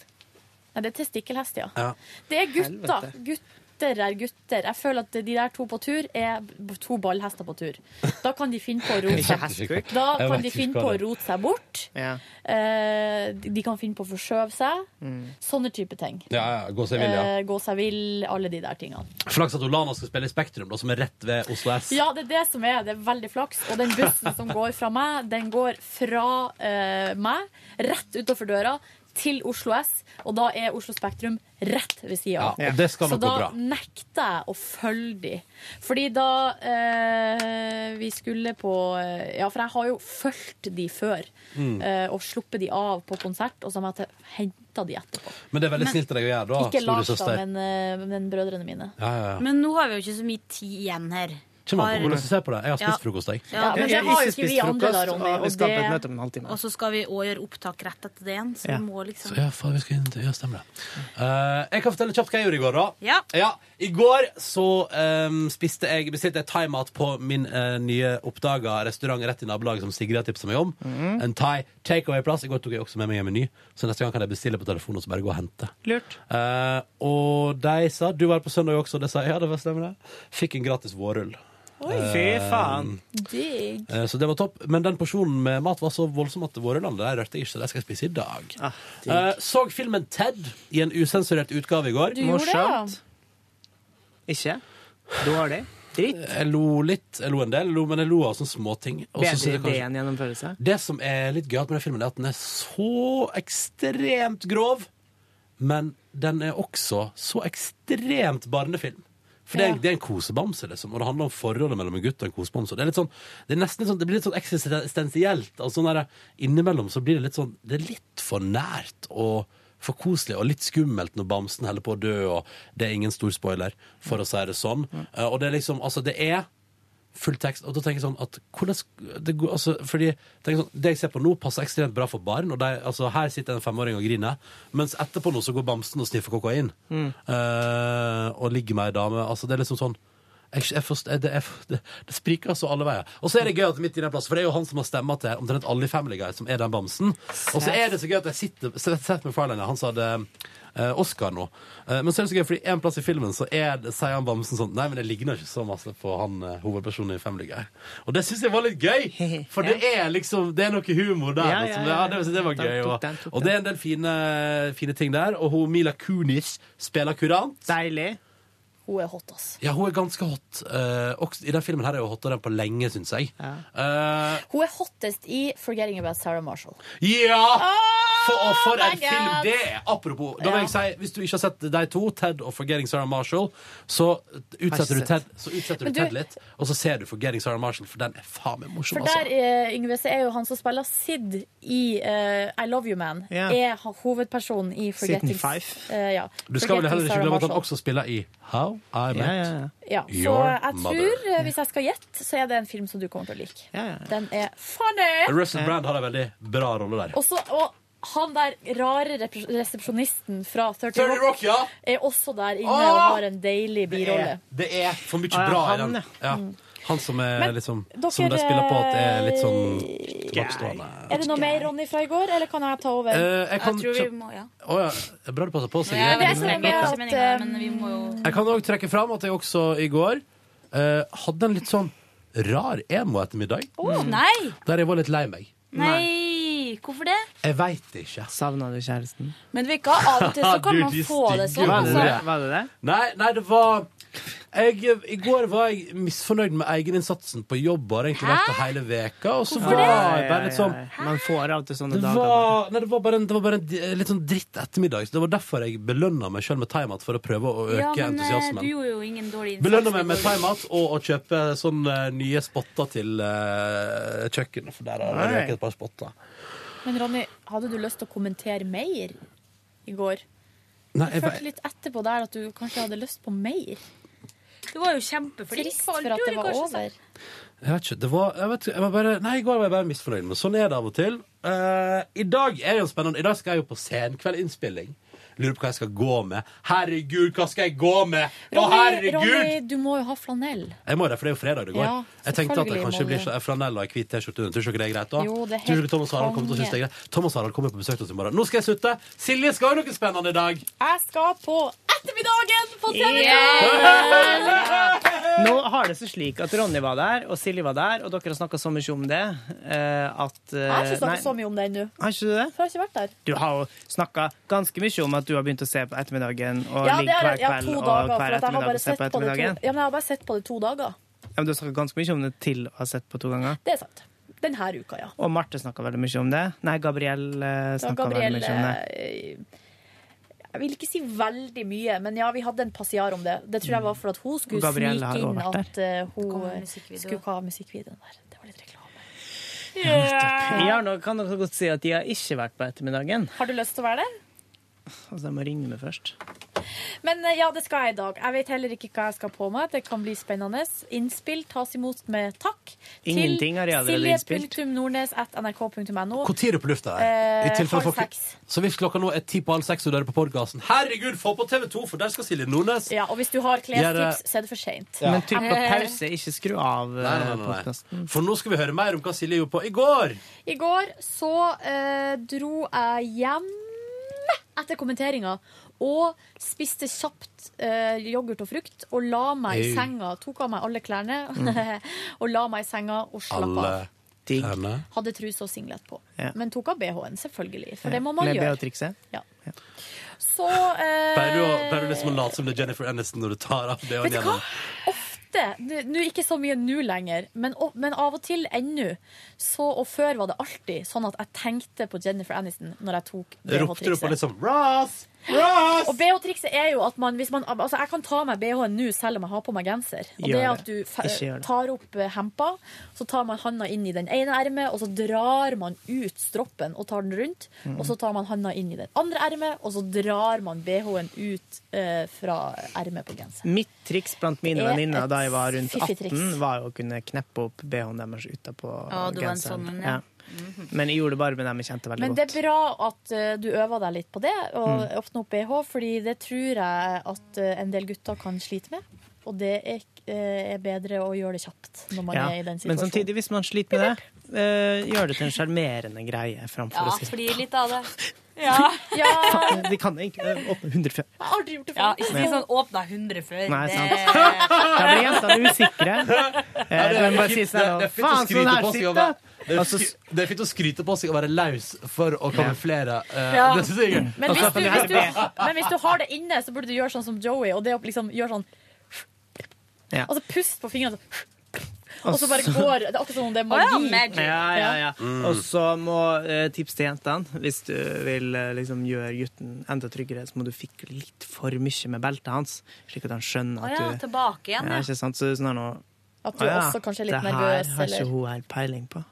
Nei, det er testikkelhest, ja. Ja. Det er gutter. Helvete. Gutt, gutter er gutter. Jeg føler at de der to på tur er b- to ballhester på tur. Da kan de finne på å rote Ikke seg, hestkuk. da Jeg vet kan de ikke finne hva på å det er. rote seg bort. Ja. Eh, de de kan finne på å forskjøve seg. Mm. Sånne type ting. Ja, ja, gå seg vill, ja. Eh, gå seg vill, alle de der tingene. Flaks at Olana skal spille i Spektrum, da, som er rett ved Oslo S. Ja, det er det som er. Det er veldig flaks. Og den bussen som går fra meg, den går fra eh, meg, rett utenfor døra, til Oslo S. Og da er Oslo Spektrum rett ved sida av. Ja, og det skal Så nok da gå bra. nekter jeg å følge de. Fordi da eh, vi skulle på eh, Ja, for jeg har jo fulgt de før. Mm. eh, og sluppet de av på konsert, og så må jeg hente de etterpå. Men det er veldig Men- snilt av deg å gjøre, da. Ikke Ah, store Lars, da, søster. men, eh, men brødrene mine. Ja, ja, ja. Men nå har vi jo ikke så mye tid igjen her. Kjem an på Har- hvordan du ser på det. Jeg har spist frokost, jeg. Ja, men det Jeg har jo ikke ikke vi spist andre, da, frokost, Ronny. og vi skal på et møte om en Og, halvtime. og så skal vi òg gjøre opptak rett etter det igjen. Så Ja. vi må liksom Så ja, faen, vi skal inn til Ja, stemmer det. Eh, jeg kan fortelle kjapt hva jeg gjorde i går, da. Ja. I går så ehm, spiste jeg bestilte jeg thaimat på min eh, nye oppdaga restaurant rett i nabolaget som Sigrid har tipsa meg om. En thai takeaway-plass. I går tok jeg også med meg en meny, så neste gang kan jeg bestille på telefonen og så bare gå og hente. Lurt. Eh, og de sa Du var på søndag også, og det sa jeg. Ja, det var stemmer det. Fikk en gratis vårrull. Oi, Eh, fy faen. Digg. Eh, Så det var topp. Men den porsjonen med mat var så voldsom at vårrullene der rørte jeg ikke, så de skal jeg spise i dag. Ah. Eh, så filmen Ted i en usensurert utgave i går. Ikke? Dårlig? Dritt? Jeg lo litt. Jeg lo en del, jeg lo, men jeg lo av sånne småting. Og så Bedre synes jeg idé kanskje- enn gjennomførelse? Det som er litt gøyalt med den filmen, er at den er så ekstremt grov, men den er også så ekstremt barnefilm. For det er, Ja. det er en kosebamse, liksom, og det handler om forholdet mellom en gutt og en kosebamse. Og Det, er litt sånn, det, er nesten litt sånn, det blir litt sånn eksistensielt. Altså, sånn der, innimellom så blir det litt sånn Det er litt for nært og for koselig og litt skummelt når bamsen holder på å dø, og det er ingen stor spoiler, for å si det sånn. Eh, Og det er liksom Altså, det er full tekst. Og da tenker jeg sånn at hvordan det går, altså, fordi, tenker jeg sånn, Det jeg ser på nå, passer ekstremt bra for barn. Og de, altså, her sitter en femåring og griner. Mens etterpå nå så går bamsen og sniffer kokain. Mm. Eh, og ligger med ei dame. Altså, det er liksom sånn jeg, jeg forst- jeg, det, jeg, det, det spriker altså alle veier. Og så er det gøy at midt i den plassen, for det er jo han som har stemma til omtrent alle i Family Guy, som er den bamsen. Og så er det så gøy at jeg sitter Seth MacFarlane, han som hadde eh, Oscar nå. Eh, men så er det så gøy, fordi en plass i filmen så er det, sier han bamsen sånn Nei, men det ligner ikke så masse på han eh, hovedpersonen i Family Guy. Og det syns jeg var litt gøy! For det er liksom Det er noe humor der. Ja, ja, og som- ja. det, det var Den gøy. tok Og, den, tok og det er en del fine, fine ting der. Og hun Mila Kunis spiller kurant. Deilig. Hun er hot, ass. Ja, hun er ganske hot. Eh, også, I den filmen her er hun hottere enn på lenge, syns jeg. Eh, Hun er hottest i 'Forgetting About Sarah Marshall'. ja! For, og for en my film God! det er! Apropos, da Ja. vil jeg si, hvis du ikke har sett de to, Ted og 'Forgetting Sarah Marshall', så utsetter du sett. Ted, så utsetter Men du du- Ted litt, og så ser du 'Forgetting Sarah Marshall', for den er faen meg morsom. For altså. der eh, Yngve, så er jo han som spiller Sid i eh, I Love You Man, Ja. er han hovedpersonen i Forgetting Sid Fife. Eh, ja. Du skal vel Forgetting heller ikke Sarah glemme at han Marshall. også spiller i 'How I Met ja, så Your jeg Mother'. tror, eh, hvis jeg skal gjette, så er det en film som du kommer til å like. Den er Russell funny! Brand har en veldig bra rolle der. Og så- og han der rare repre- resepsjonisten fra 30 Rock, 30 Rock, ja. er også der inne Åh! og har en deilig Eh, birolle. Det er for mye Ah, ja, bra i han, den. Ja. Han som er liksom Mm. dere- eh, Som de spiller på at er litt sånn tilbakestående. Er det noe mer, Ronny, fra i går, eller kan jeg ta over? Eh, jeg kan kjøp- Å ja. det er Bra du passer på, Sigrid. Men det som er sånn med at, eh, Jeg kan òg trekke fram at jeg også i går eh, hadde en litt sånn rar emo-ettermiddag. Å, nei! Der jeg var litt lei meg. Nei! Hvorfor det? Jeg veit ikke. Savna du kjæresten? Men vet du hva, av og til så kan Du, man de få det stygge sånn. ordene. Altså. Var det det? Nei, nei, det var jeg, I går var jeg misfornøyd med egeninnsatsen på jobb. Har egentlig vært det hele veka Og så var jeg bare litt sånn Man får av og til sånne det dager. var, nei, det var bare en, det var bare en di- litt sånn dritt ettermiddag. Så det var derfor jeg belønna meg sjøl med thaimat, for å prøve å øke Ja, men eh, du entusiasmen. gjorde jo ingen dårlig innsats. Belønna meg med thaimat og å kjøpe sånne nye spotter til eh, kjøkkenet, for der har jeg Nei. røket et par spotter. Men Ronny, hadde du lyst til å kommentere mer i går? Nei, jeg jeg, følte bare- litt etterpå der at du kanskje hadde lyst på mer. Du var jo kjempeflink. Trist for at det var over. sånn. jeg vet ikke, det var, jeg vet, ikke, jeg var bare, Nei, i går var jeg bare misfornøyd, men sånn er det av og til. Eh, I dag er jo spennende. I dag skal jeg jo på senkveldinnspilling. Lurer på hva jeg skal gå med. Herregud, hva skal jeg gå med?! Å, Ronny, herregud! Ronny, du må jo ha flanell. Jeg må det, for det er jo fredag det går. Ja, jeg tenkte at det selvfølgelig kanskje må blir du. så- flanell og ei hvit T-skjorte under. Tror ikke dere det er greit, da? Jo, det er Tror helt dere Thomas Harald kommer til å synes det er greit? Thomas Harald kommer på besøk til oss i morgen. Nå skal jeg slutte! Silje skal ha noe spennende i dag! Jeg skal på ettermiddagen på TV 2! Nå har det seg slik at Ronny var der, og Silje var der, og dere har snakka så mye om det eh, at Jeg har ikke snakket så mye om det ennå. Har ikke du det? For jeg har ikke vært der. Du har jo snakka ganske mye om at du har begynt å se på ettermiddagen, og Ja, det ligger er, hver ja, kveld to og dager, for hver at jeg har ettermiddag bare og ser sett på på det to, ja, ettermiddagen. men jeg har bare sett på det to dager. Ja, men du har snakka ganske mye om det til å ha sett på to ganger. Det er sant. Denne uka, ja. Og Marte snakka veldig mye om det. Nei, Gabrielle Da snakka Gabrielle eh, veldig mye om liksom, det. Jeg vil ikke si veldig mye, men ja, vi hadde en passiar om det. Det tror jeg var for at hun skulle Gabrielle har snike også inn vært der. at eh, hun Kommer med eh, musikkvideo. skulle ha musikkvideoen der. eh, Ja, nå kan dere godt si at de har ikke vært på ettermiddagen. Har du lyst til å være der? Altså, jeg må ringe meg først. Men eh, ja, det skal jeg i dag. Jeg vet heller ikke hva jeg skal på meg. Det kan bli spennende. Innspill tas imot med takk Ingenting har jeg allerede innspilt. silje.nordnes.nrk.no. Når er du på lufta her? Eh, I tilfelle halv folk- seks. Så hvis klokka nå er ti på halv seks og du hører på podkasten, herregud, få på TV2, for der skal Silje Nordnes Ja, og hvis du har klestips, Gjør det. så er det for seint. Ja. Men trykk på pause, ikke skru av eh, Nei, nei, nei, nei. podkasten. For nå skal vi høre mer om hva Silje gjorde på i går. I går så eh, dro jeg hjem etter kommenteringa. Og spiste kjapt eh, yoghurt og frukt og la meg i Ew. senga. Tok av meg alle klærne Mm. og la meg i senga og slapp av. Alle klærne. Hadde truse og singlet på. Ja. Men tok av BH-en, selvfølgelig. For det må man Med gjøre. Beatrixet. Så eh, Pleier du, å- pleier du liksom å late som det er Jennifer Aniston når du tar av det og Vet du gjennom? ofte, nu- nu ikke så mye nå lenger, men, o- men av og til ennå, så og før var det alltid sånn at jeg tenkte på Jennifer Aniston når jeg tok Ropte du på BH-trikset. liksom Ross! Og BH-trikset er jo at man, hvis man Altså, jeg kan ta meg BH-en nå selv om jeg har på meg genser. Og Gjør det er det. at du fe- Ikke gjør det. tar opp eh, hempa, så tar man handa inn i den ene ermet, og så drar man ut stroppen og tar den rundt. Mm. Og så tar man handa inn i den andre ermet, og så drar man BH-en ut eh, fra ermet på genseren. Mitt triks blant mine Det er venninner et da jeg var rundt fiffig 18, triks. var jo å kunne kneppe opp BH-en deres utapå Ja, du var en genseren. sånn en, ja. Men jeg gjorde det bare med dem jeg kjente veldig Men godt. det er bra at eh, du øver deg litt på det, og Mm. åpner opp BH, fordi det tror jeg at eh, en del gutter kan slite med. Og det er, eh, er bedre å gjøre det kjapt når man Ja. er i den Men situasjonen. samtidig, hvis man sliter med det, eh, gjør det til en sjarmerende greie framfor å si flir litt av det. Ja. ja. Faen, De kan egentlig eh, åpne 100 før. Jeg har aldri gjort det Ja, før. ikke si sånn 'åpna 100 før'. Nei, sant. Da blir det... jentene usikre. Eh, Ja, det de er bare fint- sier sånn det er fint å Faen, sånn skryte her på seg å sitter være- det er skry- Det er fint å skryte på seg å være laus for å kamuflere. eh, Ja. Det synes jeg er gøy. Men hvis, du, hvis du, men hvis du har det inne, så burde du gjøre sånn som Joey, og det å liksom gjøre sånn Ja. Og så pust på fingrene, sånn. Og Og så bare så- går Det er akkurat som om det er Å ja, magi. magic. Ja, ja, ja. Mm. Og så må eh, tips til jentene. Hvis du vil eh, liksom, gjøre gutten enda tryggere, så må du fikle litt for mye med beltet hans, slik at han skjønner Å at ja, du tilbake igjen, ja. ja. ikke sant? Så sånn her nå At du Å også kanskje er litt det nervøs, her har eller- ikke hun her peiling på.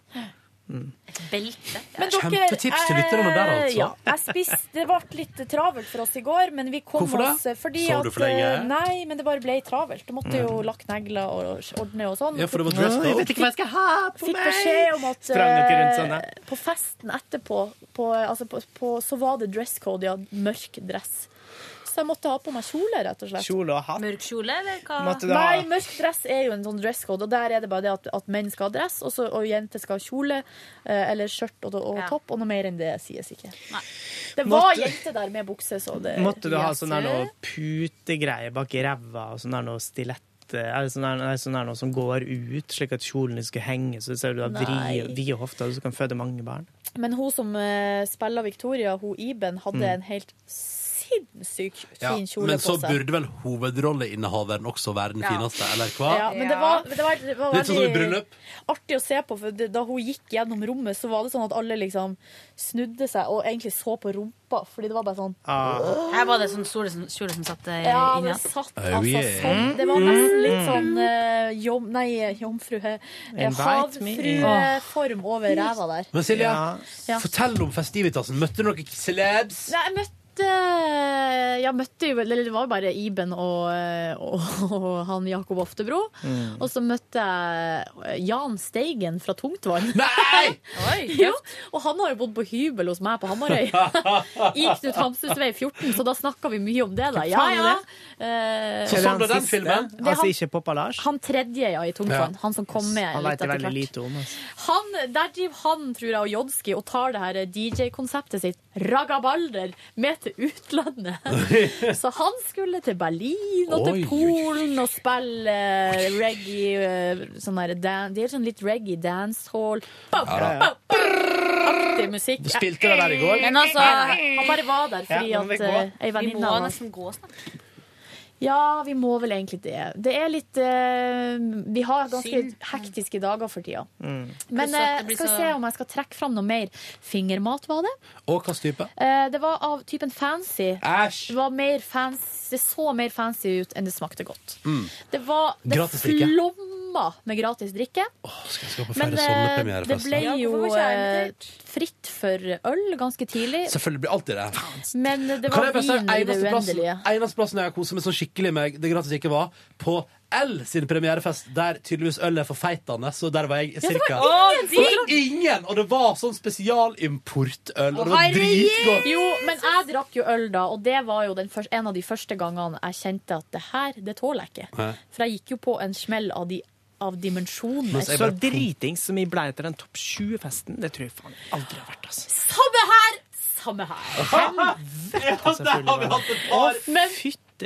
Mm. Belte. Men dere, Kjempetips til lytterne der, altså. eh, Ja, jeg spiste, det ble litt travelt for oss i går, men vi kom Hvorfor det? oss eh, fordi Sov du at, for lenge? eh, Nei, men det bare ble travelt. Du måtte jo Mm. lakke negler og ordne og sånn. Ja, for det var dress code. Jeg vet ikke hva jeg skal ha på Fikk meg. beskjed om at Sprang dere rundt sånn, eh, da? på festen etterpå på, altså på, på, så var det dress code, ja. Mørk dress. Så jeg måtte ha på meg kjole, rett og slett. Kjole og hatt. Mørk kjole, eller hva? Måtte du ha- Nei, mørk dress er jo en sånn dresscode, og der er det bare det at, at menn skal ha dress, og, så, og jenter skal ha kjole eh, eller skjørt og, og Ja. topp, og noe mer enn det sies ikke. Det var Måtte- jenter der med bukse, så det Måtte du ha Eh, Yes. eh. sånn der noe putegreie bak i ræva, og sånn der noe stilett eller sånn der, nei, sånn der noe som går ut, slik at kjolen din skal henge, så ser du har vri, Nei. vide hofta, så du kan føde mange barn. Men hun som eh, spiller Victoria, hun Iben, hadde Mm. en helt sinnssyk fin Ja, kjole men på så seg. burde vel hovedrolleinnehaveren også være den Ja. fineste, eller hva? Ja, men det var, det var, det var Litt sånn som i veldig bryllup. artig å se på, for det, da hun gikk gjennom rommet, så var det sånn at alle liksom snudde seg og egentlig så på rumpa, fordi det var bare sånn Ah. Her var det sånn kjole som, kjole som satt eh, Ja, inni Mm. det oss. satt Oh, altså yeah. sånn. Det var nesten litt sånn eh, jom, Nei, jomfru eh, Invite me. Havfrueform over ræva der. Men Silje, Ja. fortell om festivitasen. Møtte du noen celebs? Nei, jeg møtte eh, Jeg møtte jo Eller det var jo bare Iben og, eh, og, og han Jakob Oftebro. Mm. Og så møtte jeg Jan Steigen fra Tungtvann. Oi, jo, og han har jo bodd på hybel hos meg på Hamarøy. I Knut Hamsuns vei 14, så da snakka vi mye om det, da. Ja, faen er ja. det? Eh, Så sånn ble den filmen? Det er Altså han- ikke Poppa Lars? Han tredje, ja, i Tungtvann. Ja. Han som kom med Han litt veit jeg etter veldig hvert. lite om. Altså. Han, der driver han, tror jeg, og Jodski og tar det her DJ-konseptet sitt ragabalder med til utlandet. Så han skulle til Berlin og til Oi, oi, Polen og spille eh, reggae eh, sånn der, dan Det er sånn litt reggae dancehall. Bow, Ja, ja. bow, brrrr-aktig musikk. Du spilte det der i går. Men altså, han bare var der fordi Ja, nå må vi at gå. eh, Vi ei venninne må av oss- nesten gå snart. ja, vi må vel egentlig det. Det er litt eh, Vi har ganske Synd. hektiske dager for tida. Pluss at Men det eh, blir skal vi så- se om jeg skal trekke fram noe mer. Fingermat var det. Og hva slags type? Eh, det var av typen fancy. Æsj! Det, var mer fancy, det så mer fancy ut enn det smakte godt. Mm. Det var det Gratis drikke. flomma med gratis drikke. Skal jeg skape Men flere sånne eh, det premierefester? ble jo eh, fritt for øl ganske tidlig. Selvfølgelig blir alltid det. Men det var Kan jeg bare si, vin i det eneste plassen, uendelige. eneste plassen jeg har koset meg sånn skikkelig med det gratis ikke var, på L sin premierefest, der tydeligvis øl er for feitende, så der var jeg Ja, det var cirka ingen Så det var ting! ingen! Og det var sånn spesialimportøl, og det var dritgodt. Jo, men jeg drakk jo øl da, og det var jo den første, en av de første gangene jeg kjente at det her, det tåler jeg ikke. Hæ? For jeg gikk jo på en smell av, de, av dimensjoner. Så dritings som vi ble etter den topp 20-festen, det tror jeg faen aldri har vært. Altså. Samme her! Samme her. Altså, Men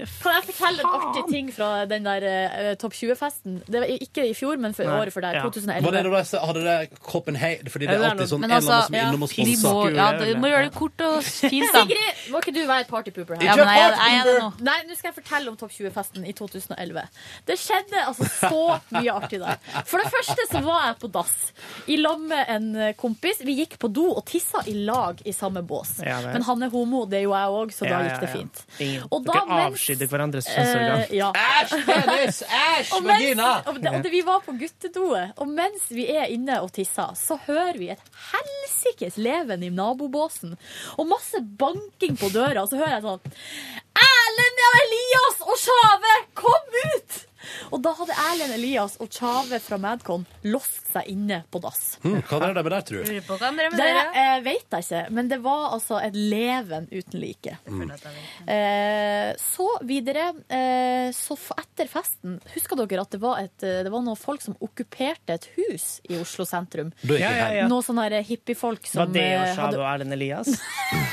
kan jeg fortelle en artig ting fra den der eh, Topp 20-festen? Det var Ikke i fjor, men for Nei. året for der. Ja. 2011. Var det da jeg hadde det Copenhagen Fordi det er Ja, alltid sånn Men en eller altså, annen som er innom og vi må, sponser. ja, du må gjøre det kort og fint, da. Sigrid, må ikke du være partypooper her? Ja, men jeg er- jeg er det nå. Nei, nå skal jeg fortelle om Topp 20-festen i 2011. Det skjedde altså så mye artig der. For det første så var jeg på dass i lag med en eh, kompis. Vi gikk på do og tissa i lag i samme bås. Ja vel. Men han er homo, det er jo jeg òg, så da gikk det fint. Ingen, Og da dere mens- avskydde hverandres Eh, kjønnsorgan. ja. Æsj, penis, æsj, Og mens- vagina! Og, det- og det, vi var på guttedoet, og mens vi er inne og tisser, så hører vi et helsikes leven i nabobåsen. Og masse banking på døra, og så hører jeg sånn Erlend og Elias og Tjave, kom ut! Og da hadde Erlend Elias og Tjave fra Madcon låst seg inne på dass. Mm, hva drev de med der, tror du? på hva dere Det eh, vet jeg ikke, men det var altså et leven uten like. Mm. Eh, så videre, eh, så f- etter festen Husker dere at det var, et, eh, det var noen folk som okkuperte et hus i Oslo sentrum? Da gikk jeg Ja, ja, hjem. ja. Noen sånne her hippiefolk som Var det eh, og Shado og Erlend Elias?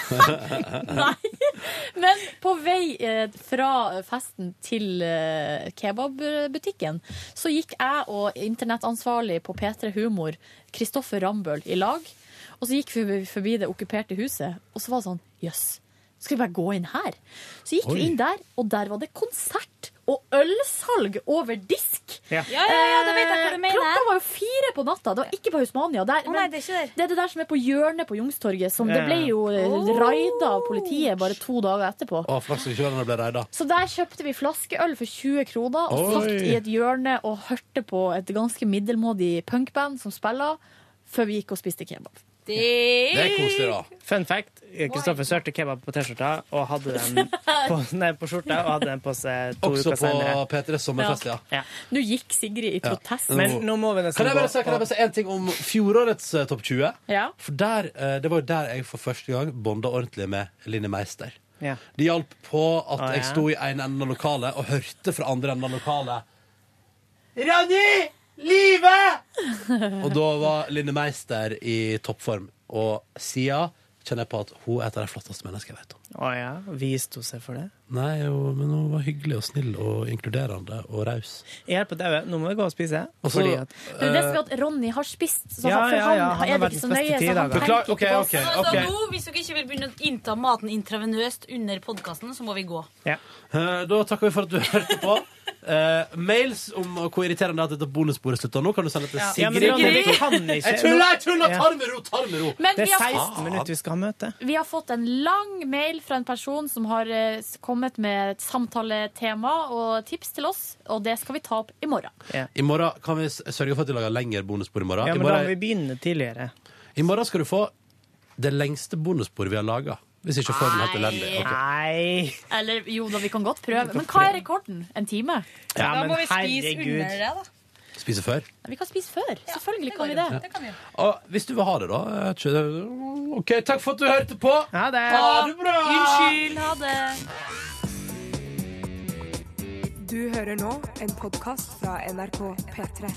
Men på vei eh, fra festen til eh, kebabbutikken så gikk jeg og internettansvarlig på P3 Humor, Kristoffer Rambøll, i lag. Og så gikk vi forbi det okkuperte huset, og så var det sånn Jøss, skal vi bare gå inn her? Så gikk Oi. vi inn der, og der var det konsert og ølsalg over disk. Ja. Ja, ja, ja, da vet jeg hva du Eh, mener. Klokka var jo fire på natta. Det var ikke på Husmania. Der, men det, er det der som er på hjørnet på Youngstorget, som det Ja. Eh. ble jo oh. raida av politiet bare to dager etterpå. Å, flaks ikke kjørerne ble reida. Så der kjøpte vi flaskeøl for 20 kroner og Oi. satt i et hjørne og hørte på et ganske middelmådig punkband som spiller, før vi gikk og spiste kebab. Det er koselig, da. Fun fact. Kristoffer sørte kebab på T-skjorta og hadde den på, nei, på skjorta og hadde den på seg to Også uker på senere. P3s sommerfest, ja. Nå gikk Sigrid i Ja. protest. Men nå må vi nesten Kan jeg gå bare si, kan jeg bare si en ting om fjorårets eh, topp 20? Ja. For der, eh, Det var jo der jeg for første gang bonda ordentlig med Linni Meister. Ja. Det hjalp på at Å, ja. jeg sto i en enden av lokalet og hørte fra andre enden av lokalet. Ronny! Live! Og da var Linni Meister i toppform. Og sida kjenner jeg på at hun er et av de flotteste menneskene jeg vet om. Å ja. Viste hun seg for det? Nei, jo, men hun var hyggelig og snill og inkluderende og raus. Jeg er på daue. Nå må vi gå og spise. Og så- fordi at Det er jo det som er at Ronny har spist, så Eh. Ja, for ja, han, ja, han har er det ikke verdens så beste nøye. tid, Så han da. tenker ikke Beklager, ok, på ok, oss. Så ok. nå, hvis dere ikke vil begynne å innta maten intravenøst under podkasten, så må vi gå. Eh, Da takker vi for at du hørte på. Eh, mails om hvor irriterende det er at dette bonusbordet slutter nå, kan du sende til Ja. Sigrid. Ja, men Ronny, du kan ikke- Jeg tuller, jeg tuller! Ja. Ta det med ro! ta det med ro Men det vi er har fått- 16 minutter vi skal ha møte. Vi har fått en lang mail fra en person som har eh, kommet med et samtaletema og tips til oss, og det skal vi ta opp i morgen. I morgen kan vi s- sørge for at vi lager lengre bonusbord. I morgen Ja, I men da må vi morgen, begynne tidligere. i morgen skal du få det lengste bonusbordet vi har laga. Hvis ikke får vi helt elendig. Ok. Nei. Eller jo da, vi kan godt prøve. Men hva er rekorden? En time? Ja, Da men må vi spise herregud. under det, da. Spise før. Vi kan spise før. Selvfølgelig kan vi det. jo. Det Og hvis du vil ha det, da. eh, kjø- OK, takk for at du hørte på. Ha det. Ha det bra. Unnskyld. Ha det. Du hører nå en podkast fra NRK P3.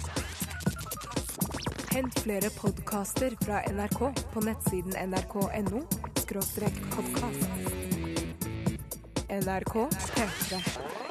Hent flere podcaster fra NRK på nettsiden nrk.no podkast. NRK P3.